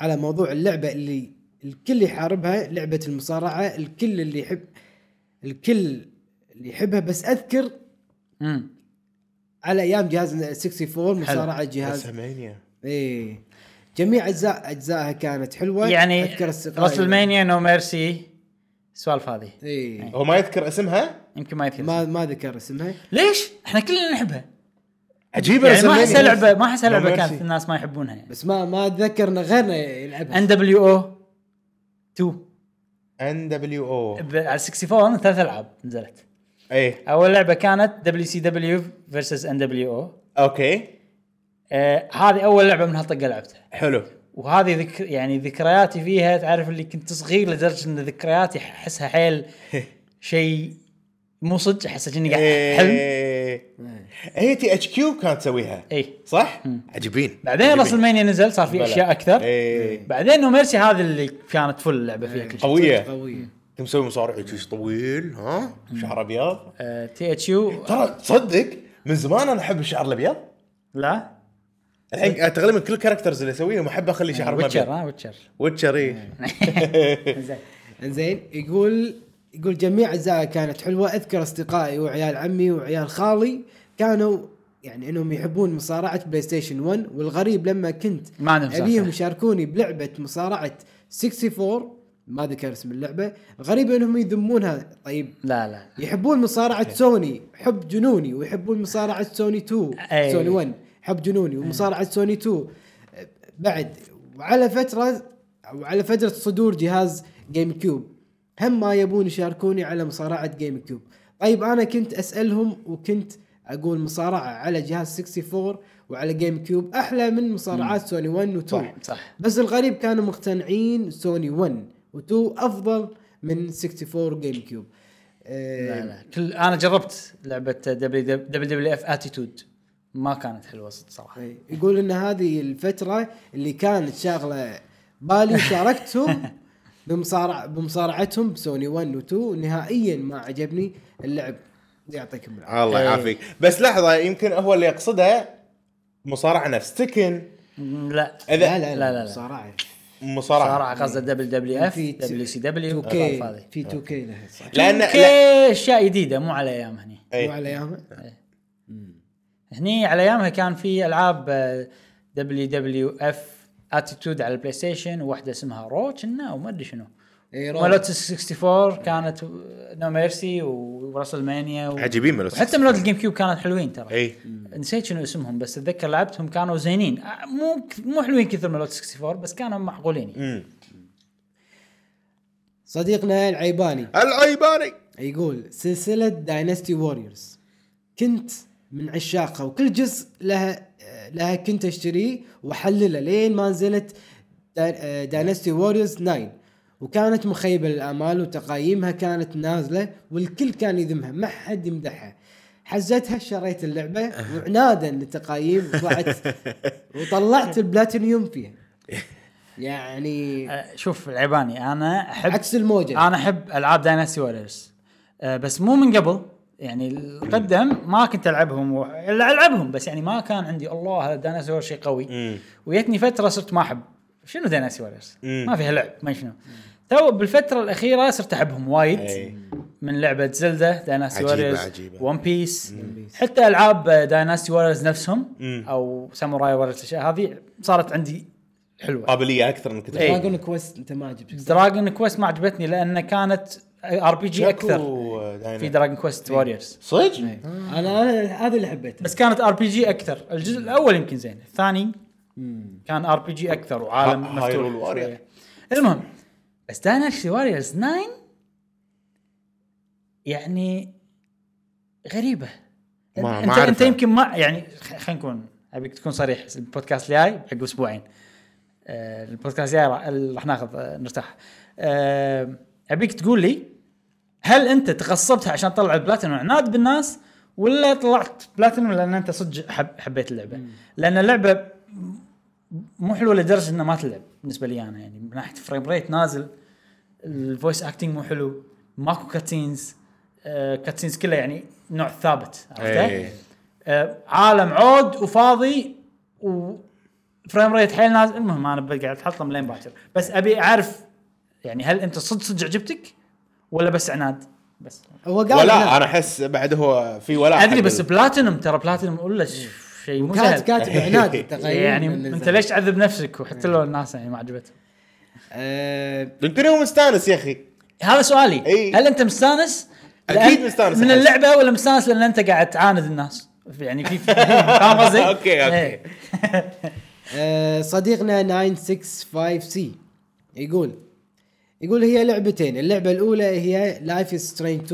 على موضوع اللعبه اللي الكل يحاربها لعبه المصارعه الكل اللي يحب الكل اللي يحبها بس اذكر أمم. على ايام جهاز 64 مصارعه جهاز رسلمانيا اي جميع اجزاء اجزائها كانت حلوه يعني اذكر راسل المانيا نو ميرسي السوالف هذه اي هو ما يذكر اسمها؟ يمكن ما يذكر إيه. ما ما ذكر اسمها ليش؟ احنا كلنا نحبها عجيبه يعني ما رسلمانيا. احسها لعبه ما احسها No لعبه mercy. كانت الناس ما يحبونها يعني بس ما ما اتذكر ان غيرنا يلعبها ان دبليو او 2 ان دبليو او ب- على 64 ثلاث العاب نزلت اي اول لعبه كانت دبليو سي دبليو فيرسز ان دبليو او اوكي آه، هذه اول لعبه من هالطقه لعبتها حلو وهذه ذك... يعني ذكرياتي فيها تعرف اللي كنت صغير لدرجه ان ذكرياتي احسها (laughs) حيل شيء مو صدق احس اني إيه. قاعد حلم اي تي اتش كيو كانت تسويها اي صح؟ عجيبين إيه. بعدين راس المانيا نزل صار في بلى. إيه. اشياء اكثر اي بعدين نوميرسي هذه اللي كانت فل اللعبه إيه. فيها كل شيء قويه قويه انت مسوي مصارع جيش طويل ها شعر ابيض آه، تي اتش يو ترى تصدق من زمان انا احب الشعر الابيض لا الحين تقريبا كل الكاركترز اللي اسويهم احب اخلي شعر إيه. ويتشر ابيض ها نعم. ويتشر ويتشر اي زين انزين يقول يقول جميع اجزائها كانت حلوه اذكر اصدقائي وعيال عمي وعيال خالي كانوا يعني انهم يحبون مصارعه بلاي ستيشن 1 والغريب لما كنت ما عندهم ابيهم سالفه يشاركوني بلعبه مصارعه 64 ما ذكر اسم اللعبه غريب انهم يذمونها طيب لا لا يحبون مصارعه سوني حب جنوني ويحبون مصارعه سوني 2 أي. سوني 1 حب جنوني ومصارعه سوني 2 أه، بعد وعلى فتره وعلى فتره صدور جهاز جيم كيوب هم ما يبون يشاركوني على مصارعه جيم كيوب طيب انا كنت اسالهم وكنت اقول مصارعه على جهاز 64 وعلى جيم كيوب احلى من مصارعات سوني 1 و2 صح، صح. بس الغريب كانوا مقتنعين سوني 1 و2 افضل من 64 جيم كيوب أه، لا إيه. لا كل انا جربت لعبه دبليو دبليو اف اتيتود ما كانت حلوه صدق إيه. صراحه إي، آه، يقول ان هذه الفتره اللي كانت شاغله بالي (laughs) شاركتهم بمصارع بمصارعتهم بسوني 1 و 2 نهائيا ما عجبني اللعب يعطيكم العافيه الله إيه. يعافيك بس لحظه يمكن هو اللي يقصده مصارعه نفس تكن لا لا اذا لا لا، لا، لا. لا مصارعه مصارعه صراحه قصد دبليو دبليو اف في دبليو سي دبليو 2 الألعاب كي هذه في 2 كي لها صح لان لا اوكي اشياء جديده مو على ايام هني مو إيه. على ايامها هني على ايامها كان في آه، العاب دبليو دبليو اف اتيتود على البلاي ستيشن وواحده اسمها رو كنا وما ادري شنو اي روما مالوت 64 كانت نو ميرسي وراسل مانيا و... عجيبين إيه. ملوت حتى مالوت الجيم كيوب كانت حلوين ترى اي نسيت شنو اسمهم بس اتذكر لعبتهم كانوا زينين آه، مو مو حلوين كثر مالوت 64 بس كانوا معقولين أمم. صديقنا العيباني العيباني يقول سلسلة داينستي ووريرز كنت من عشاقها وكل جزء لها لها كنت اشتريه واحلله لين ما نزلت آه، داينستي ووريرز 9 وكانت مخيبة للآمال وتقايمها كانت نازلة والكل كان يذمها ما حد يمدحها حزتها شريت اللعبة وعنادا للتقايم وضعت وطلعت البلاتينيوم فيها يعني آه، شوف العيباني انا احب عكس الموجة انا احب العاب داينستي ووريرز آه، بس مو من قبل يعني القدم ما كنت العبهم و... إلا العبهم بس يعني ما كان عندي الله هذا داينستي ووريرز شيء قوي مم. ويتني فتره صرت ما احب شنو داينستي ووريرز؟ مم. ما فيها لعب ما شنو تو بالفتره الاخيره صرت احبهم وايد أي. من لعبه زلدة داينستي عجيبة- ووريرز عجيبة. ون بيس حتى العاب داينستي ووريرز نفسهم مم. او ساموراي ووريرز هذه صارت عندي حلوه قابليه اكثر من كنت إي. أتوقع. دراجون كويست انت ما عجبك دراجون كويست ما عجبتني لان كانت ار بي جي شاكو اكثر داينا. في إيه. دراجون كويست واريورز صدق؟ انا انا هذا اللي حبيته بس كانت ار بي جي اكثر الجزء الاول يمكن زين الثاني كان ار بي جي اكثر وعالم ها- هايرول مفتوح واريور. شوية. المهم بس داينستي واريورز 9 يعني غريبه ما- ما انت انت أعرفها. يمكن ما يعني خ- خلينا نكون ابيك تكون صريح البودكاست الجاي بعد اسبوعين آه، البودكاست الجاي راح- راح ناخذ آه، نرتاح آه، ابيك تقول لي هل انت تغصبتها عشان تطلع البلاتينوم عناد بالناس ولا طلعت بلاتينوم لان انت صدق حب حبيت اللعبه؟ لان اللعبه مو حلوه لدرجه انها ما تلعب بالنسبه لي انا يعني من ناحيه فريم ريت نازل الفويس اكتنج مو حلو ماكو كاتسينز آه كاتسينز كلها يعني نوع ثابت عرفته؟ إيه. آه عالم عود وفاضي وفريم ريت حيل نازل المهم انا قاعد احطهم لين باكر بس ابي اعرف يعني هل انت صدق صدق عجبتك ولا بس عناد؟ بس هو قال ولا انا احس بعد هو في ولا ادري بس بلاتينوم ترى بلاتينوم ولا ش- شيء مو كاتب سهل كاتب (laughs) عناد التغيير يعني اللي انت زاد. ليش تعذب نفسك وحتى لو الناس يعني ما عجبتهم آه، يمكن هو مستانس يا اخي هذا سؤالي إي. هل انت مستانس؟ أكيد لأن- مستانس من أحس. اللعبه ولا مستانس لان انت قاعد تعاند الناس؟ يعني في في- فاهم قصدي؟ (laughs) أوكي، أوكي. إيه. آه، صديقنا 965 سي يقول يقول هي لعبتين العبة الأولى هي لايف از سترين 2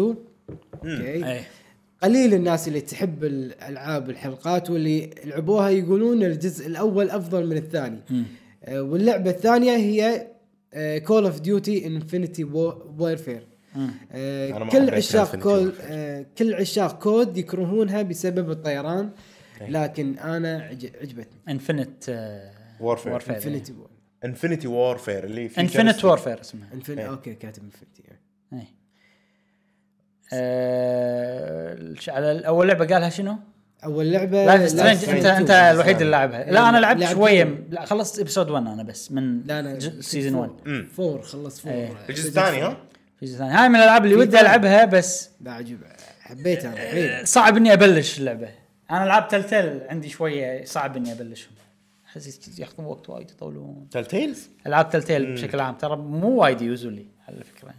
اوكي إيه. قليل الناس اللي تحب الألعاب الحلقات واللي لعبوها يقولون الجزء الأول أفضل من الثاني آه، واللعبة الثانية هي آه، كول اوف ديوتي انفنتي وورفير أنا ما آه، كل حبيت عشاق Infinity كول Warfare. آه، كل عشاق كود يكرهونها بسبب الطيران لكن انا عج- عجبتني انفنت آه، Warfare. وورفير انفنتي انفنتي وورفير اللي في انفنت وورفير اسمها انفنتي اوكي كاتب انفنتي إيه. آه، الش- على اول لعبه قالها شنو؟ اول لعبه لايف آه، Life سترينج is انت Strange انت 2. الوحيد اللي لعبها لا انا لعبت لعبت شويه فيه. م- لا خلصت ابسود 1 انا بس من لا انا سيزون 1 فور خلص فور إيه. الجزء الثاني ها؟ الجزء الثاني هاي من الالعاب اللي في ودي ثاني. العبها بس لا عجيب حبيتها انا حيل. صعب اني ابلش اللعبه انا العاب تلتل عندي شويه صعب اني ابلشهم احس ياخذون وقت وايد يطولون تيل تيلز العاب تلتل بشكل عام ترى مو وايد يوزولي على الفكره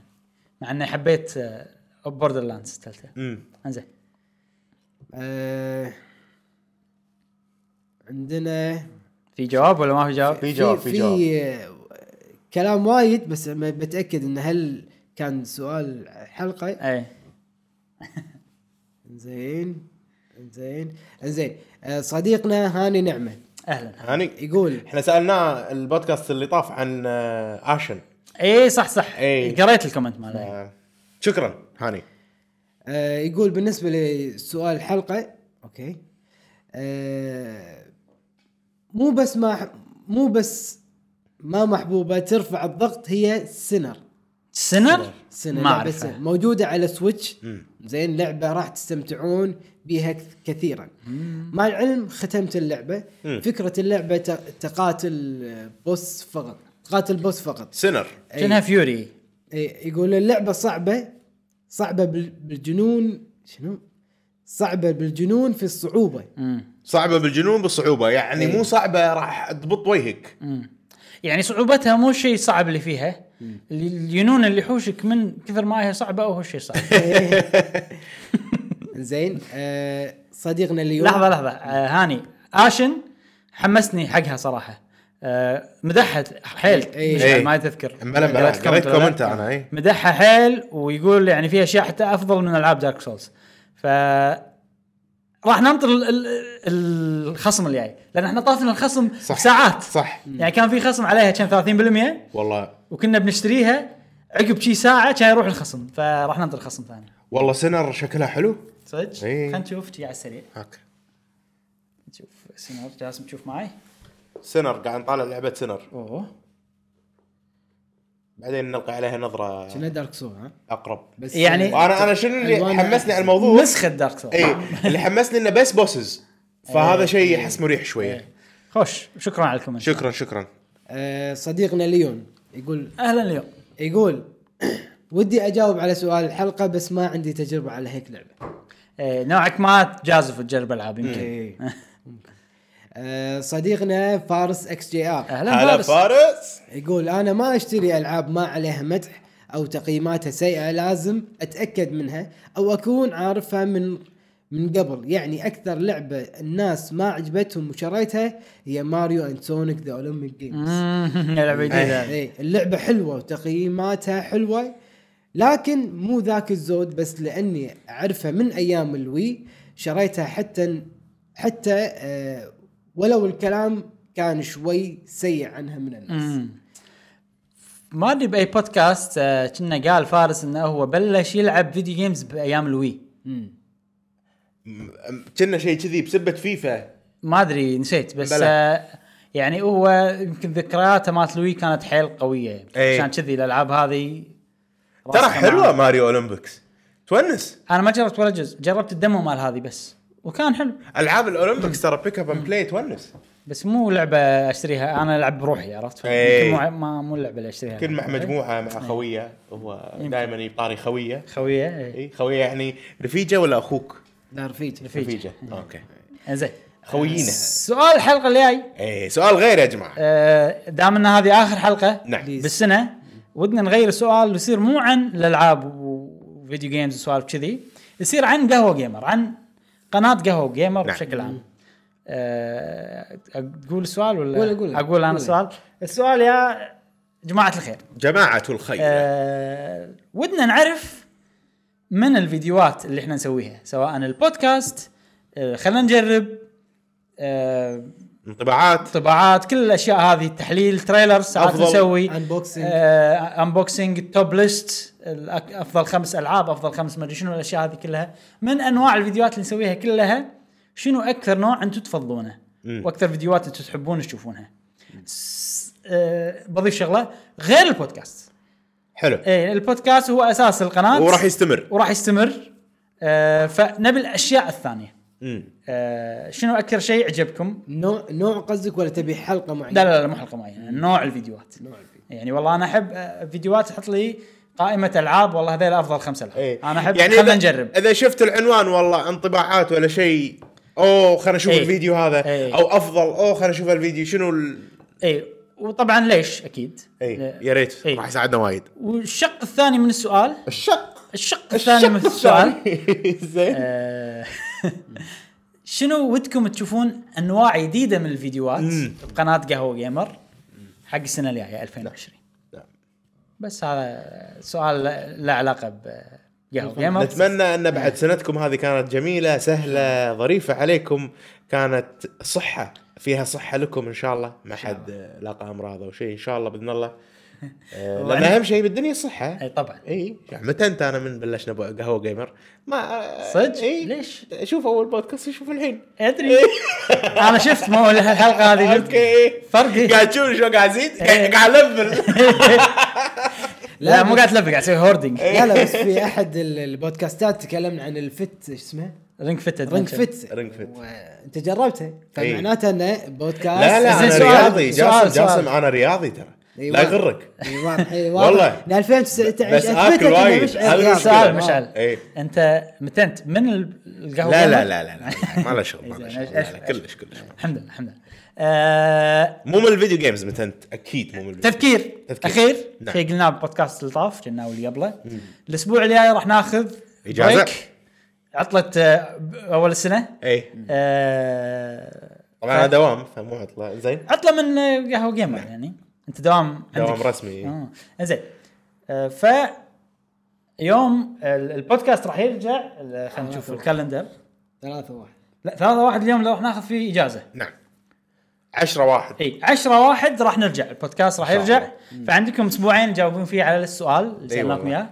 مع اني حبيت آه، بوردر لاندز تلتل امم انزين آه، عندنا في جواب ولا ما في جواب؟ في جواب في جواب آه، كلام وايد بس ما بتاكد ان هل كان سؤال حلقه اي زين زين زين آه، صديقنا هاني نعمه اهلا هاني يقول احنا سألناه البودكاست اللي طاف عن آه، اشن اي إيه، صح صح إي. قريت الكومنت ماله آه، شكرا هاني آه، يقول بالنسبه لسؤال الحلقه اوكي آه، مو بس ما مو بس ما محبوبه ترفع الضغط هي سينر سنر؟ سينر ما لعبة أعرفها. سينر. موجوده على سويتش زين لعبه راح تستمتعون بها كث- كثيرا مع العلم ختمت اللعبه فكره اللعبه ت- تقاتل بوس فقط تقاتل بوس فقط سنر كانها فيوري إيه، يقول اللعبة صعبة صعبة بال- بالجنون شنو؟ صعبة بالجنون في الصعوبة إيه. صعبه بالجنون بالصعوبه يعني مو صعبه راح تبط وجهك يعني صعوبتها مو الشيء الصعب اللي فيها اللي- الجنون اللي يحوشك من كثر ما هي صعبه هو الشيء صعب زين آه صديقنا اليوم لحظه لحظه آه هاني اشن حمسني حقها صراحه آه مدحها حيل إي. مش- إي. ما تذكر بلا بلا قريت كومنت قريت ولا لا؟ كومنت إيه. انا اي مدحها حيل ويقول يعني في اشياء حتى افضل من العاب دارك سولز ف راح ننطر ال- ال- الخصم اللي جاي لان احنا طافنا الخصم صح. ساعات صح يعني كان في خصم عليها كان 30% والله وكنا بنشتريها عقب شي ساعه كان يروح الخصم فراح ننطر خصم ثاني والله سنر شكلها حلو صدق إي. خلينا نشوف شي على السريع هاك نشوف سناب جاسم تشوف معي سنر قاعد نطالع لعبه سنر اوه بعدين نلقي عليها نظره شنو دارك سو ها (laughs) اقرب بس آه، يعني- وانا انا شنو اللي ألوانها حمسني على أحسن. الموضوع نسخه دارك سولز اي (laughs) اللي حمسني انه بس بوسز فهذا شيء احس مريح شويه خوش شكرا على الكومنت شكرا شكرا آه صديقنا ليون يقول اهلا اليوم يقول (clears throat) ودي اجاوب على سؤال الحلقه بس ما عندي تجربه على هيك لعبه إيه، نوعك ما تجازف وتجرب العاب يمكن إيه. آه، صديقنا فارس اكس جي ار اهلا (laughs) هلا فارس فارس يقول انا ما اشتري العاب ما عليها مدح او تقييماتها سيئه لازم اتاكد منها او اكون عارفها من من قبل يعني اكثر لعبه الناس ما عجبتهم وشريتها هي ماريو اند سونيك ذا اولمبيك جيمز إيه، مم، لعبه إيه. جديده اي اللعبه حلوه وتقييماتها حلوه لكن مو ذاك الزود بس لاني اعرفها من ايام الوي شريتها حتى حتى آه ولو الكلام كان شوي سيء عنها من الناس مم. ما ادري باي بودكاست آه، كنا قال فارس انه هو بلش يلعب فيديو جيمز بايام الوي مم. كنا شيء كذي بسبه فيفا ما ادري نسيت بس بلى. آه، يعني هو يمكن ذكرياته مالت الوي كانت حيل قويه إي. عشان كذي الالعاب هذه إيه. ترى راسخة معاه. حلوه ماريو اولمبيكس تونس انا ما جربت ولا جزء جربت الدمو مال هذه بس وكان حلو العاب الاولمبيكس ترى بيك اب اند بلاي تونس بس مو لعبه اشتريها انا العب بروحي عرفت إي. يمكن مو ما مو اللعبه اللي اشتريها إيه. كل مع مجموعه مع خويه هو دائما يطاري خويه خويه إي. اي خويه يعني رفيجه ولا اخوك؟ لا رفيج رفيجه إيه. اوكي زين خويينه سؤال الحلقه اللي جاي اي إيه، سؤال غير يا جماعه آه، دام ان هذه اخر حلقه نعم. بالسنه ودنا نغير سؤال ويصير مو عن الالعاب وفيديو جيمز وسوالف كذي يصير عن قهوه جيمر عن قناه قهوه جيمر نعم. بشكل عام آه، تقول السؤال ولا قول- قول. اقول انا قول. السؤال السؤال يا جماعه الخير جماعه الخير آه، ودنا نعرف من الفيديوهات اللي احنا نسويها سواء البودكاست آه، خلينا نجرب آه، انطباعات طباعات كل الاشياء هذه تحليل تريلر ساعات أفضل نسوي unboxing. آه انبوكسنج توب ليست الأك- افضل خمس العاب افضل خمس مدري شنو الاشياء هذه كلها من انواع الفيديوهات اللي نسويها كلها شنو اكثر نوع انتم تفضلونه مم. واكثر فيديوهات انتم تحبون تشوفونها س- آه بضيف شغله غير البودكاست حلو ايه البودكاست هو اساس القناه وراح يستمر وراح يستمر آه فنبي الاشياء الثانيه مم. آه شنو اكثر شيء عجبكم نوع نوع قصدك ولا تبي حلقه معينه؟ لا لا لا مو حلقه معينه نوع الفيديوهات نوع الفيديو. يعني والله انا احب آه، فيديوهات تحط لي قائمه العاب والله هذول افضل خمس العاب إيه. انا احب يعني يعني خلينا إذا- نجرب اذا شفت العنوان والله انطباعات ولا شيء اوه خلينا نشوف إيه. الفيديو هذا إيه. او افضل اوه خلينا نشوف الفيديو شنو ال... اي وطبعا إيه، ليش اكيد اي لا. يا ريت إيه. راح يساعدنا وايد والشق الثاني من السؤال الشق الشق الثاني من السؤال زين آه، شنو ودكم تشوفون انواع جديده من الفيديوهات مم. بقناه قهوه جيمر حق السنه الجايه 2020 نعم. بس هذا سؤال لا- لا علاقه بقهوه جيمر نتمنى ان إيه. بعد سنتكم هذه كانت جميله سهله ظريفه عليكم كانت صحه فيها صحه لكم ان شاء الله ما حد لاقى امراض او شيء ان شاء الله (laughs) باذن الله آه، لان وأنا- اهم شيء بالدنيا الصحه اي طبعا اي يعني متى انت انا من بلشنا بو- قهوه جيمر ما صدق؟ اي ليش؟ شوف اول بودكاست شوف الحين (laughs) ادري انا شفت مو الحلقه هذه شفت (laughs) اوكي فرقي قاعد تشوف شو قاعد ازيد إيه. قاعد قاعد (laughs) الفل لا مو قاعد تلفق قاعد اسوي هوردنج إيه. لا لا بس في احد ال- البودكاستات تكلمنا عن الفت ايش اسمه؟ رينج فيت رينج فت Ring Fit. انت جربته فمعناته انه بودكاست إيه. لا لا زين انا سؤال- رياضي سؤال- جاسم سؤال. إيوه. جاسم انا رياضي ترى إي لا واضح. يغرك إي واضح إي واضح. والله. ل 2019 بس آكل وايد. هذا يا المشكلة. سؤال أخي. مشعل إيه. انت متنت من ال- القهوه لا لا لا لا لا ما له شغل ما زين، له شغل أش- لا، لا، أش- كلش كلش ما. الحمد لله الحمد لله آه، مو من الفيديو جيمز متى انت اكيد مو من الفيديو تذكير تذكير. اخير نعم. شيء قلناه ببودكاست اللي طاف قلناه واللي قبله الاسبوع الجاي راح ناخذ إجازة. break. عطله آه، ب- اول السنه اي آه، طبعا انا إيه. دوام فمو عطله زين عطله من آه، قهوه جيمر يعني انت دوام نعم. دوام عندك. رسمي اه زين آه، ف يوم ال- البودكاست راح يرجع ال- خلينا آه، نشوف الكالندر ثلاثة واحد لا ثلاثة واحد اليوم لو راح ناخذ فيه اجازه نعم 10 واحد اي 10 واحد راح نرجع البودكاست راح إن شاء يرجع فعندكم اسبوعين تجاوبون فيه على السؤال اللي سالناكم والله. اياه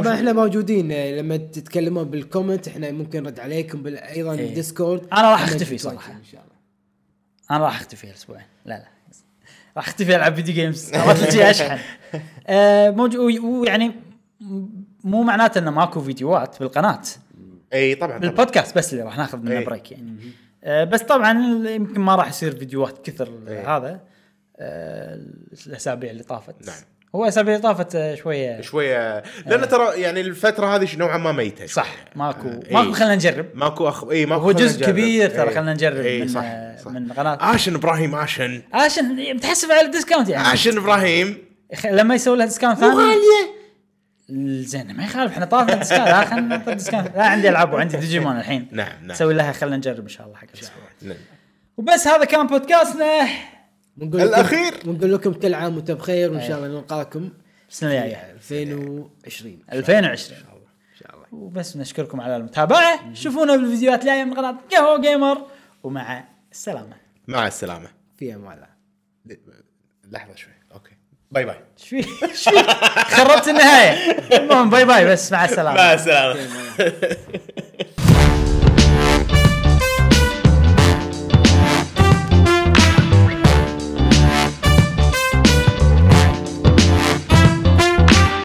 طبعا احنا موجودين آه، لما تتكلمون بالكومنت احنا ممكن نرد عليكم بال- ايضا إيه. الديسكورد أنا راح لما أختفي تتواجدوا صراحة. ان شاء الله انا راح اختفي الاسبوعين لا لا راح اختفي العب فيديو جيمز عرفت شي (laughs) اشحن آه، موجو ويعني م- مو معناته انه ماكو فيديوهات بالقناه اي طبعا طبعا بالبودكاست بس اللي راح ناخذ منه إيه. بريك يعني آه، بس طبعا يمكن ما راح يصير فيديوهات كثر إيه. هذا آه، الاسابيع اللي طافت نعم. هو الاسابيع اللي طافت آه، شويه شويه لان ترى يعني الفتره هذه نوعا ما ميته شوية. آه. صح ماكو إيه. ماكو خلينا نجرب ماكو اخ اي ماكو هو خلنا جزء نجرب. كبير ترى إي. خلينا نجرب إي، من صح صح من قناه عاشن ابراهيم عاشن عشان متحسب على الديسكاونت يعني عاشن ابراهيم خ- لما يسوي لها ديسكاونت مو ثاني غاليه زين ما يخالف احنا طافنا ديسكاونت لا خلينا نعطي ديسكاونت لا عندي العاب وعندي ديجيمون الحين نعم، نعم. نسوي لها خلينا نجرب ان شاء الله حق الاسبوع نعم. وبس هذا كان بودكاستنا ونقول لكم- الأخير. ونقول لكم كل عام وانتم بخير وان شاء الله نلقاكم السنه الجايه 2020 2020 ان شاء الله وبس نشكركم على المتابعه شوفونا بالفيديوهات الجايه من قناه قهوه جيمر ومع السلامه مع السلامه في امان الله لحظه شوي اوكي باي باي ايش فيك؟ إيش فيك؟ خربت النهايه المهم باي باي بس مع السلامه السلامه في أمان الله.